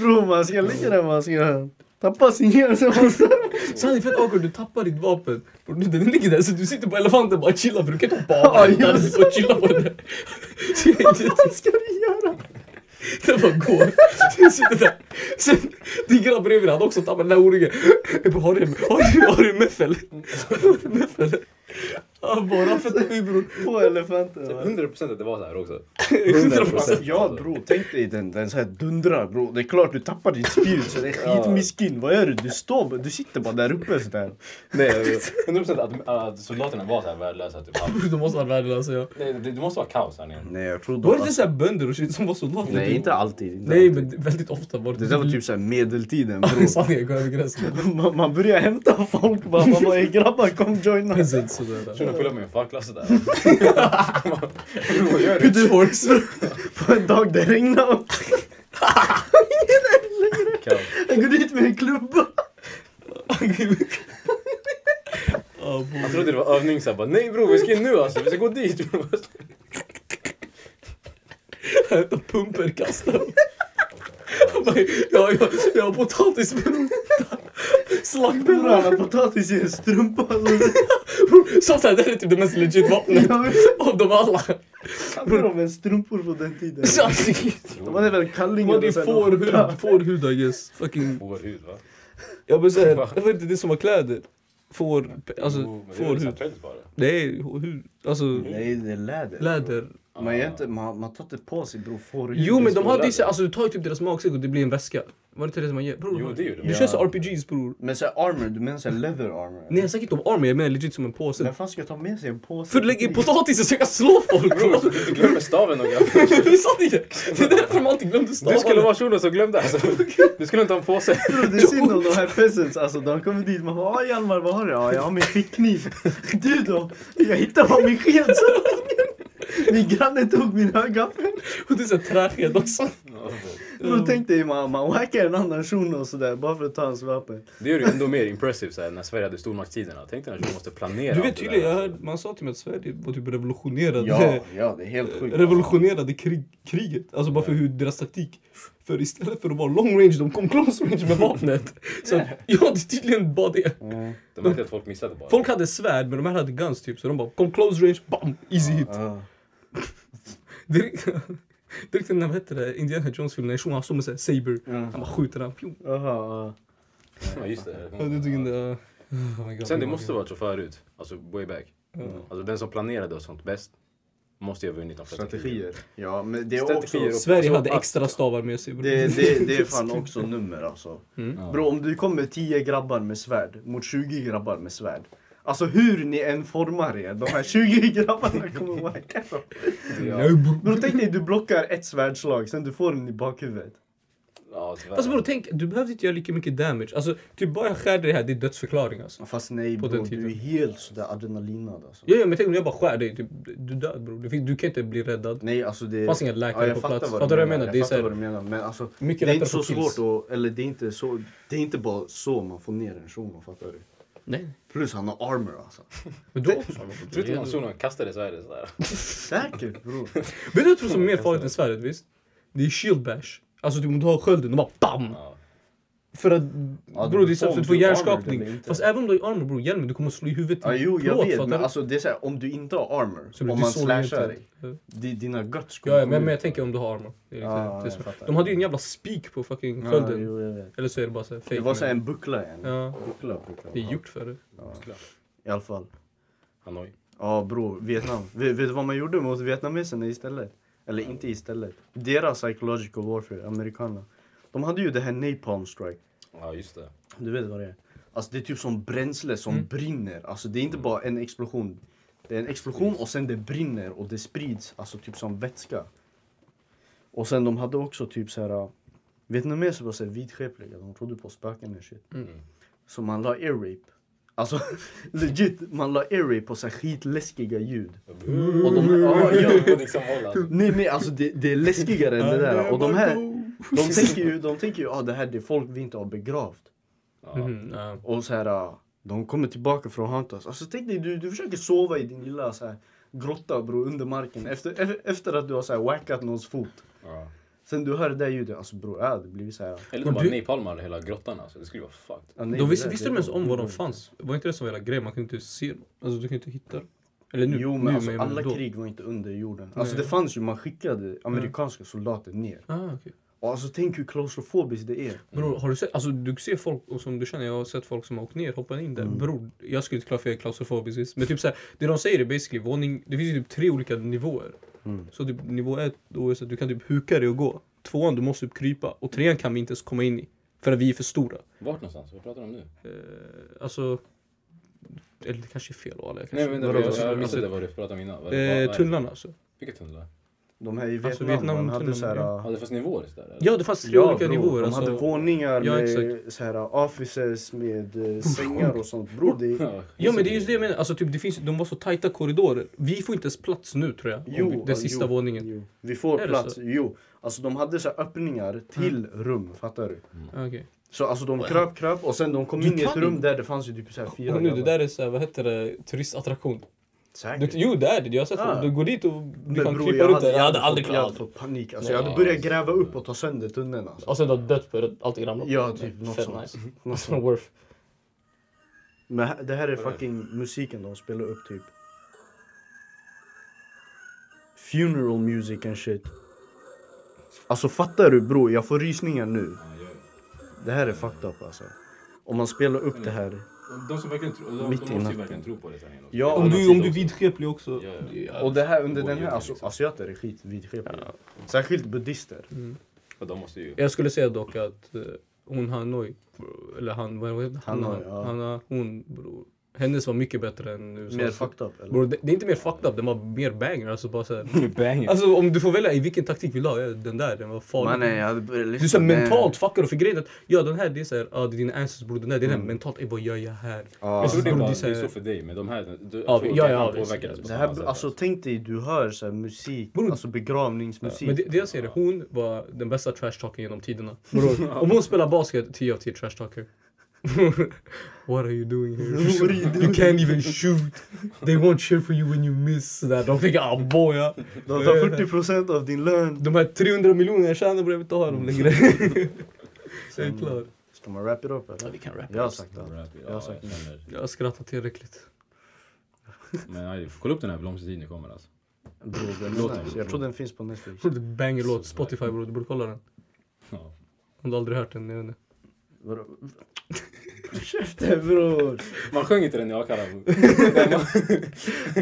Speaker 3: Bror man ska ligga där man ska tappa sin hjärna sen man ska-
Speaker 1: Så han är fett awkward, du tappar ditt vapen. Bror, du- Den ligger där så du sitter på elefanten och bara chillar för du kan inte
Speaker 3: Ja,
Speaker 1: hoppa av den där.
Speaker 3: just
Speaker 1: Du bara chillar på den där. Så jag är inte-
Speaker 3: Vad ska du göra?
Speaker 1: Den bara går. Sen sitter där. Sen, din grabb bredvid han också tappar den där oringen. Jag bara, har du, har du, har du meff eller? Har du meff eller? Han bara, amfetamin bror.
Speaker 3: På elefanten va?
Speaker 2: 100% att det var så här också.
Speaker 1: 100%.
Speaker 3: Ja bro, tänk dig den, den så här dundrar bro. Det är klart du tappar ditt spjut så det är skitmiskin. Vad gör du? Du står du sitter bara där uppe sådär.
Speaker 2: Nej, jag vet. 100% att, att soldaterna var så här värdelösa. Typ. Han-
Speaker 1: Du måste vara värdelös ja.
Speaker 2: Nej, det, det måste vara kaos här nere.
Speaker 3: Nej jag tror
Speaker 1: Var det inte såhär bönder och shit som var soldater?
Speaker 3: Nej inte alltid. Inte
Speaker 1: Nej
Speaker 3: alltid.
Speaker 1: men väldigt ofta var det
Speaker 3: Det där var typ såhär medeltiden
Speaker 1: Det är
Speaker 3: bro.
Speaker 1: sanningen, gå över gränsen.
Speaker 3: Man, man börjar hämta folk bara. Man bara "Ey, grabbar kom joina.
Speaker 1: Peasants och det där.
Speaker 2: Shunon pullade med en fackla sådär. Vad gör du?
Speaker 1: Pitchforks.
Speaker 3: På en dag det regnar.
Speaker 2: Kaos.
Speaker 3: Jag går dit med en klubba.
Speaker 1: Ja, bo-
Speaker 2: Jag trodde det var övning såhär bara nej bror vi ska in nu alltså, vi ska gå dit.
Speaker 1: Hämta pumper, kasta. Ja, jag, jag har potatis bror.
Speaker 3: Bror
Speaker 1: Slaktbullar.
Speaker 3: han har potatis i en strumpa.
Speaker 1: Sånt här, det här är typ det mest legit vapnet
Speaker 3: Jag vet
Speaker 1: av dem alla.
Speaker 3: inte om ens strumpor på den tiden.
Speaker 1: Så alltså,
Speaker 3: De hade väl kallingar
Speaker 1: Man är
Speaker 3: sen-
Speaker 1: fårhud, fårhud I guess. Fucking.
Speaker 2: Vår hud va?
Speaker 1: Jag vill säga, det var inte det som var kläder. Får, alltså fårhud.
Speaker 2: Fårhud bara.
Speaker 1: Nej, hud. Alltså
Speaker 3: Nej det är Mm. läder. Ah.
Speaker 1: läder.
Speaker 3: Man, gör inte, man, man tar inte på sig bror fårhud.
Speaker 1: Jo men de
Speaker 2: stora
Speaker 1: hade ju
Speaker 2: läder.
Speaker 1: så- alltså du tar ju typ deras magsäck och det blir en väska. Var det inte det som man gör? Bror,
Speaker 2: Jo, det gör det.
Speaker 1: Du
Speaker 2: Ja.
Speaker 1: kör så RPGs bror.
Speaker 3: Men så här armor, du menar såhär leather armor?
Speaker 1: Nej jag snackar inte om armor, jag menar legit som en påse.
Speaker 3: Vem fan ska ta med sig en påse?
Speaker 1: För du lägger i potatis och försöka slå folk
Speaker 2: Bror
Speaker 1: bror!
Speaker 2: så du inte glömmer staven och grejer.
Speaker 1: Vi sa det ju! Det är därför de alltid glömde stavarna.
Speaker 2: Du skulle vara shunon som glömde alltså. Du skulle inte ha en påse.
Speaker 3: Bror, Det är synd om de här peasants, alltså de kommer dit man bara "Ah, Hjalmar vad har du? Ja jag har min fickkniv. Du då? Jag hittade bara min sked så länge. Min granne tog min högaffel.
Speaker 1: Och det är såhär träsked också.
Speaker 3: Bror tänk dig man, man whackar en annan shuno och sådär bara för att ta hans vapen.
Speaker 2: Det gör det ju ändå mer impressive såhär när Sverige hade stormaktstiderna. Tänk dig när du måste planera.
Speaker 1: Du vet
Speaker 2: allt det
Speaker 1: tydligen,
Speaker 2: där.
Speaker 1: jag hörde, man sa till mig att Sverige var typ revolutionerade.
Speaker 3: ja det är helt sjukt.
Speaker 1: Eh, Revolutionerade krig, kriget, alltså bara för hur deras taktik. För istället för att vara long range, de kom close range med vapnet. Så att, ja, det är tydligen bara det.
Speaker 2: De märkte att folk missade bara.
Speaker 1: Folk hade svärd men de här hade guns typ så de bara kom close range, bam, easy hit.
Speaker 3: Ja.
Speaker 1: Direkt, direkt när, vad hette det, Indiana Jones-filmen, när Shun han står med såhär saber. Han bara skjuter den. Pju.
Speaker 3: Jaha,
Speaker 2: Ja, just det.
Speaker 1: Ja, det tycker jag inte, ja. Oh my God,
Speaker 2: Sen det
Speaker 1: oh my
Speaker 2: måste
Speaker 1: God.
Speaker 2: varit så förut. Alltså way back.
Speaker 1: Mm.
Speaker 2: Alltså den som planerade och sånt bäst måste ju ha vunnit de flesta krigen.
Speaker 3: strategier. Ja men det är också...
Speaker 2: Strategier och-
Speaker 1: Sverige
Speaker 2: så
Speaker 1: hade
Speaker 2: att-
Speaker 1: extra stavar med sig. bro.
Speaker 3: Alltså, Det, det, det är fan också nummer alltså.
Speaker 1: Mm.
Speaker 2: Ja.
Speaker 3: Bro, om du kommer 10 grabbar med svärd mot 20 grabbar med svärd. Alltså hur ni än formar er, de här 20 grabbarna kommer wacka dem.
Speaker 1: Nej, bro.
Speaker 3: Bro tänk dig du blockar ett svärdslag, sen du får den i bakhuvudet.
Speaker 2: Ja, tyvärr.
Speaker 1: Fast Alltså bror tänk, du behövde inte göra lika mycket damage. Alltså typ bara jag skär dig här, det är dödsförklaring alltså.
Speaker 3: Fast nej
Speaker 1: På
Speaker 3: bro,
Speaker 1: den tiden.
Speaker 3: du är helt sådär adrenalinad alltså.
Speaker 1: Ja, ja men tänk om jag bara skär dig, typ, du är död bror. Du, fin- du kan inte bli räddad.
Speaker 3: Nej alltså det...
Speaker 1: Fanns ingen läkare
Speaker 3: jag
Speaker 1: på
Speaker 3: fattar
Speaker 1: plats.
Speaker 3: Vad
Speaker 1: Fattar du vad jag menar?
Speaker 3: Jag
Speaker 1: Det är så
Speaker 3: fattar
Speaker 1: här-
Speaker 3: vad du menar. Men alltså,
Speaker 1: Mycket
Speaker 3: det
Speaker 1: lättare
Speaker 3: är inte så
Speaker 1: att få kills.
Speaker 3: svårt att... Eller det är inte så... Det är inte bara så man får ner en shuno, fattar du?
Speaker 1: Nej.
Speaker 3: Plus han har armor alltså.
Speaker 1: Men då också.
Speaker 2: Tror du inte någon shunon kastade svärdet sådär?
Speaker 3: Säkert bror.
Speaker 1: Vet du vad jag tror som är mer farligt än svärdet visst? Det är shield bash. Alltså typ om du har skölden och bara BAM!
Speaker 2: Ja.
Speaker 1: För att
Speaker 3: Ja,
Speaker 1: bror det är så
Speaker 2: om
Speaker 1: att du
Speaker 2: du
Speaker 1: får
Speaker 2: har
Speaker 1: hjärnskakning.
Speaker 2: armor eller inte.
Speaker 1: Fast även om du har armor bror, hjälmen, du kommer slå i huvudet
Speaker 3: Ja,
Speaker 1: till
Speaker 3: jo, jag
Speaker 1: plåt,
Speaker 3: vet.
Speaker 1: fattar
Speaker 3: Men
Speaker 1: du?
Speaker 3: alltså, det är så här, om du inte har armor,
Speaker 1: Så blir
Speaker 3: om
Speaker 1: det
Speaker 3: man
Speaker 1: såg
Speaker 3: slashar
Speaker 1: inte.
Speaker 3: dig, di- dina guts
Speaker 1: Ja, ja,
Speaker 3: komma
Speaker 1: men, men
Speaker 3: ut.
Speaker 1: jag tänker om du har armor. Det är liksom,
Speaker 3: Ja,
Speaker 1: det är
Speaker 3: jag
Speaker 1: så.
Speaker 3: fattar.
Speaker 1: De hade ju en jävla spik på fucking
Speaker 3: Ja,
Speaker 1: skölden.
Speaker 3: jo, jag vet.
Speaker 1: Eller så är det bara såhär fake.
Speaker 3: Det var så här
Speaker 1: men-
Speaker 3: en buckla. En.
Speaker 1: Ja,
Speaker 3: Buckla, buckla.
Speaker 1: det är gjort för det.
Speaker 3: I alla fall.
Speaker 2: Hanoi.
Speaker 3: Ja bror, Vietnam. Vet, vet du vad man gjorde mot vietnameserna istället? Eller inte istället. Deras psychological warfare, amerikanerna. De hade ju det här napalm strike.
Speaker 2: Ja, just det.
Speaker 3: Du vet vad det är? Alltså det är typ som bränsle som brinner. Alltså det är inte bara en explosion. Det är en explosion och sen det brinner och det sprids, alltså typ som vätska. Och sen de hade också typ så här. Vietnameser var så här vidskepliga, de trodde på spöken och shit. Så man la air rape. Alltså legit, man la air rape på så här skitläskiga ljud.
Speaker 1: Mm.
Speaker 3: Och de, ja, ja.
Speaker 2: På liksom håll alltså.
Speaker 3: Nej nej alltså det, det är läskigare än det där. Och de här, de tänker ju, de tänker ju, ah, det här det är folk vi inte har begravt.
Speaker 2: Ja.
Speaker 1: Mm, ja.
Speaker 3: Och så här, ah, de kommer tillbaka för att hanta oss. Alltså tänk dig, du, du försöker sova i din lilla så här, grotta bro, under marken efter, e- efter att du har så här, wackat någons fot.
Speaker 2: Ja.
Speaker 3: Sen du hör det där ljudet, alltså bro, ja, det blir så här.
Speaker 2: Eller
Speaker 1: Men
Speaker 2: de bara
Speaker 1: du-
Speaker 2: napalmade hela grottan alltså. Det skulle vara fucked.
Speaker 3: ah, nej,
Speaker 1: De
Speaker 3: det Mm.
Speaker 1: visste,
Speaker 3: där,
Speaker 1: visste
Speaker 3: det-
Speaker 1: de ens om var de fanns? Var inte det som var hela grejen? Man kunde inte se dem. Alltså du kunde inte hitta dem. Eller nu,
Speaker 3: Jo
Speaker 1: nu
Speaker 3: men alltså,
Speaker 1: men
Speaker 3: alla
Speaker 1: då.
Speaker 3: krig var inte under jorden. Alltså
Speaker 1: Nej.
Speaker 3: det fanns ju, man skickade amerikanska soldater ner.
Speaker 1: Ah, okay.
Speaker 3: Och alltså tänk hur klaustrofobiskt det är.
Speaker 1: Bror, har du sett? Alltså du ser folk, och som du känner, jag har sett folk som har åkt ner, hoppat in där.
Speaker 3: Mm.
Speaker 1: Bror, jag skulle inte klara för jag är klaustrofobisk. Men typ såhär, det de säger är basically våning, det finns ju typ tre olika nivåer.
Speaker 3: Mm.
Speaker 1: Så typ nivå ett, då är det så att du kan typ huka dig och gå. Tvåan, du måste typ krypa. Och trean kan vi inte ens komma in i. För att vi är för stora.
Speaker 2: Vart någonstans? Vad pratar du om nu?
Speaker 1: Alltså... Eller det kanske är fel val. jag
Speaker 2: Nej
Speaker 1: Kanske.
Speaker 2: men
Speaker 3: Vadå,
Speaker 2: jag,
Speaker 3: alltså,
Speaker 2: jag missade
Speaker 1: alltså,
Speaker 2: vad du pratade om innan. Vad- vad-
Speaker 1: eh,
Speaker 2: vad-
Speaker 1: tunnlarna alltså.
Speaker 2: Vilka tunnlar?
Speaker 3: De här i Vietnam,
Speaker 1: Alltså, Vietnam,
Speaker 3: man hade
Speaker 1: Vietnam,
Speaker 3: så här... äh,
Speaker 1: ja.
Speaker 2: Ja, det fanns nivåer där eller?
Speaker 1: Ja, det fanns tre olika
Speaker 3: bror,
Speaker 1: nivåer.
Speaker 3: De
Speaker 1: alltså.
Speaker 3: hade våningar
Speaker 1: Ja,
Speaker 3: med så här, offices med eh, sängar och sånt. Bror, det är...
Speaker 2: Ja,
Speaker 1: Ja men det är just det jag menar, alltså, typ, det finns, de var så tajta korridorer. Vi får inte ens plats nu tror jag.
Speaker 3: Jo,
Speaker 1: om vi- den
Speaker 3: ja,
Speaker 1: sista
Speaker 3: jo,
Speaker 1: våningen.
Speaker 3: Jo. Vi får
Speaker 1: Är det
Speaker 3: plats.
Speaker 1: så? Mm.
Speaker 3: Jo. Alltså de hade så här öppningar till rum, fattar du?
Speaker 1: Ah, Okej.
Speaker 3: Så alltså de kröp, kröp och sen de kom
Speaker 1: Du
Speaker 3: in i ett
Speaker 1: kan
Speaker 3: rum
Speaker 1: inte-
Speaker 3: där det fanns ju typ så här fyra
Speaker 1: Och nu, det
Speaker 3: grabbar.
Speaker 1: där är så här, vad heter det, turistattraktion. Du,
Speaker 3: Säkert.
Speaker 1: jo det är det, jag har sett
Speaker 3: Ah.
Speaker 1: det. Du går dit och du
Speaker 3: Men
Speaker 1: kan
Speaker 3: bror,
Speaker 1: krypa runt där. Jag hade
Speaker 3: fått-
Speaker 1: aldrig
Speaker 3: Jag hade
Speaker 1: klarat det.
Speaker 3: fått panik. Alltså, jag
Speaker 2: Nej.
Speaker 3: hade börjat gräva upp och ta sönder tunneln alltså.
Speaker 1: Och sen du har dött för att allting ramlar.
Speaker 3: Ja, typ något
Speaker 1: Fett
Speaker 3: sånt.
Speaker 1: nice.
Speaker 3: Något
Speaker 1: It's not
Speaker 3: sånt.
Speaker 1: worth.
Speaker 3: Men här- det här är fucking musiken de spelar upp typ. Funeral music and shit. Alltså fattar du bror, jag får rysningar nu. Det här är fucked up alltså. Om man spelar
Speaker 1: Mm.
Speaker 3: upp det här.
Speaker 2: De som verkligen tror, de,
Speaker 3: Mitt i
Speaker 2: de måste ju
Speaker 3: natten.
Speaker 2: verkligen tro på det sen.
Speaker 3: Ja,
Speaker 2: På
Speaker 1: Om
Speaker 2: annan
Speaker 1: du,
Speaker 2: sida
Speaker 1: om du är
Speaker 2: också.
Speaker 1: vidskeplig också.
Speaker 2: Ja, ja.
Speaker 3: Och det här under den här,
Speaker 2: Oerhört,
Speaker 3: alltså
Speaker 2: liksom.
Speaker 3: asiater är skit vidskepliga. Särskilt buddhister.
Speaker 1: Mm.
Speaker 2: Ja, de måste ju...
Speaker 1: Jag skulle säga dock att eh, hon Hanoi, eller han, vad heter han?
Speaker 3: Hanoi, ja.
Speaker 1: Hanna, hon, bror. Hennes var mycket bättre än USAs.
Speaker 3: Mer fucked up eller?
Speaker 1: Bror, det, det är inte mer fucked up, den var mer banger. Alltså, bara så här.
Speaker 2: Banger.
Speaker 1: alltså om du får välja i vilken taktik vill du ha? Ja, den där, den var farlig.
Speaker 3: jag hade börjat
Speaker 1: du är såhär mentalt fuckar och för grejen är att ja den här det är såhär, ja det är dina ancestors bror, den här det är
Speaker 3: Mm.
Speaker 1: den här mentalt, ey vad gör jag här?
Speaker 3: Ja. alltså,
Speaker 2: jag tror det, är
Speaker 1: Bror,
Speaker 2: bara,
Speaker 1: det
Speaker 2: det
Speaker 1: är så här-
Speaker 2: är så för dig, men de här... Du,
Speaker 1: Ja,
Speaker 2: jag tror
Speaker 1: ja,
Speaker 2: att
Speaker 1: ja,
Speaker 2: de
Speaker 1: visst.
Speaker 2: påverkades på
Speaker 3: Det
Speaker 2: samma
Speaker 3: här,
Speaker 2: sätt.
Speaker 3: alltså tänk dig, du hör så här musik,
Speaker 1: Bror.
Speaker 3: alltså begravningsmusik.
Speaker 1: Men det, det jag ser är, hon var den bästa trashtalkern genom tiderna. Bror, om hon spelar basket, 10 av 10 trashtalker. What are you doing here?
Speaker 3: What are you doing?
Speaker 1: can't even shoot. They won't cheer for you when you miss. Sådär. De tänker ah boja.
Speaker 3: De tar 40% av din lön.
Speaker 1: De här 300 miljoner jag tjänar bror, jag vill inte ha dem längre. Så är det
Speaker 3: Mm.
Speaker 1: klart.
Speaker 3: Ska man wrap it up eller?
Speaker 1: vi kan wrap it
Speaker 3: Jag har
Speaker 1: up.
Speaker 3: sagt
Speaker 2: Ja,
Speaker 3: det.
Speaker 2: jag
Speaker 3: har sagt
Speaker 2: känner-
Speaker 1: Jag har skrattat tillräckligt.
Speaker 2: Men nej, kolla upp den här blomstertiden kommer alltså.
Speaker 3: Bror, den är nice. Jag tror den finns på Netflix.
Speaker 1: Bror, det är banger låt. Spotify bror, du borde kolla den.
Speaker 2: Ja.
Speaker 1: Om du aldrig hört den, jag vet inte.
Speaker 3: Vadå? Käften bror!
Speaker 2: Man sjöng inte den i Akalla. Man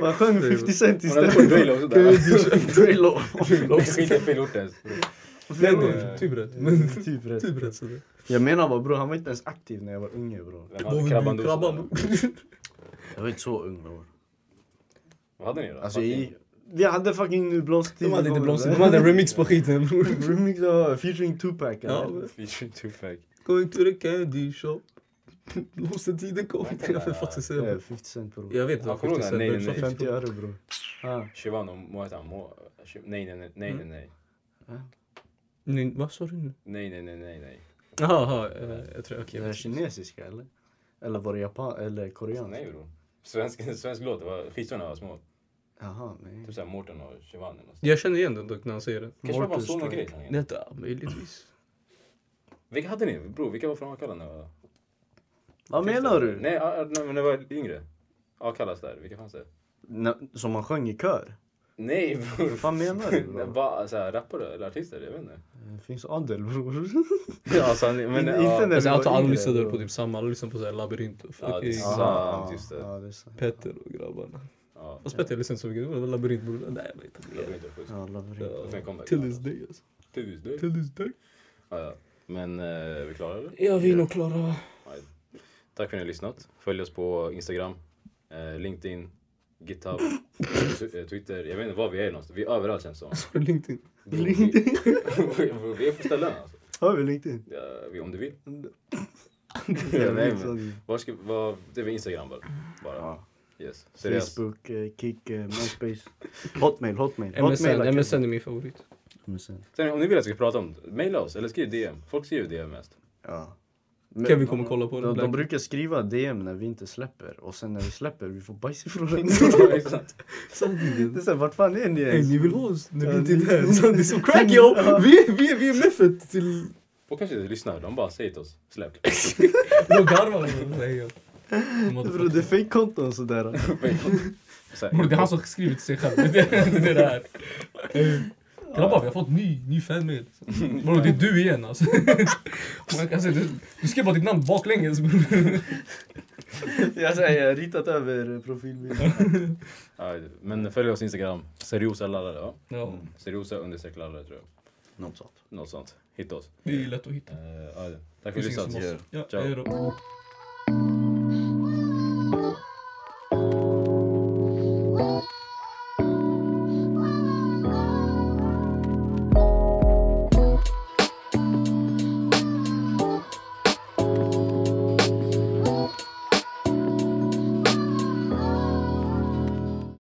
Speaker 3: Man sjöng 50 cent
Speaker 2: hade på
Speaker 3: istället.
Speaker 2: Drelo och sådär.
Speaker 3: Drelo.
Speaker 2: Skit i fel ort ens.
Speaker 1: Nej, nej, typ rätt. Men
Speaker 3: Typ rätt.
Speaker 1: typ rätt sådär.
Speaker 3: Jag menar bara bror, han var inte ens aktiv när jag var unge bror.
Speaker 2: Vem
Speaker 1: Då
Speaker 2: hade
Speaker 1: vill
Speaker 2: Krabban
Speaker 1: du krabba
Speaker 2: Dosa?
Speaker 1: bror.
Speaker 3: Jag var inte så ung bror.
Speaker 2: Vad hade ni då?
Speaker 3: Alltså
Speaker 2: Fucking-
Speaker 3: i... Vi hade fucking nu blomstertid.
Speaker 1: De hade inte
Speaker 3: igång,
Speaker 1: blomster,
Speaker 3: bror.
Speaker 1: de hade en remix på skiten bror.
Speaker 3: Remix av featuring Tupac
Speaker 1: Ja.
Speaker 3: eller?
Speaker 2: Featuring Tupac.
Speaker 1: Going to the candy shop. Blomstertiden kommer. Jag vet faktiskt säga
Speaker 3: Eh,
Speaker 1: det.
Speaker 3: 50 cent bror.
Speaker 1: Jag vet
Speaker 2: Ja, kommer du ihåg den? Nej, nej, nej.
Speaker 3: 50 öre bror. Ah.
Speaker 2: Shivano Moetan Mo... Nej, nej, nej, nej, nej, nej.
Speaker 1: nej. Vad sa du nu?
Speaker 2: Nej, nej, nej, nej, nej.
Speaker 1: Jaha, jaha. eh, Jag tror, okej.
Speaker 3: Är det kinesiska eller? Eller var det japan eller koreanska?
Speaker 2: Nej bror. Svensk, svensk låt, det var skitstörna var små.
Speaker 3: Jaha, nej.
Speaker 2: Typ såhär Mårten och Shivan eller något sånt.
Speaker 1: Jag känner igen den dock när han säger den.
Speaker 2: Kanske det var bara en
Speaker 3: Mårten
Speaker 2: sån
Speaker 3: Strike.
Speaker 2: grej. han gjorde.
Speaker 1: Detta, möjligtvis.
Speaker 2: Vilka hade ni? Bro, vilka var från Akalla när jag var...
Speaker 3: Vad menar du?
Speaker 2: Nej, ja, ja, nej, men när jag var yngre. Akallas där, vilka fanns det?
Speaker 3: Nå- Som man sjöng i kör?
Speaker 2: Nej bror!
Speaker 3: Vad fan menar du, bro?
Speaker 2: Va, så här, rappare eller artister? Jag vet inte.
Speaker 3: Det finns adel bror.
Speaker 2: Ja, alltså, men,
Speaker 3: Inte
Speaker 2: ja,
Speaker 3: när-
Speaker 1: Fast
Speaker 3: det var
Speaker 1: jag antar alla
Speaker 3: yngre,
Speaker 1: lyssnade
Speaker 3: då.
Speaker 1: på typ samma, alla lyssnade på såhär labyrint och
Speaker 2: Ja, det är
Speaker 1: fucking
Speaker 2: sant.
Speaker 3: Ja,
Speaker 2: just det.
Speaker 3: Ja, det är sant.
Speaker 1: Petter och grabbarna.
Speaker 2: ja,
Speaker 1: Fast Petter lyssnade inte så mycket, det var väl labyrint bror. Nej jag vet
Speaker 2: jag kommer
Speaker 1: inte.
Speaker 2: inte ihåg precis.
Speaker 3: Ja, labyrint.
Speaker 2: Jag får en comeback.
Speaker 1: Till this day alltså.
Speaker 2: Till this day.
Speaker 1: Till this day.
Speaker 2: Ja, ja. Men eh, är vi klara eller?
Speaker 1: Ja vi är nog klara.
Speaker 2: Nej. Tack för att ni har lyssnat. Följ oss på Instagram, eh, LinkedIn, GitHub, eh, Twitter. Jag vet inte var vi är någonstans. Vi är överallt känns det som.
Speaker 1: Har du LinkedIn?
Speaker 2: LinkedIn? vi är på ställen alltså.
Speaker 3: Hör vi LinkedIn?
Speaker 2: Ja, vi- om du vill.
Speaker 3: Ja,
Speaker 2: Nej,
Speaker 3: liksom.
Speaker 2: men, var ska, var, det är väl Instagram bara. bara.
Speaker 3: Ja.
Speaker 2: Yes. Seriöst.
Speaker 3: Facebook, eh, Kik, eh, MySpace, Hotmail, Hotmail. Hotmail
Speaker 1: MSN,
Speaker 3: like-
Speaker 1: MSN är min favorit.
Speaker 3: MSN.
Speaker 2: Sen, om ni vill att vi ska prata om det, mejla oss eller skriv DM. Folk skriver DM mest.
Speaker 3: Ja.
Speaker 1: Kevin kommer kolla på
Speaker 3: De, de
Speaker 1: den.
Speaker 3: brukar skriva DM när vi inte släpper och sen när vi släpper vi får bajs ifrån dem. Det är såhär, vart fan är ni ens?
Speaker 1: Ni vill ha oss när vi
Speaker 3: Ja,
Speaker 1: inte
Speaker 3: ni-
Speaker 1: är där. Så Det är som crack yo! Vi är, vi är, vi är meffet till...
Speaker 2: Och kanske inte lyssnar, de bara säger till oss, släpp.
Speaker 1: De garvar. Nej, ja.
Speaker 3: Bro, det är fejkkonton sådär.
Speaker 2: Så här,
Speaker 1: Bror, det är han som skriver till sig själv. Det är det där. Eh, Grabbar, vi har fått ny, ny fanmail. Bror, det är du igen alltså. Man kan säga, du, du skrev bara ditt namn baklänges bror.
Speaker 3: Jag säger, jag har ritat över eh, profilbilden.
Speaker 2: ja, men följ oss Instagram, seriosa lallare. Ja?
Speaker 1: Ja,
Speaker 2: Seriosa understreck lallare tror jag.
Speaker 3: Något sånt.
Speaker 2: Något sånt. Hitta oss.
Speaker 1: det är lätt att hitta.
Speaker 2: Eh, ja, tack för att
Speaker 1: Det
Speaker 2: ni
Speaker 1: finns ingen som
Speaker 2: lyssnat.
Speaker 1: oss. Ja,
Speaker 2: Ciao.
Speaker 1: hej då.